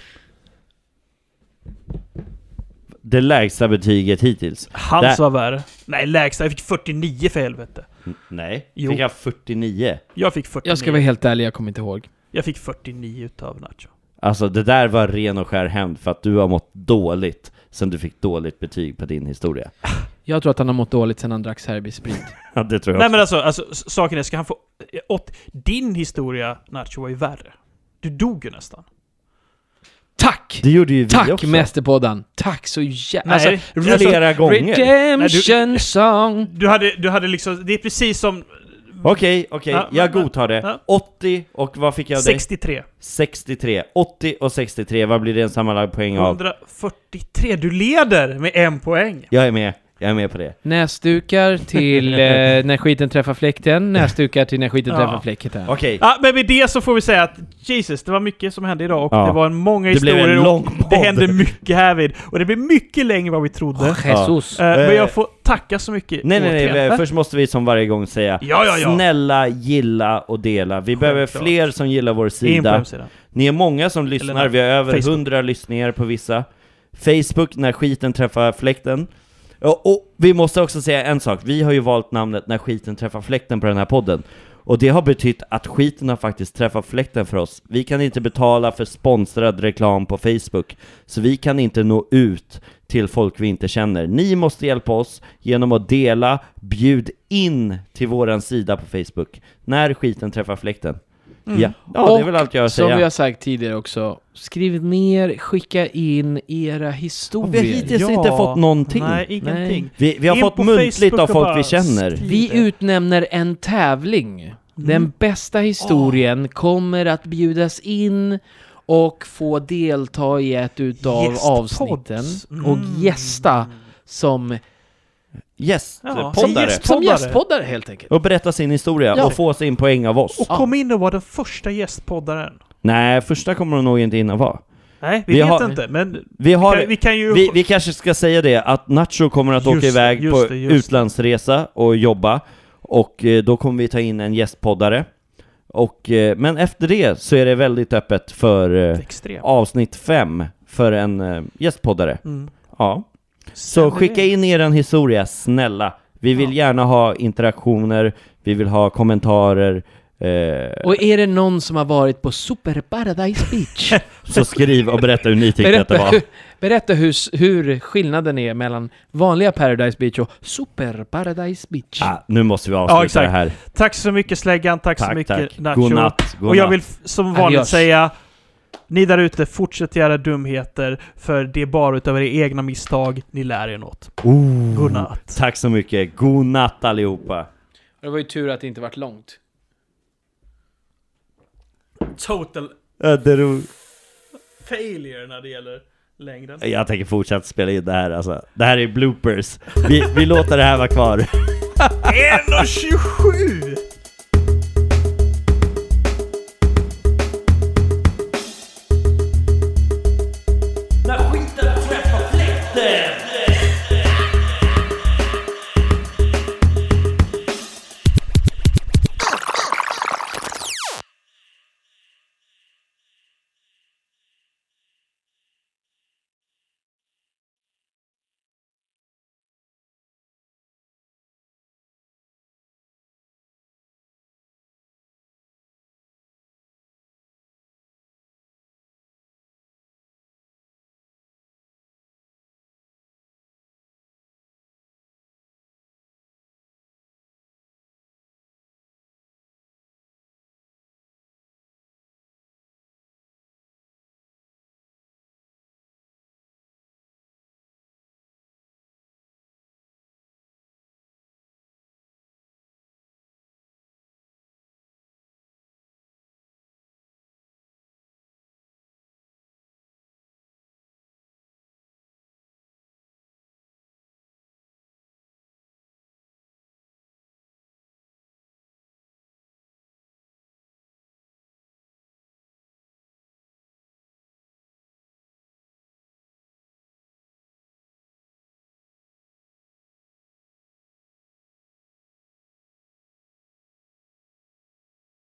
Speaker 3: Det lägsta betyget hittills.
Speaker 1: Hans
Speaker 3: Där.
Speaker 1: var värre. Nej, lägsta. Jag fick 49 för helvete.
Speaker 3: Nej,
Speaker 1: Jo.
Speaker 3: fick jag 49.
Speaker 1: Jag fick 49.
Speaker 4: Jag ska vara helt ärlig, jag kommer inte ihåg.
Speaker 1: jag fick 49 utav Nacho.
Speaker 3: Alltså det där var ren och skär hämnd för att du har mått dåligt sen du fick dåligt betyg på din historia.
Speaker 4: Jag tror att han har mått dåligt sen han drack serbisk sprit.
Speaker 3: Ja, det tror jag
Speaker 1: Nej
Speaker 3: också.
Speaker 1: men alltså, alltså, s- saken är, ska han få... eh, Åt, din historia, Nacho, var ju värre. Du dog ju nästan.
Speaker 4: Tack!
Speaker 3: Det gjorde ju vi
Speaker 4: Tack
Speaker 3: också.
Speaker 4: Mästerpodden! Tack så jävla...
Speaker 1: Nej,
Speaker 3: Flera
Speaker 4: Alltså,
Speaker 3: gånger.
Speaker 4: Redemption song!
Speaker 1: alltså, Du hade, du hade liksom... Det är precis som...
Speaker 3: Okej, okej,
Speaker 1: Ja,
Speaker 3: jag
Speaker 1: men-
Speaker 3: godtar det.
Speaker 1: ja.
Speaker 3: 80 och vad fick jag av dig?
Speaker 1: 63.
Speaker 3: 63. 80 och 63, vad blir det en sammanlagd poäng av?
Speaker 1: 143. Du leder med en poäng.
Speaker 3: Jag är med, jag är med på det.
Speaker 4: Näsdukar till eh, när skiten träffar fläkten, näsdukar till när skiten
Speaker 1: Ja.
Speaker 4: träffar fläkten.
Speaker 3: Okej,
Speaker 1: Ja, men med det så får vi säga att Jesus, det var mycket som hände idag och
Speaker 3: Ja.
Speaker 1: det var en många
Speaker 3: det blev
Speaker 1: historier
Speaker 3: en lång
Speaker 1: och
Speaker 3: podd. Ah,
Speaker 1: det hände mycket härvid. Och det blev mycket längre än vad vi trodde.
Speaker 4: Jesus.
Speaker 1: Eh, men
Speaker 3: Eh,
Speaker 1: jag får tacka så mycket.
Speaker 3: Nej nej nej,
Speaker 1: återigen.
Speaker 3: vi- först måste vi som varje gång säga
Speaker 1: Ja, ja, ja.
Speaker 3: Snälla gilla och dela, vi behöver
Speaker 1: Självklart.
Speaker 3: fler som gillar vår
Speaker 1: In på
Speaker 3: sida
Speaker 1: hemsidan.
Speaker 3: Ni är många som lyssnar,
Speaker 1: Eller
Speaker 3: vi har över
Speaker 1: Facebook.
Speaker 3: 100 lyssningar på vissa Facebook, när skiten träffar fläkten och, och vi måste också säga en sak, vi har ju valt namnet När skiten träffar fläkten på den här podden Och det har betytt att skiten har faktiskt träffat fläkten för oss Vi kan inte betala för sponsrad reklam på Facebook Så vi kan inte nå ut till folk vi inte känner Ni måste hjälpa oss genom att dela, bjud in till våran sida på Facebook När skiten träffar fläkten
Speaker 1: Mm.
Speaker 3: Ja, ja det är väl allt jag har att
Speaker 4: Som vi
Speaker 3: säga
Speaker 4: har sagt tidigare också, skriv ner, skicka in era
Speaker 3: Och Vi har
Speaker 4: historier.
Speaker 3: hittills inte fått någonting
Speaker 1: Nej, ingenting.
Speaker 4: Nej.
Speaker 3: Vi, vi har
Speaker 1: In
Speaker 3: fått
Speaker 1: på
Speaker 3: muntligt
Speaker 1: Facebook
Speaker 3: av
Speaker 1: och
Speaker 3: folk
Speaker 1: bara
Speaker 3: vi känner
Speaker 1: skriv
Speaker 4: Vi
Speaker 1: det.
Speaker 4: utnämner en tävling.
Speaker 1: Mm.
Speaker 4: Den bästa historien kommer att bjudas in och få delta i ett utav
Speaker 1: Gästpods. Mm.
Speaker 4: avsnitten och gästa som,
Speaker 1: Ja,
Speaker 3: gästpoddare
Speaker 1: som gäst-
Speaker 4: som
Speaker 1: Poddare.
Speaker 4: gästpoddare helt enkelt.
Speaker 3: och berätta sin historia
Speaker 4: Ja.
Speaker 3: och få sin poäng av oss.
Speaker 1: Och kom in och var den första gästpoddaren.
Speaker 3: Nej, första kommer hon nog inte hinna vara.
Speaker 1: Nej, vi,
Speaker 3: Vi
Speaker 1: vet
Speaker 3: har-
Speaker 1: inte, men
Speaker 3: Vi, har,
Speaker 1: vi kan ju...
Speaker 3: vi, vi kanske ska säga det att Nacho kommer att
Speaker 1: Just
Speaker 3: åka
Speaker 1: det,
Speaker 3: iväg
Speaker 1: just
Speaker 3: på
Speaker 1: det, just det.
Speaker 3: utlandsresa och jobba och eh, då kommer vi ta in en gästpoddare. Och, eh, men efter det så är det väldigt öppet för eh,
Speaker 1: Extrem.
Speaker 3: avsnitt fem för en eh, gästpoddare.
Speaker 1: Mm.
Speaker 3: Ja. Så skicka in er en historia, snälla. Vi vill gärna ha interaktioner, vi vill ha kommentarer, eh,
Speaker 4: Och är det någon som har varit på Super Paradise Beach?
Speaker 3: så skriv och berätta hur ni tyckte att det
Speaker 4: berätta
Speaker 3: var.
Speaker 4: hur, berätta hur, s- hur skillnaden är mellan vanliga Paradise Beach och Super Paradise Beach.
Speaker 3: Ah, nu måste vi avsluta
Speaker 1: exakt.
Speaker 3: det här.
Speaker 1: Tack så mycket Släggan, tack, så
Speaker 3: Tack,
Speaker 1: mycket
Speaker 3: tack.
Speaker 1: Nacho.
Speaker 3: Godnatt, godnatt.
Speaker 1: Och jag vill f- som vanligt
Speaker 4: Adios.
Speaker 1: säga, ni där ute, fortsätt göra dumheter, för det är bara utav era egna misstag ni lär er något.
Speaker 3: Ooh.
Speaker 1: Godnatt.
Speaker 3: Tack så mycket, god natt allihopa.
Speaker 4: Det var ju tur att det inte vart långt.
Speaker 1: Total
Speaker 3: Ja, det är ro-
Speaker 1: failure när det gäller längden.
Speaker 3: Jag tänker fortsätta spela in det här alltså. Det här är bloopers. Vi, vi låter det här vara kvar.
Speaker 1: 1.27!